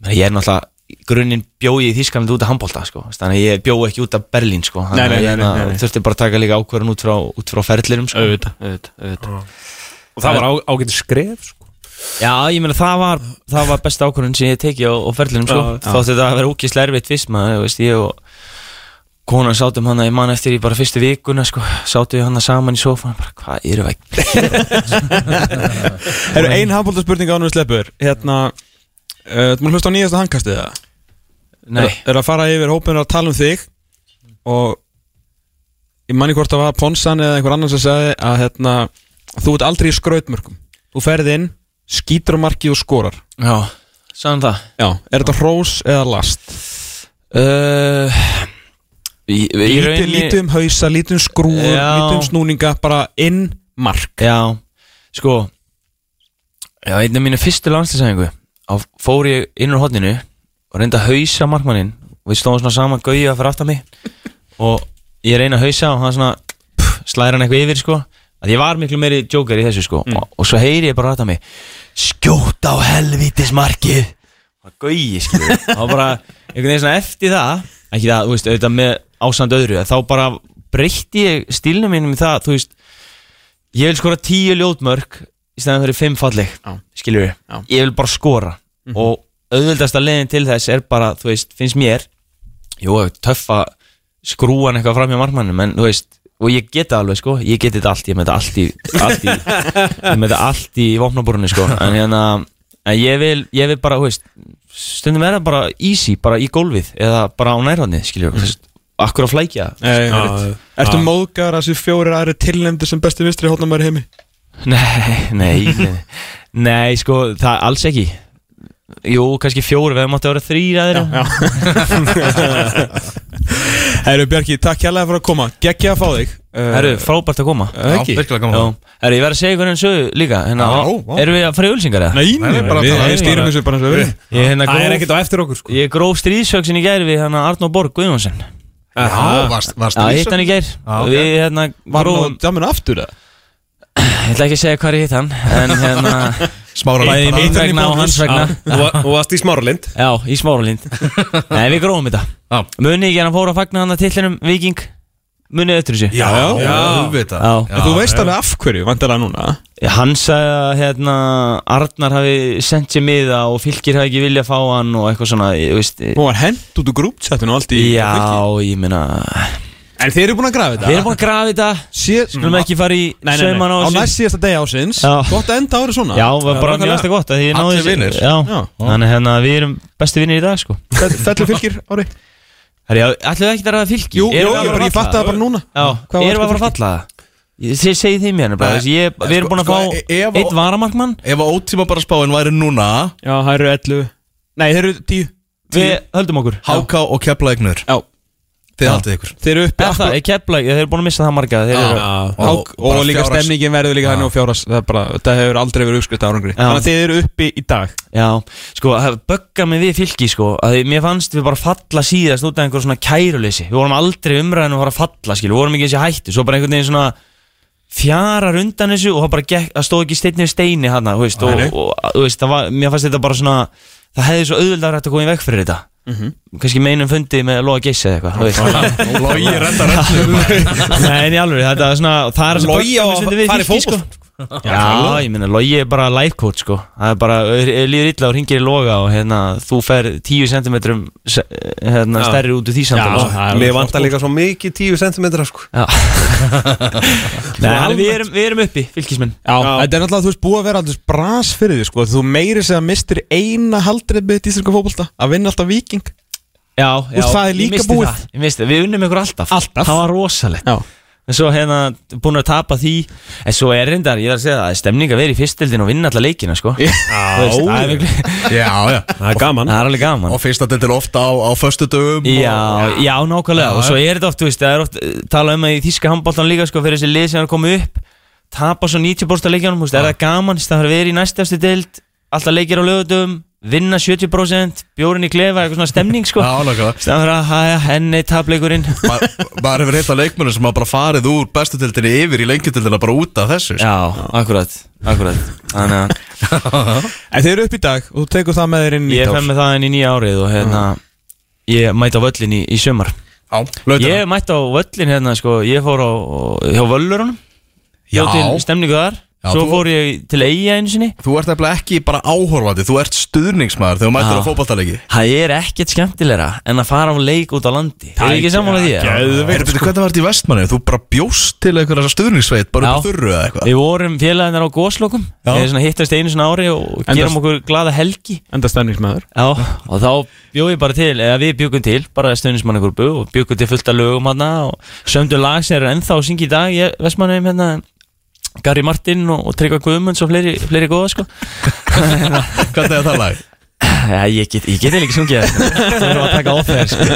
Men ég er náttúrulega, í grunninn bjóði í Þýskalandi út af handbólta, sko, Þú veist, þannig að ég bjóði ekki út af Berlín, sko, þannig
Nei, nei,
að ég
nei, nei,
hérna,
nei, nei.
þurfti bara að taka líka ákvörðun út frá, út frá ferðlirum, sko
Auðvitað.
auðvitað, auðvitað.
Og það var ágætt skref sko.
Já, ég meina það var, það var besta ákvörðun sem ég teki á, á ferlinum sko. Þótti þetta að vera ókýrslega erfitt fyrst maður, þú veist, ég og konan sátum hana, ég man eftir í bara fyrstu vikuna sko, sátum við hana saman í sófan bara, hvað eru við ekki?
Það eru ein handbólta spurning ánum við sleppur Hérna uh, Þú maður hlusta á nýjasta handkastið það
Nei,
Er að fara yfir hópinu að tala um þig Og Ég manni hvort það var Ponsan eða einhver annan sem sagði Að hérna Þú ert aldrei í skrautmörkum Þú ferð inn Skítur á markið og skorar
já, sagðan það
Já Er þetta hrós eða last?
uh, í, í
Lítið,
rauninni-
lítið um hausa, lítið um skrúður,
Já.
lítið um snúninga Bara inn mark
Já, sko Já, einn af mínu fyrstu landslæsæðingu Á fór ég inn úr hodninu Og reyndi að hausa markmanninn Og við stóðum svona saman gauja fyrir aftan mig Og ég reyni að hausa Og hann svona pff, slæðir hann eitthvað yfir sko Að ég var miklu meiri joker í þessu sko og, og svo heyri ég bara aftan mig Skjóta á helvítis markið Og gauji [laughs] skilur við. Og bara einhvern veginn svona eftir það Ekki það, þú veist, auðvitað með ásand öðru Þá bara breytti ég stílnum mínum í það, þú veist Ég vil skora tíu ljótmörk í stæðan fyrir fimm falleg
Já.
skilur við,
Já. Mhm.
ég vil bara skora og auðvöldasta leiðin til þess er bara þú veist, finnst mér jú, töffa skrúan eitthvað fram hjá markmannum, en þú veist og ég geta alveg sko, ég geti þetta allt ég með þetta allt í,
[laughs]
allt í ég með þetta allt í vopnaborunni sko en hérna, en ég vil, ég vil bara þú veist, stundum er það bara easy bara í gólfið, eða bara á nærhóðni skilur við, þú veist, akkur að flækja
Nei,
Já,
Ertu móðgar að þessi fjórir aðri tilnefndi sem besti vinstri hótnamæri heimi?
Nei, nei, nei, nei, sko, það alls ekki Jú, kannski fjóri, við máttu að vera þrýr aðra
Herru Bjarki, takk hérlega fyrir að koma Gekkja að fá þig uh,
Herru, frábært að koma
eða ekki?
virkilega
Já,
gaman
herru, ég verð að segja ykkur enn sögu líka hérna,
Já, já.
Erum við að fara í ölsingar eða?
Nei,
Nei,
nei,
bara
við,
tala.
við stýrum þessu bara eins og við viljum.
Ég, hérna,
Það er
gróf,
ekkert á eftir okkur sko.
ég gróf stríðsöksin í gær við hérna Arnó Borg Guðjónsson Já,
Já, varst, varst
hitt hann í gær
ok.
Við hérna
Var
grófum
nú djamun aftur það?
Ég ætla ekki að segja hvað ég hitt hann En hérna,
Smára
bæði mín
Bara-
vegna og hans vegna
Þú varst í smáralind
Já, í smáralind Nei, við grófum þetta
Já.
Munið ekki hann að fóra að fagna hann að tillinum Viking Munið öttur þessu
Já,
Já.
auðvitað
Já.
Já,
Þú veist
já.
alveg af hverju, vandilega núna
Hann sagði að hérna, Arnar hafi sendt sér miða og fylgir hafi ekki viljað fá hann og eitthvað svona, ég veist
Hún var hent út úr grúptsettinu og allt í
Já, ég meina
En þeir eru búin að grafa
Við
þetta
erum búin að grafa þetta
Sér,
Skulum ekki fara í
Mm. Nei, nei, nei,
sauman á
á
þessu
næst síðasta degi ásins
Já.
Gott að enda árið svona
Já, var bara mjög aðsta gott að því ég náði
Allir
þessu-
vinir.
Já,
Já.
þannig hérna við erum bestu vinnir í dag sko
Fell- Fellur fylgir ári
Herri, ætlum við ekki að ræða fylki?
Jú, jú,
Erum
ég
við að fara að
bara- ég
falla?
fatt það bara núna
Já,
Hvað var
erum við að
sko
fara að falla það? Ég seg- segi þeim hérna bara,
Nei,
þessi, ég,
nei,
Við erum
sko-
búin að
sko,
fá
e- ef-
eitt varamarkmann
Ef að ótíma bara spáin væri núna
Já, það eru 11 Nei, þeir eru 10
Við höldum okkur
Háká og Keflavíknur
Já,
Þið haldið ykkur
þeir eru uppi
Er það, er keplæk, þeir eru búin að missa það marga Þeir eru
Hák,
Og-
og,
og bara
líka
fjárhags-
stemningin verður líka þannig og fjóras það, er bara, það hefur aldrei verið uppskrift árangri Þannig að þið eru uppi í dag
Já, sko, það böggar mig við fylki, sko að því mér fannst við bara falla síðast út af einhver svona kæruleysi Við vorum aldrei umræðin að fara að falla, skil Við vorum ekki þessi hættu, svo bara einhvern veginn svona fjarar undan þessu og það bara gekk, það stóð ekki steinni við steini hana, þú veist, og, og, þú veist, það var, mér fannst þetta bara svona það hefði svo auðvöldar hægt að koma í veg fyrir þetta mm
Mhm.
kannski meinum fundið með Lóa Geissi eða eitthvað, þú veist
Lógi
[laughs]
reddar öllu
Nei, en í alveg, þetta er svona það er sem
Logi
böggar mig
á að
stundum við
fara í
Fylki,
fótbolta.
sko. Já, ég meina, Logi er bara life coach, sko Það er bara, er- er líður illa og ringir í Loga og hérna, þú fer 10 cm hérna,
Já.
stærri út úr því samtala sko.
Mér vantar líka svo mikið 10 cm sko.
[laughs]
Já. Nei,
Svona
en við erum, við erum uppi, fylgismenn
Já, þetta er náttúrulega, þú veist, búið að vera aldrei bras fyrir því, sko Þú meiri segja mistir eina haldreið með tíslinga fótbolta Að vinna alltaf viking
Já, já,
veist, það er
ég
líka
missti
búið.
það, Ég misti það, við unnum ykkur alltaf
Alltaf.
Það var rosalegt
Já,
En svo hérna, búin að tapa því En svo er reyndar, ég er að segja það, það er stemning að vera í fyrstildin og vinna alla leikina, sko Þú veist, Það er virkli-
Já, já
Það er gaman
það er alveg gaman
Og fyrsta dildil ofta á, á föstu dögum
Já, já, nákvæmlega og svo er þetta oft, þú veist, það er oft eh, talað um að í þíska handbóltan líka, sko, fyrir þessi lið sem er að koma upp tapa svo 90% af leikjanum, þú veist, er það gaman það er verið í næstjafstu deild, alltaf leikir á lögutum vinna 70%, bjórin í klefa eitthvað svona stemning, sko
Já, nákvæmlega.
Staðar að, hæja, henni [laughs] tapleikurinn
Ma- Maður hefur heilt að leikmönnum sem hafa bara farið úr bestu dildinni yfir í lengjudildina bara út af þessu sko.
Já, akkurat, akkurat Þannig [laughs] að
en þið eru uppi í dag og þú tekur það með þér inn í
ég
dag
fem með það inn í nýja árið og hérna ég mæti á völlin í, í sömar
Lautina.
Ég mætti á völlin hérna sko, ég fór á, hjá völlurunum
Já.
Hjá til stemningu þar
Já, þú-
Svo fór ég til eiga einu sinni
Þú ert nefnilega ekki bara áhorfandi Þú ert stuðningsmaður þegar þú mættir
Já.
á fótballtalegi
Það er ekkert skemmtilegra en að fara á leik út á landi Það er ekki sammála því eða?
Veitir, hvernig var þetta í vestmanni? Þú bara bjóst til einhverja stuðningsveit bara upp á
Já.
þurru eða eitthvað
Við vorum félaginnar á goslokum
Já.
Við svona hittast einu svona ári og
En það-
gerum okkur glada helgi
Enda stemningsmæður
Já, og þá bjóð ég bara til eða við bjögum til, bara stöðnismannagrúpu og bjögum til fullt af lögum hana og sömdu lag sem er ennþá að syngja í dag ég vestmannum hérna Gary Martin og, og Tryggva Guðmunds og fleiri, fleiri góða sko
Hvernig er það lag?
Já, ég get, ég get eiginlega ekki sungið það sko. Það eru að taka á þeir sko.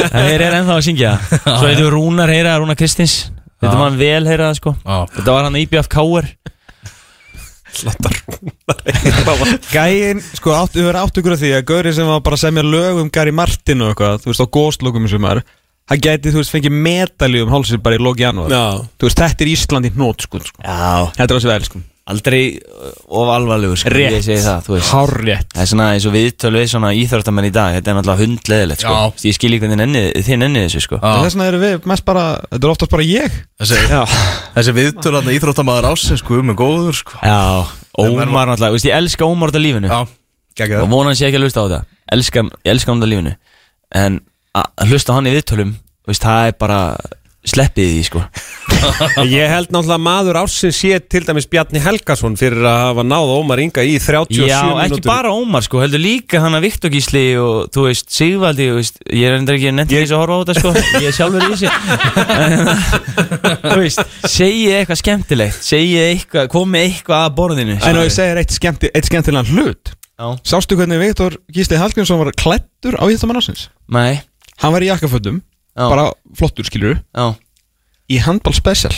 En þeir eru ennþá að syngja það. Svo veitum Rúnar heyra, það, Rúnar Kristins Þetta var hann vel heyra það sko
Já.
Þetta var hann IBF Káur
Gæin, sko, átt, við verðum átt ykkur af því að Gauri sem var bara að semja lög um Gary Martin og eitthvað Þú veist, á góðslokum sem maður Hann gæti, þú veist, fengið medalju um hálsir bara í lóki janúar
Já.
Þú veist, þetta er Ísland í hnót, sko, sko.
Já,
Þetta er þessi vel, sko
aldrei uh, of alvarlegur sko.
Rétt.
Ég segi það, þú veist
Hárrétt
Það er svona eins og viðtöl við svona íþróttamenn í dag Þetta er náttúrulega hundleðilegt sko
Já.
Ég skil ekki hvernig nenni- þið nennið þessu sko
Já.
Þess vegna erum við mest bara, þetta er oftast bara ég
Þessi,
Já,
þessi viðtölanda íþróttamaður ásins Guð með góður sko
Já. Ómar náttúrulega, þú veist, ég elska Ómar út af lífinu
Já, geggjað.
og vona hann sé ekki að hlusta á þetta elska, ég elska hann á lífinu en að að hlusta á hann í viðtölum þú veist, það er bara sleppið því sko.
Ég held náttúrulega að maður ársins sé til dæmis Bjarni Helgason fyrir að hafa náð Ómar Inga í 37
já,
mínútur
ekki bara Ómar sko, heldur líka hann að Viktor Gísli og þú veist, Sigvaldi þú veist, ég er endur ekki nefnt þess að horfa á þetta sko. ég er sjálfur í þessu En, þú veist, segið eitthvað skemmtilegt segið eitthvað, komið eitthvað að borðinu Sko.
En ef ég segir eitt, skemmti, eitt skemmtilegan hlut
Já.
Sástu hvernig Viktor Gísli Hallgrímsson var klættur á Íþjóttamann ásins
nei,
Hann var í jakkafötum,
Já.
bara flottur skilur
já,
Í handball special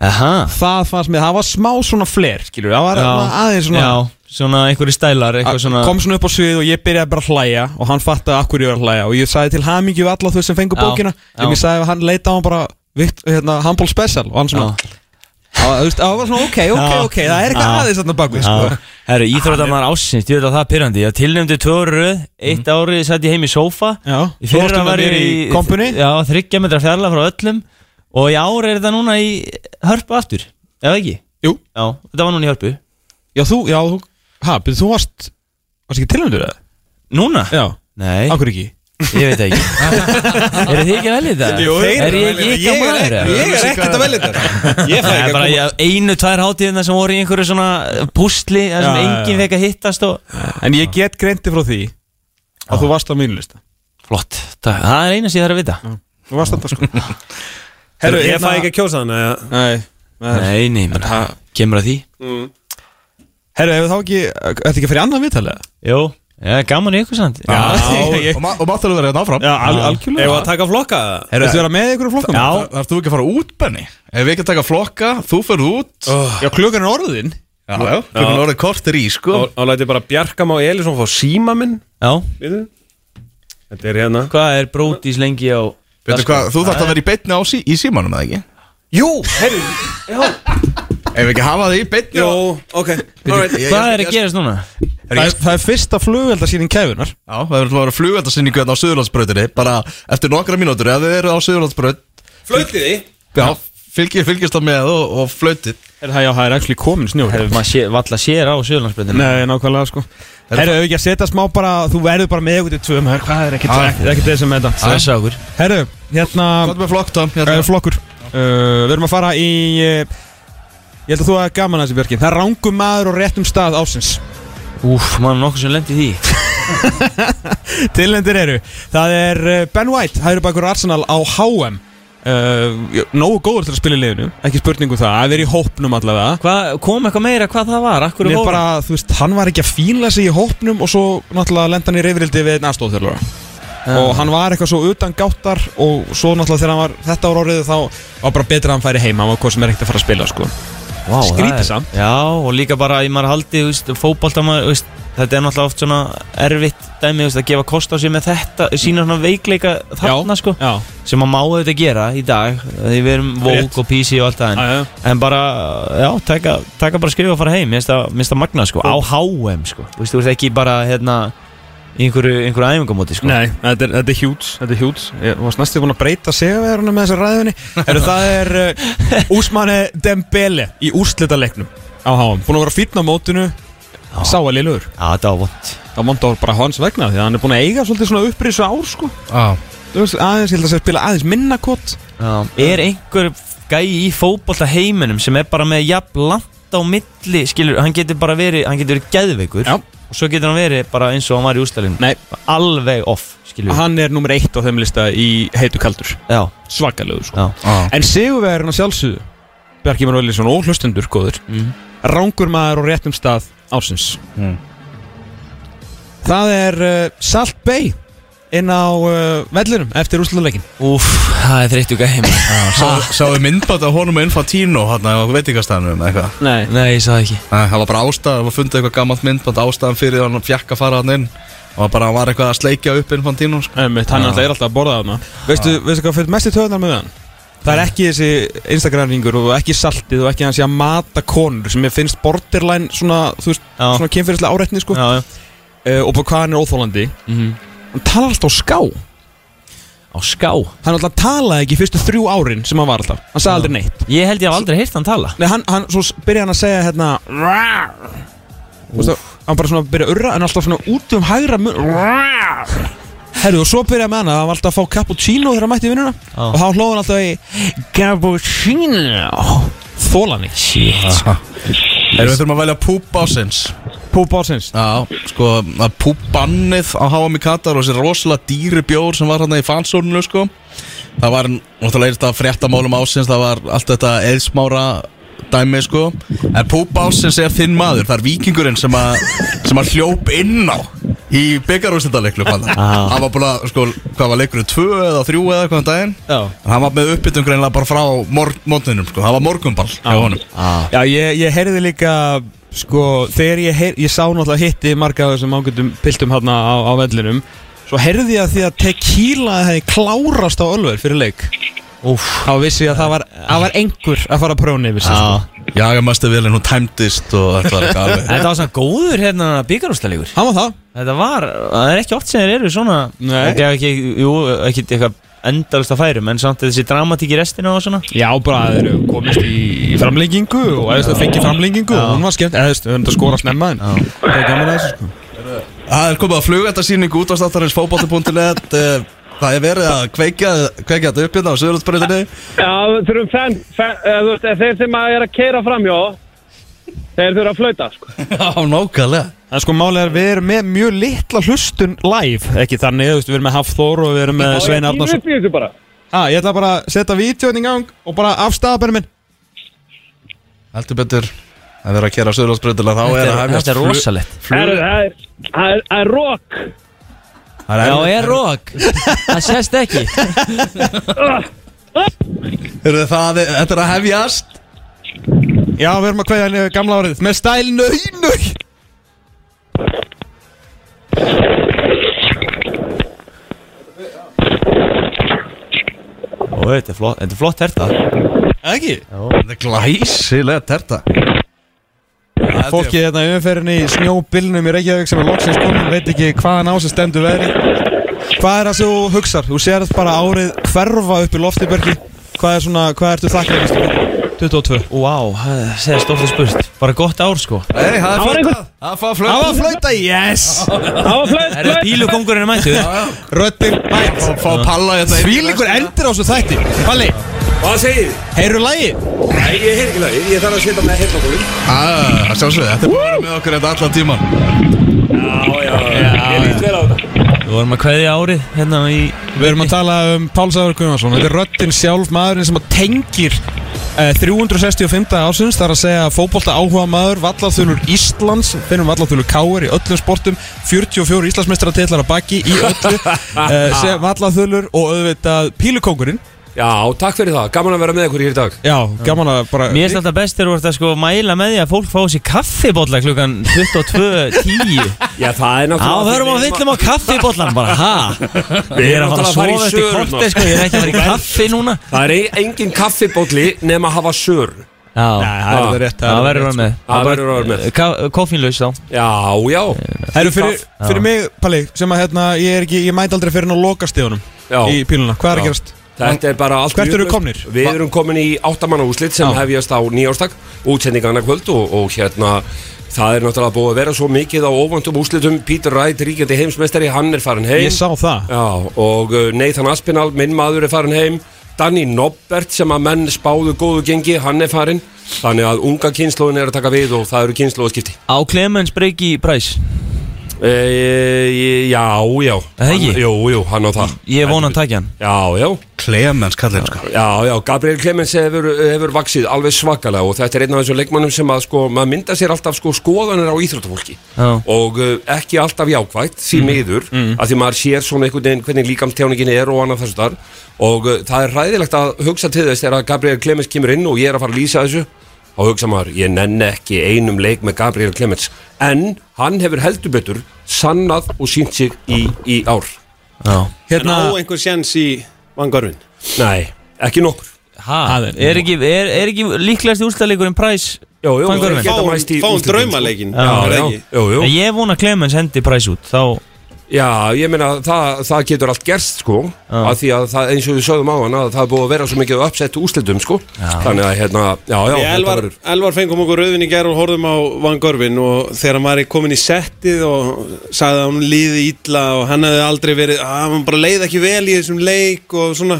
aha
Það fannst mér, það var smá svona fler skilur Það var aðeins svona
já, svona einhverju stælar eitthvað svona
kom svona upp á svið og ég byrjaði bara að hlæja og hann fattaði að hverju ég var að hlæja og ég sagði til hamingju við alla þau sem fengu
Já,
bókina en
já.
ég sagði að hann leita á hann bara vikt, hérna, handball special og hann svona
Já.
Það var- þú veist, það var svona ok, ok,
Já.
ok, það er eitthvað
Já.
aðeins þarna
[laughs]
bakvið sko.
Já, herru, íþróttamæður ásins, ég veit að það er pyrrandi Ég tilnefndi tvö ára í röð, eitt mm. árið satt ég heim í sófa
Já.
Í
Þú varst
fyrra
með
var
mér
ég
í kompunni?
Já, þryggja metra fjarlag frá öllum Og í ári er þetta núna í hörpu aftur, eða ekki?
Jú.
Já, þetta var núna í hörpu
Já, þú, já, þú, ha, byrðu, þú varst, varst ekki tilhendur það?
Núna?
Já,
Nei,
akkur ekki
ég veit það ekki Eru þið ekki velið þetta?
Jú, þeir
er
eru
ég
velið
ekki
þetta. Ég er ekki-
ekki maður? eða?
Ég er ekkert að velja þetta Ég fæ ekki
Það er
að
bara
koma
ég- einu, tvær hátíðina sem voru í einhverju svona pústli Það sem
Já, já,
enginn
já.
fekk að hittast og
En ég get greinti frá því að þú varst á mínu lista
Flott, það það er eina sem ég þarf að vita
[laughs]
Þú varst þetta sko
hérna- Herru, ég fæ ekki að kjósa hann eða-
Nei,
Nei, nei, menn, kemur að því
Herru, hefur þá ekki, ætti ekki að fyrir annan viðtalið?
Jó, já, gaman í ykkur samt Já,
[laughs] ég-
Og, ma og máttalegu verið þetta hérna áfram
Já, al algjörlega
Ef að taka flokka það
Ertu að vera með ykkur á flokkum?
Þar- Þarft þú ekki að fara út, Benni? Ef við ekki að taka flokka, þú ferð út
Já, klukkan er orðin
Já, já, klukkan orðið kortir í, sko
Þá þá læt ég bara Bjarkam á Elísson fá síma minn
já.
við þau. Þetta er hérna
hvað er brótis lengi á
Veitu
dagskrá?
hvað, þú þarft að vera í beinni á sí, í símanum, eða ekki?
Jú, herri
Ef við ekki hafa það í beinni
Jú,
á-
ok
Alright, ég-
Hvað
ég-
er
ég-
að gerast núna?
Það er, það er fyrsta flugveldarsýning kefunar
Já, það verður að vera flugveldarsynningu hérna á Suðurlandsbrautinni Bara eftir nokkra mínútur, ef þið eru á Suðurlandsbraut
Flötiði
Já, fylgir, fylgist það með og, og flöytið
Er það, já, það er actually komin snjór
Hefur maður sé, valla sér á Sjöðlandsbreytinu
Nei, nákvæmlega sko Herru, hefur ekki að setja smá bara Þú verður bara með ykkur til tvö maður Hvað er ekkert ekkert- ekkert þessum með þetta
Stressa okkur
Herru, hérna
Hvað með flokk, Tom?
uh,
Hérna.
Flokkur uh, Við erum að fara í uh, Ég held að þú að gaman að þessi Björki Það er rangum maður og réttum stað ásins
Úf, mann nokkuð sem lendi í því
Tilhendir eru Það er uh, Ben White Hægri bakur Arsenal á HM uh, Nógu góður til að spila í liðinu Ekki spurningu það Það er í hópnum allavega
Hvað, kom eitthvað meira hvað það var? Akkur
Nei,
er
bara, þú veist, hann var ekki að fínla sig í hópnum og svo náttúrulega lenda hann í reyfrildi við næstóðþjálfara
Ah.
og hann var eitthvað svo utan gáttar og svo náttúrulega þegar hann var þetta ára árið þá var bara betra að hann færi heima hann var hvað sem er ekkert að fara að spila sko
Vá, það
skrítið
er-
samt.
Já, og líka bara í maður haldi, þú veist, fótbolta maður, þú veist, þetta er náttúrulega oft svona erfitt dæmi, þú veist, að gefa kost á sér með þetta, sína svona veikleika þarna, sko,
já,
sem að má þetta gera í dag, því við erum
Rétt.
vók og písi og allt það,
já, já.
en, en bara, já, taka, taka bara skrifa og fara heim, minnst að, minnst að magna, sko, á HM, sko, þú veist, þú veist ekki bara, hérna, í einhverju, einhverju æfingamóti, sko.
Nei, þetta er, þetta er hjúts Þetta er hjúts Ég var næstu búin að breyta sigurverðuna með þessar ræðunni Eru það er uh, Úsmane Dembele í úrslitaleiknum á háum Búin að vera fýtna á mótinu Sáalilugur
Já, þetta var vond.
Það monta bara hans vegna því að hann er búin að eiga svolítið svona upprisu ár sko
Já.
Þú veist, aðeins, ég held að segja spila aðeins minna kott
Já. Er einhver gæi í fótbolta heiminum sem er bara með jafn langt á milli, skilur, hann getur bara verið, hann getur verið geðveikur
Já.
og svo getur hann verið bara eins og hann var í ústælinum
Nei,
alveg off, skilur
hann er nummer eitt á þeim lista í heitu kaldur
Já,
Svakalegu, sko
já,
Ah,
En sigurverðin að sjálfsögðu Bjarki Már Völiðsson og hlustendur góður
Mhm.
Rangur maður og réttum stað ásins
Hmm.
Mm.
Það er uh, Salt Bay inn á uh, vellinum eftir úrslutaleikin
úf, það er þreyttu gæi maður.
Sá- Sáðu myndbætt af honum og Infantino hérna á veitingastæðanum eða eitthvað
Nei
Nei, ég sagði ekki
Nei, Það var bara ástæðan, það var fundið eitthvað gammalt myndbætt ástæðan fyrir því að hann fjakk að fara hann inn og var bara hann var eitthvað að sleikja upp Infantino sko.
Einmitt, hann alltaf er alltaf að borða þarna Veistu, veistu hvað fyrir mest í töðunar með hann? Það er ekki þessi Instagram-ringur og ekki saltið og ekki hans í að mata konur sem ég finnst borderline svona, þú veist,
Já.
[laughs] svona kynfyrirslega áreitni sko uh,
Já, já
og bara hvað hann er óþólandi
Mhm.
Hann talar alltaf á ská
Á ská
Hann alltaf talaði ekki fyrstu þrjú árin sem hann var alltaf Hann sagði aldrei neitt
Ég held ég hef aldrei heyrt hann tala
Nei, hann, hann, svo s- byrjaði hann að segja hérna "Rar." Þú veist það, Hann bara svona byrjaði að urra En alltaf svona út um hægra mun "Rar." Herru, og svo byrjaði með hann að hann var alltaf að fá cappuccino þegar hann mætti í vinnuna
Já.
Og þá hlóði hann alltaf í Cappuccino Þólan í
Shit
Erum við þurfum að velja púp ásins
Púp ásins
Já, sko, að púbannið á HM í Katar og þessi rosalega dýri bjór sem var hann í fansóninu, sko Það var, náttúrulega, þetta fréttamálum ásins, það var allt þetta eðsmára dæmi, sko En púp ásins er þinn maður, það er vikingurinn sem að, sem að hljóp inn á í byggarústendaleiklu, hann Hann var búin að, sko, hvað var leikurinn, tvö eða þrjú eða hvað um daginn
Já
En Hann var með uppbytun greinlega bara frá mor mótninum, sko, það var morgunball hjá honum
Já, ég, ég heyrði líka Sko, þegar ég, heyr, ég sá náttúrulega hitti Marga af þessum ágætum piltum hann á, á vellinum Svo heyrði ég að því að tequila hefði klárast á Ölver fyrir leik
Úf
Þá vissi ég að það var, það var einhver að fara að próna yfir sig sko.
Já
Jagamæstu velin, hún tæmdist og þetta var eitthvað alveg
Þetta var svona góður hérna byggarústalegur
Hann var það
Þetta var, það er ekki oft sem þeir eru svona
Nei.
Þetta er ekki, jú, ekki eitthvað endalist að færum En samt þessi dramatík í restina og svona
Já, bara þeir eru komist í, í framlengingu og eða það fengi framlengingu og hún var skemmt eða þú höfum þetta skora snemma en það er gaman að þessu sko
Það er komið að flugvættarsýningu út á státtarins
[laughs]
fókbóti.net eh, Það er verið að kveikja, kveikja þetta upp hérna á Suðurlandsbreytinni
Já, við þurfum fenn, fenn eða, þú veist, eða þeir sem að er að keira framjá þeir þurfa að flauta, sko.
[laughs] Já, nákvæmlega
En sko málið er að við erum með mjög litla hlustun live, ekki þannig, þú veist, við erum með Hafþór og við erum með Svein
Ég
Arnarsson
upp í þessu bara.
ah, Ég ætla bara að setja vítjóðin í gang og bara afstaða bennum minn
heldur betur að vera að kera Suðurlandsbröðina þá er að
Þetta
hefjast
er rosalegt
Herru, Það er- það er- það er rock
Það
Já,
er
er rók Það sést ekki
Heyrðu, það er- Þetta er að hefjast
Já, við erum að kveðja henni gamla árið Með stæl nöy, nöy
Ó, þetta er flott, þetta er flott herta
Ekki?
Þetta er glæsilega terta
Fólkið hérna í umferðinni í snjóbillnum í Reykjavík sem er loksins komin Veit ekki hvaðan á sem stendur verið Hvað er það sem þú hugsar? Þú sér bara árið hverfa upp í loftibörgi Hvað er svona, hvað ertu þakklæðist? 22
Vá, wow, segja stofnir spurt Bara gott ár sko
Nei, það er
Það var
flöta
einhver-
Það var
Það
flöta
var flauta, yes!
Það var flöð,
Er það bílugongurinn mættu?
Röddinn mætt
Fá að palla þetta inn í
Svílingur endur á svo þætti Palli,
Hvað segir þið?
heyrðu lagi?
Nei, ég heyr ekki lagið, ég þarf að setja hérna með heyrnartólin
Ah, Sjálfsögðu, þetta er bara með okkur þetta allan tíman
Já, já, ég líkt vel á þetta
Við vorum að kveðja árið hérna í
Við erum að tala um Pálsæður Gunnarsson Þetta er röddinn sjálf maðurinn sem að tengir eh, 365 ásins Það er að segja fótbolta áhuga maður Vallathulur Íslands Finnum Vallathulur Káir í öllum sportum 44 Íslandsmeistratillar að baki í [laughs] öllu eh, Segja Vallathulur og auðvitað Pílukókurinn
Já, takk fyrir það, gaman að vera með ykkur hér í dag
Já, gaman að bara
Mér er alltaf best þegar þú ert að sko mæla með því að fólk fá sér kaffibólla klukkan 22.10
Já, það er
Á,
náttúrulega
hörum og villum á kaffibóllan bara, ha? Við erum að fara
náttúrulega að fara í
að sofa eftir
sörurnar.
korti sko, ég er ekki að fara í kaffi núna
Það er ein- engin kaffibólli nema að hafa sör
Já,
Það er það rétt sko.
það verður að vera með
Það verður að vera með
Ka- Koffínlaus þá
Já, já
Það eru fyrir, fyrir mig, Palli Sem að hérna, ég er ekki, ég mæt aldrei fyrir hann á lokastíðunum
Já.
Í píluna, hvað er að
Já.
gerast?
Þetta er bara allt
Hvert
mjög
eru
laust.
komnir?
Við erum komin í áttamanna úslit sem hefjast á nýjárstak útsendingana kvöld og, og hérna það er náttúrulega búið að vera svo mikið á óvandum úslitum Pítur Rætt, ríkjandi heimsmeistari, hann er farin heim
Ég sá það
Já, og uh, Nathan Aspinall, minn maður er farin heim Danny Nobbert sem að menn spáðu góðu gengi, hann er farin þannig að unga kynnslóðin er að taka við og það eru kynnslóðaskipti
Á Clemens Breyki Præs
e, eh, Já, já Mm.
Það
Hann-
ekki?
Jú, jú, hann á það
Ég vona að taka hann
Já, já
Klemens kallinn sko
Já, já, Gabriel Clemens hefur, hefur vaksið alveg svakalega og þetta er einn af þessum leikmannum sem að sko, maður mynda sér alltaf sko skoðanir á íþróttafólki
Já.
og uh, ekki alltaf jákvægt, því miður, að því maður sér svona einhvern veginn hvernig líkamstjáningin er og annað þessu þar og uh, það er ræðilegt að hugsa til þess þegar að Gabriel Clemens kemur inn og ég er að fara að lýsa þessu og hugsa maður, ég nenni ekki einum leik með Gabriel Clemens en hann hefur heldur betur sannað og sínt sig í, í ár
Hérna,
einhver sjans í vangorfin
Nei, ekki nokkur
Ha, er ekki, er, er ekki um líklegast úrstæðleikurinn Præs
Jó, jó,
Fangorfinn.
þeir geta mæst í úrslitin, sko.
Já,
já, já, já, já.
Ég vona að Clemens hendi Præs út Þá,
já, ég meina það, það getur allt gerst sko að því að það, eins og við sögðum á hann að það er búið að vera svo mikið uppsett úrslitum sko þannig að hérna, já, já,
Ég,
þetta
Elvar,
verður
Elvar fengum okkur rauðin í gerð og horfðum á Van Gorvin og þegar hann var í- komin í settið og sagði að hún líði ítla og hann hefði aldrei verið, að hann bara leið ekki vel í þessum leik og svona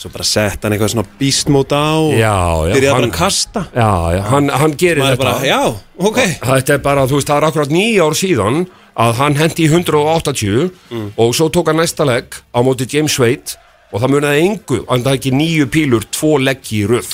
svo bara sett hann eitthvað svona bístmót á og
Já, já,
byrjaði bara
hann-
að kasta
Já, já, hann, hann gerir
maður
þetta
bara, já, ok
Þetta er bara, þú veist, það er akkurat nýja ár síðan að hann hendi í 180
Mm.
og svo tók hann næsta legg á móti James Wade og það munaði engu en það ekki nýju pílur, tvo legg í röð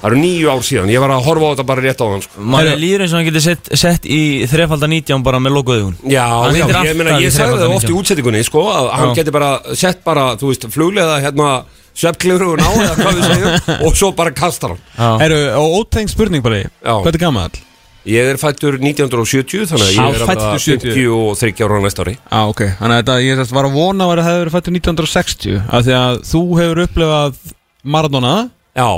Það eru nýju ár síðan, ég var að horfa á þetta bara rétt á hann sko.
maður líður eins og hann getur sett, sett í þrefaldan 19 bara með logoðugun
Já,
Hann
já,
heitir
ég
alltaf
meina,
í
ég sagði það
319.
oft í útsettingunni, sko, að hann geti bara sett bara, þú veist, fluglega, hérna, sveppklifrugun á, eða hvað við
[laughs]
segjum, og svo bara kastar hann.
eru, og ótegn spurning bara Hvað er gammal?
Ég er fættur 1970, þannig að
Sá
ég er
fæddur
bara
70.
53 ára næsta ári.
Já, ok, þannig að þetta, ég sérst var að vona að það hefur verið fættur 1960 af því að þú hefur upplifað Maradona,
Já,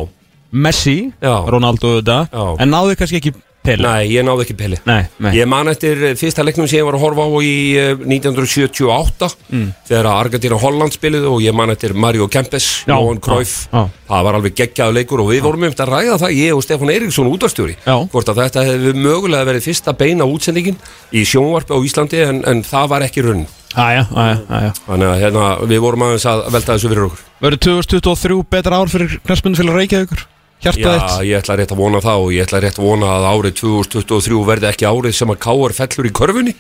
Messi,
Já.
Ronaldo þetta
Já.
en náðu kannski ekki Pele
nei, ég náði ekki peli.
nei, nei.
Ég man eftir eh, fyrsta leiknum sem ég var að horfa á í eh, 1978
Mm.
þegar að Argentina og Holland spiluðu og ég man eftir Mario Kempes,
Já,
Johan Cruyff
já, já.
það var alveg geggjaðu leikur og við vorum um þetta að ræða það, ég og Stefán Eiríksson útastjóri
Já.
hvort að þetta hefði mögulega verið fyrsta beina útsendingin í sjónvarp á Íslandi en, en það var ekki runn
Aja, aja, aja.
þannig að hérna, við vorum aðeins að velta þessu fyrir okkur
Verður 2023 betra ár fyrir knarspundfélag Reykjavíkur? Hjarta
Já,
þitt?
ég ætla rétt að vona það og ég ætla rétt að vona að árið 2023 verði ekki árið sem að káar fellur í körfunni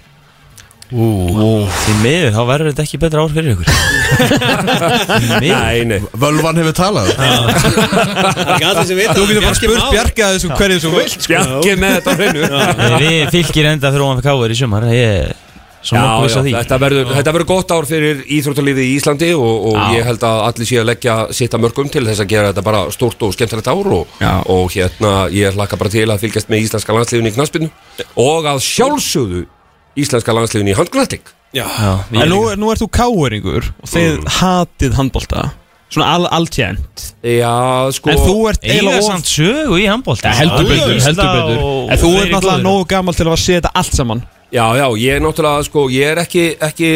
Því miður, þá verður þetta ekki betra ár fyrir ykkur
Nei, nei Völvan hefur talað
ekki allir sem vita
Þú getur bara
Bjarki
spurt
Már.
Bjarki að þessu hverju þú vilt, sko.
Bjarki með þetta á hreinu.
Nei, Við fylgir enda fyrir ofan fyrir káður í sumar Ég, svo
Já,
nokkuð viss
já,
að því
þetta verður, þetta verður gott ár fyrir íþróttalífið í Íslandi og, og
Já.
ég held að allir sé að leggja sitt að mörgum til þess að gera þetta bara stórt og skemmtilegt ár og, og hérna ég hlakka bara til að fylgjast með íslenska landsliðinu í knaspinu og að sjálfsögðu íslenska landsliðinu í handglætting
Já,
En nú, nú ert þú káeringur og þið
Mm.
hatið handbolta Svona al, alltjent
Já, sko
En þú ert
Eiga
eiginlega
samt sögu í handbólta
ja, Heldur betur, heldur betur En þú ert náttúrulega nógu gammal til að setja þetta allt saman
Já, já, ég er náttúrulega, sko, ég er ekki, ekki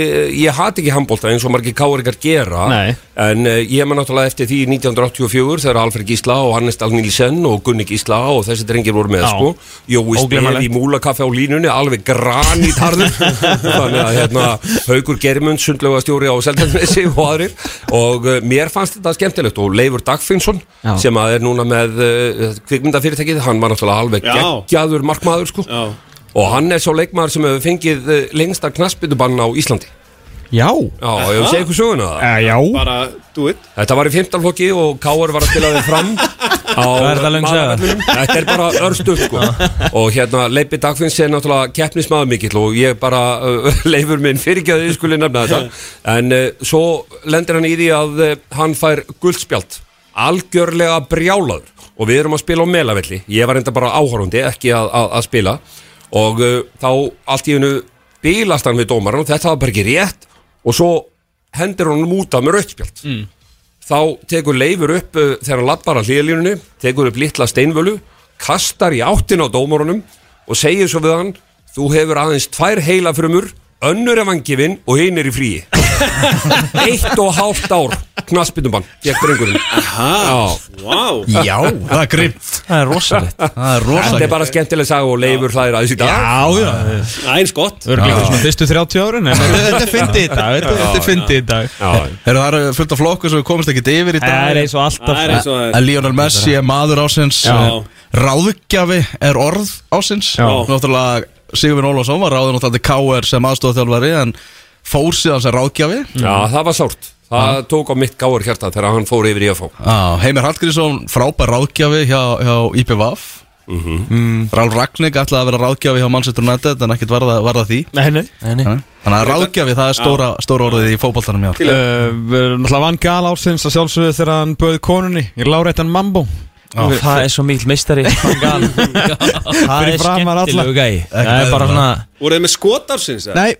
ég hati ekki handbólta eins og margir káringar gera
Nei.
En uh, ég maður náttúrulega eftir því 1984 þegar Alfred Gísla og Hannes Dahl Nílsen og Gunni Gísla og þessi drengir voru með
Já.
sko. Jói Steð
Ógleymanlegt.
í múlakaffe á línunni alveg granít
[laughs]
harður þannig að hérna, Haugur Germund sundlega stjóri á Seltjarnesi og aðrir og uh, mér fannst þetta skemmtilegt og Leifur Dagfinnsson
Já.
sem að er núna með uh, kvikmyndafyrirtækið hann var náttúrulega alveg
Já.
geggjaður markmaður sko. og hann er svo leikmaður sem hefur fengið uh, lengsta knaspitubann á Íslandi
Já
Já, ég hef segið ykkur söguna það
Eh, Já
Bara, do it
Þetta var í 15 flokki og Káar var að spila þig
[laughs]
fram á
Hvað er þetta löng saga?
Maðurvellinum. Þetta er bara örstuð sko Og hérna Leipi Dagfinns er náttúrulega keppnismæður mikill og ég bara uh, leifur minn fyrirgjöði skuli nefna þetta En uh, svo lendir hann í því að uh, hann fær guldspjald Algjörlega brjálaður Og við erum að spila á melavelli Ég var enda bara áhorfandi, ekki að, að, að spila Og uh, þá allt í hennu bílast hann við dómaran og þetta var bara ekki rétt Og svo hendir hann út af með rauðspjald þá tekur Leifur upp uh, þegar hann lappar að hlýðalínunni, tekur upp litla steinvölu, kastar í áttin á dómorunum og segir svo við hann þú hefur aðeins tvær heila frumur önnur er vangifinn og hinn er í fríi [laughs] eitt og hálft ár knaspindumann, ég drengurinn Já,
Vá
Já, það er grymt
Það er rosalegt
Það er
þetta er
rosalegt
bara skemmtileg sag og Leifur hlæðir aðeins í dag
Já, já
Æns gott
Örglega eitthvað svona fyrstu 30 árin en Þetta er fyndið í dag, þetta- þetta er fyndið í dag
Já,
Eru það eru fullt af flokku sem við komist ekki yfir í dag Eh,
Það er eins og alltaf
Það er eins og það
Að Lionel Messi er maður ásins
Já.
Ráðgjafi er orð ásins
Já.
Náttúrulega Sigurvin Ólafsson var ráðin náttúrulega til KR sem aðstofþjálfari En fór síðan sem ráðgjafi
Já, það var sárt Það tók á mitt gáur hjarta þegar hann fór yfir í að fá
Já, Ah, Heimir Hallgrímsson frábær ráðgjafi hjá, hjá IPVAF mm. Rál Ragnig ætlaði að vera ráðgjafi hjá Manchester United En ekkert varða, varða því
Nei, nei
Nei, nei.
Þannig að ráðgjafi það er stóra, stóra orðið í fótboltanum hjá
Uh, Náttúrulega vann gal ársins að sjálfsögðu þegar hann bauð konunni í láréttan mambo
Það er svo mikil meistari Fangal. Það
Fyrir
er
framar alla.
skemmtilegu gæi Það er bara svona
Voruð þið með skotarsins? eða?
Nei,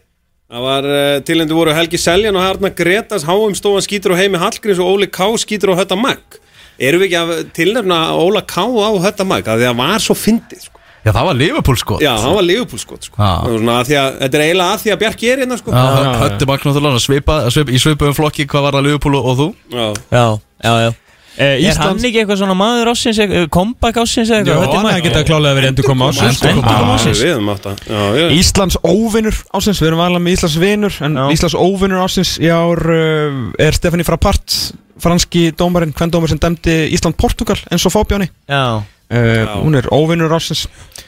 Það var uh, tilendu voru Helgi Seljan og Harna Gretas Háum Stóan skýtur á Heimi Hallgrins og Óli Ká skýtur á Hötta Magg Erum við ekki að tilnefna Óla Ká á Hötta Magg að því að var svo fyndið sko.
Já, það var Liverpool sko
Já, hann var Liverpool skot sko.
Já.
Það var svona, að því að, Þetta er eiginlega að því að Bjarki er hérna sko.
Hötti Magna náttúrulega svipa, svip, í svipuðum flokki Hvað var það Liverpool og, og þú?
Já.
Já, já, já
eh,
Er hann
Íslands
ekki eitthvað svona maður ásins Comeback ásins
Jó,
eða eitthvað? Þetta er
hann
maður-
hefði getað klálega verið sko. endur koma ásins
Endurkoma
Endurkoma
Já.
ársins.
Við höfum átt að- já,
Ah.
já.
Íslands óvinnur ásins, við erum alveg með Íslands vinur En Íslands óvinnur ásins í ár uh, er Stefani Frappart Franski dómarinn, hvern dómar sem dæmdi Ísland-Portugal En svo fábjáni
Já
uh, Hún er óvinnur ásins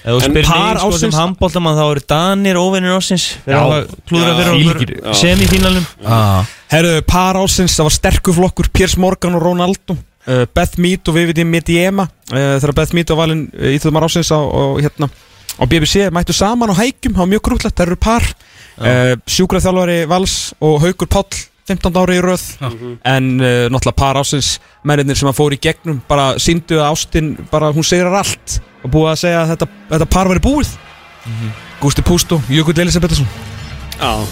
Ef þú
En
spyrir
par
mig sko sem
ársins-
handbóltamann þá eru Danir óvinnir ársins fyrir
Já.
að klúðra
Já,
fyrir okkur
fílgir.
semifínalum
Ah.
Herðu, par ásins, það var sterkur flokkur Piers Morgan og Ronaldo uh, Beth Mead og Viviði Mediema uh, Þegar Beth Mead og valinn uh, íþjóðumar ásins á, á, hérna, á BBC Mættu saman á hækjum, það var mjög grútlegt, það eru par uh, Sjúkraþjálfari Vals og Haukur Páll 15 ári í röð En uh, náttúrulega par ásins Mennirnir sem að fóru í gegnum Bara síndu að ástin, bara hún segir allt Og búið að segja að þetta, þetta par væri búið Mhm. Gústi Pústó, Jökull Elisabethsson
Já.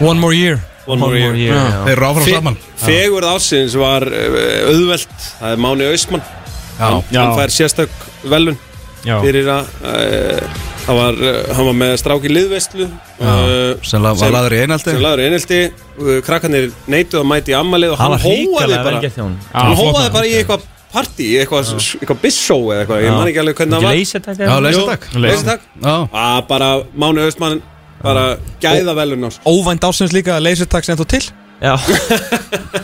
One more year
One more year.
Já.
Þeir eru áfram
Fe-
saman
Fegurð ásins var uh, auðvelt Það er Máni Austmann hann, hann fær sérstök velun
Já.
fyrir að uh, hann, var, uh, hann var með strák í liðveistlu
Já,
uh,
sem la- var laður í einhaldi
sem laður í einhelti uh, krakkanir neituð að mæti í ammalið og
Það
hann
var
hóaði
hríkalega vel
bara
gert hjá hún
hann
flott
hóaði
maður.
bara í eitthvað partí eitthvað, eitthvað bissó eða eitthvað,
Já.
ég man ekki alveg
Ekki
hvernig það var Ah,
leysetak
Já,
eða?
leysa
Jú,
takk
leysitak.
Já,
Að bara Máni Austmann bara gæða velun ás
óvænt ásins líka að leysirtak sem þú til
Já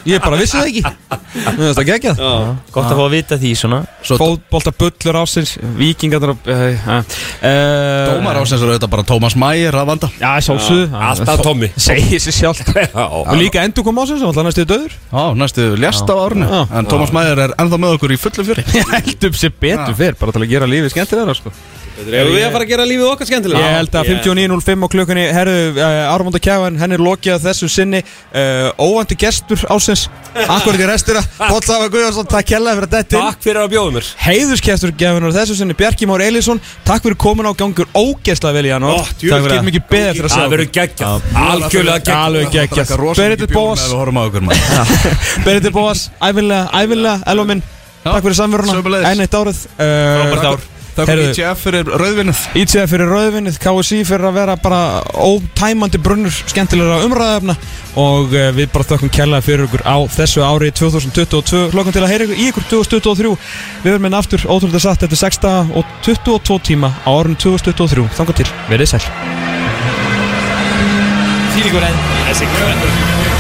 Ég bara vissi það ekki Mér finnst það geggjað
Gott að fá að vita því svona
Fótbolta bullur ásins Víkingarnar eh,
Dómar
Dómar
ásins eru auðvitað bara Tómas Mægir að vanda
eh, Já, sjálfsögðu. Já, alltaf Tommy. Segir sér sjálft [laughs] Og líka endur kom ásins Það var næstu döður
Já, næstu lest á árinu
Já.
En Tómas Mægir er ennþá með okkur í fullu fjöri
Held upp sér betur fyrr Bara til að gera lífið skemmtilega sko.
Erum við að fara að gera lífið okkar skemmtilega?
Ég held að 59.05 á klukkunni Herðu uh, Ármónd og Kjæfan Henn er lokið að þessu sinni uh, Óvæntu gestur ásins Akkurat í restina Bóttsafa Guðjónsson Takk hella fyrir þetta
Takk fyrir að bjóða mér
Heiðuskestur gefinar þessu sinni Bjarki Már Eilísson Takk fyrir komin á gangur ógeðsla vel í hann
Ó, djú,
Takk fyrir
getum
mikið
ekki beðið eftir að sjá okkur. Já. Algjörlega geggjað.
Alveg geggjað
Drekka rosa
Berit
mikið bjór
Bóas
meðan við
horfum á
Berit
okkur
Bóas Ævinlega, ævinlega, Elva minn Takk fyrir samverðuna
sömuleiðis.
Enn eitt árið Eh,
Frábært ár. Takk fyrir ITF fyrir rauðvinnið
ITF fyrir rauðvinnið KSI fyrir að vera bara ótæmandi brunnur skemmtilegra umræðafna og uh, við bara þökkum kærlega fyrir ykkur á þessu ári 2022 hlokkum til að heyra ykkur í ykkur 2023 við verum enn aftur ótrúlega satt þetta er 6 daga og 22 tíma á árinu 2023 þangar til, verið sæl
Fílíkur enn Þessi grönn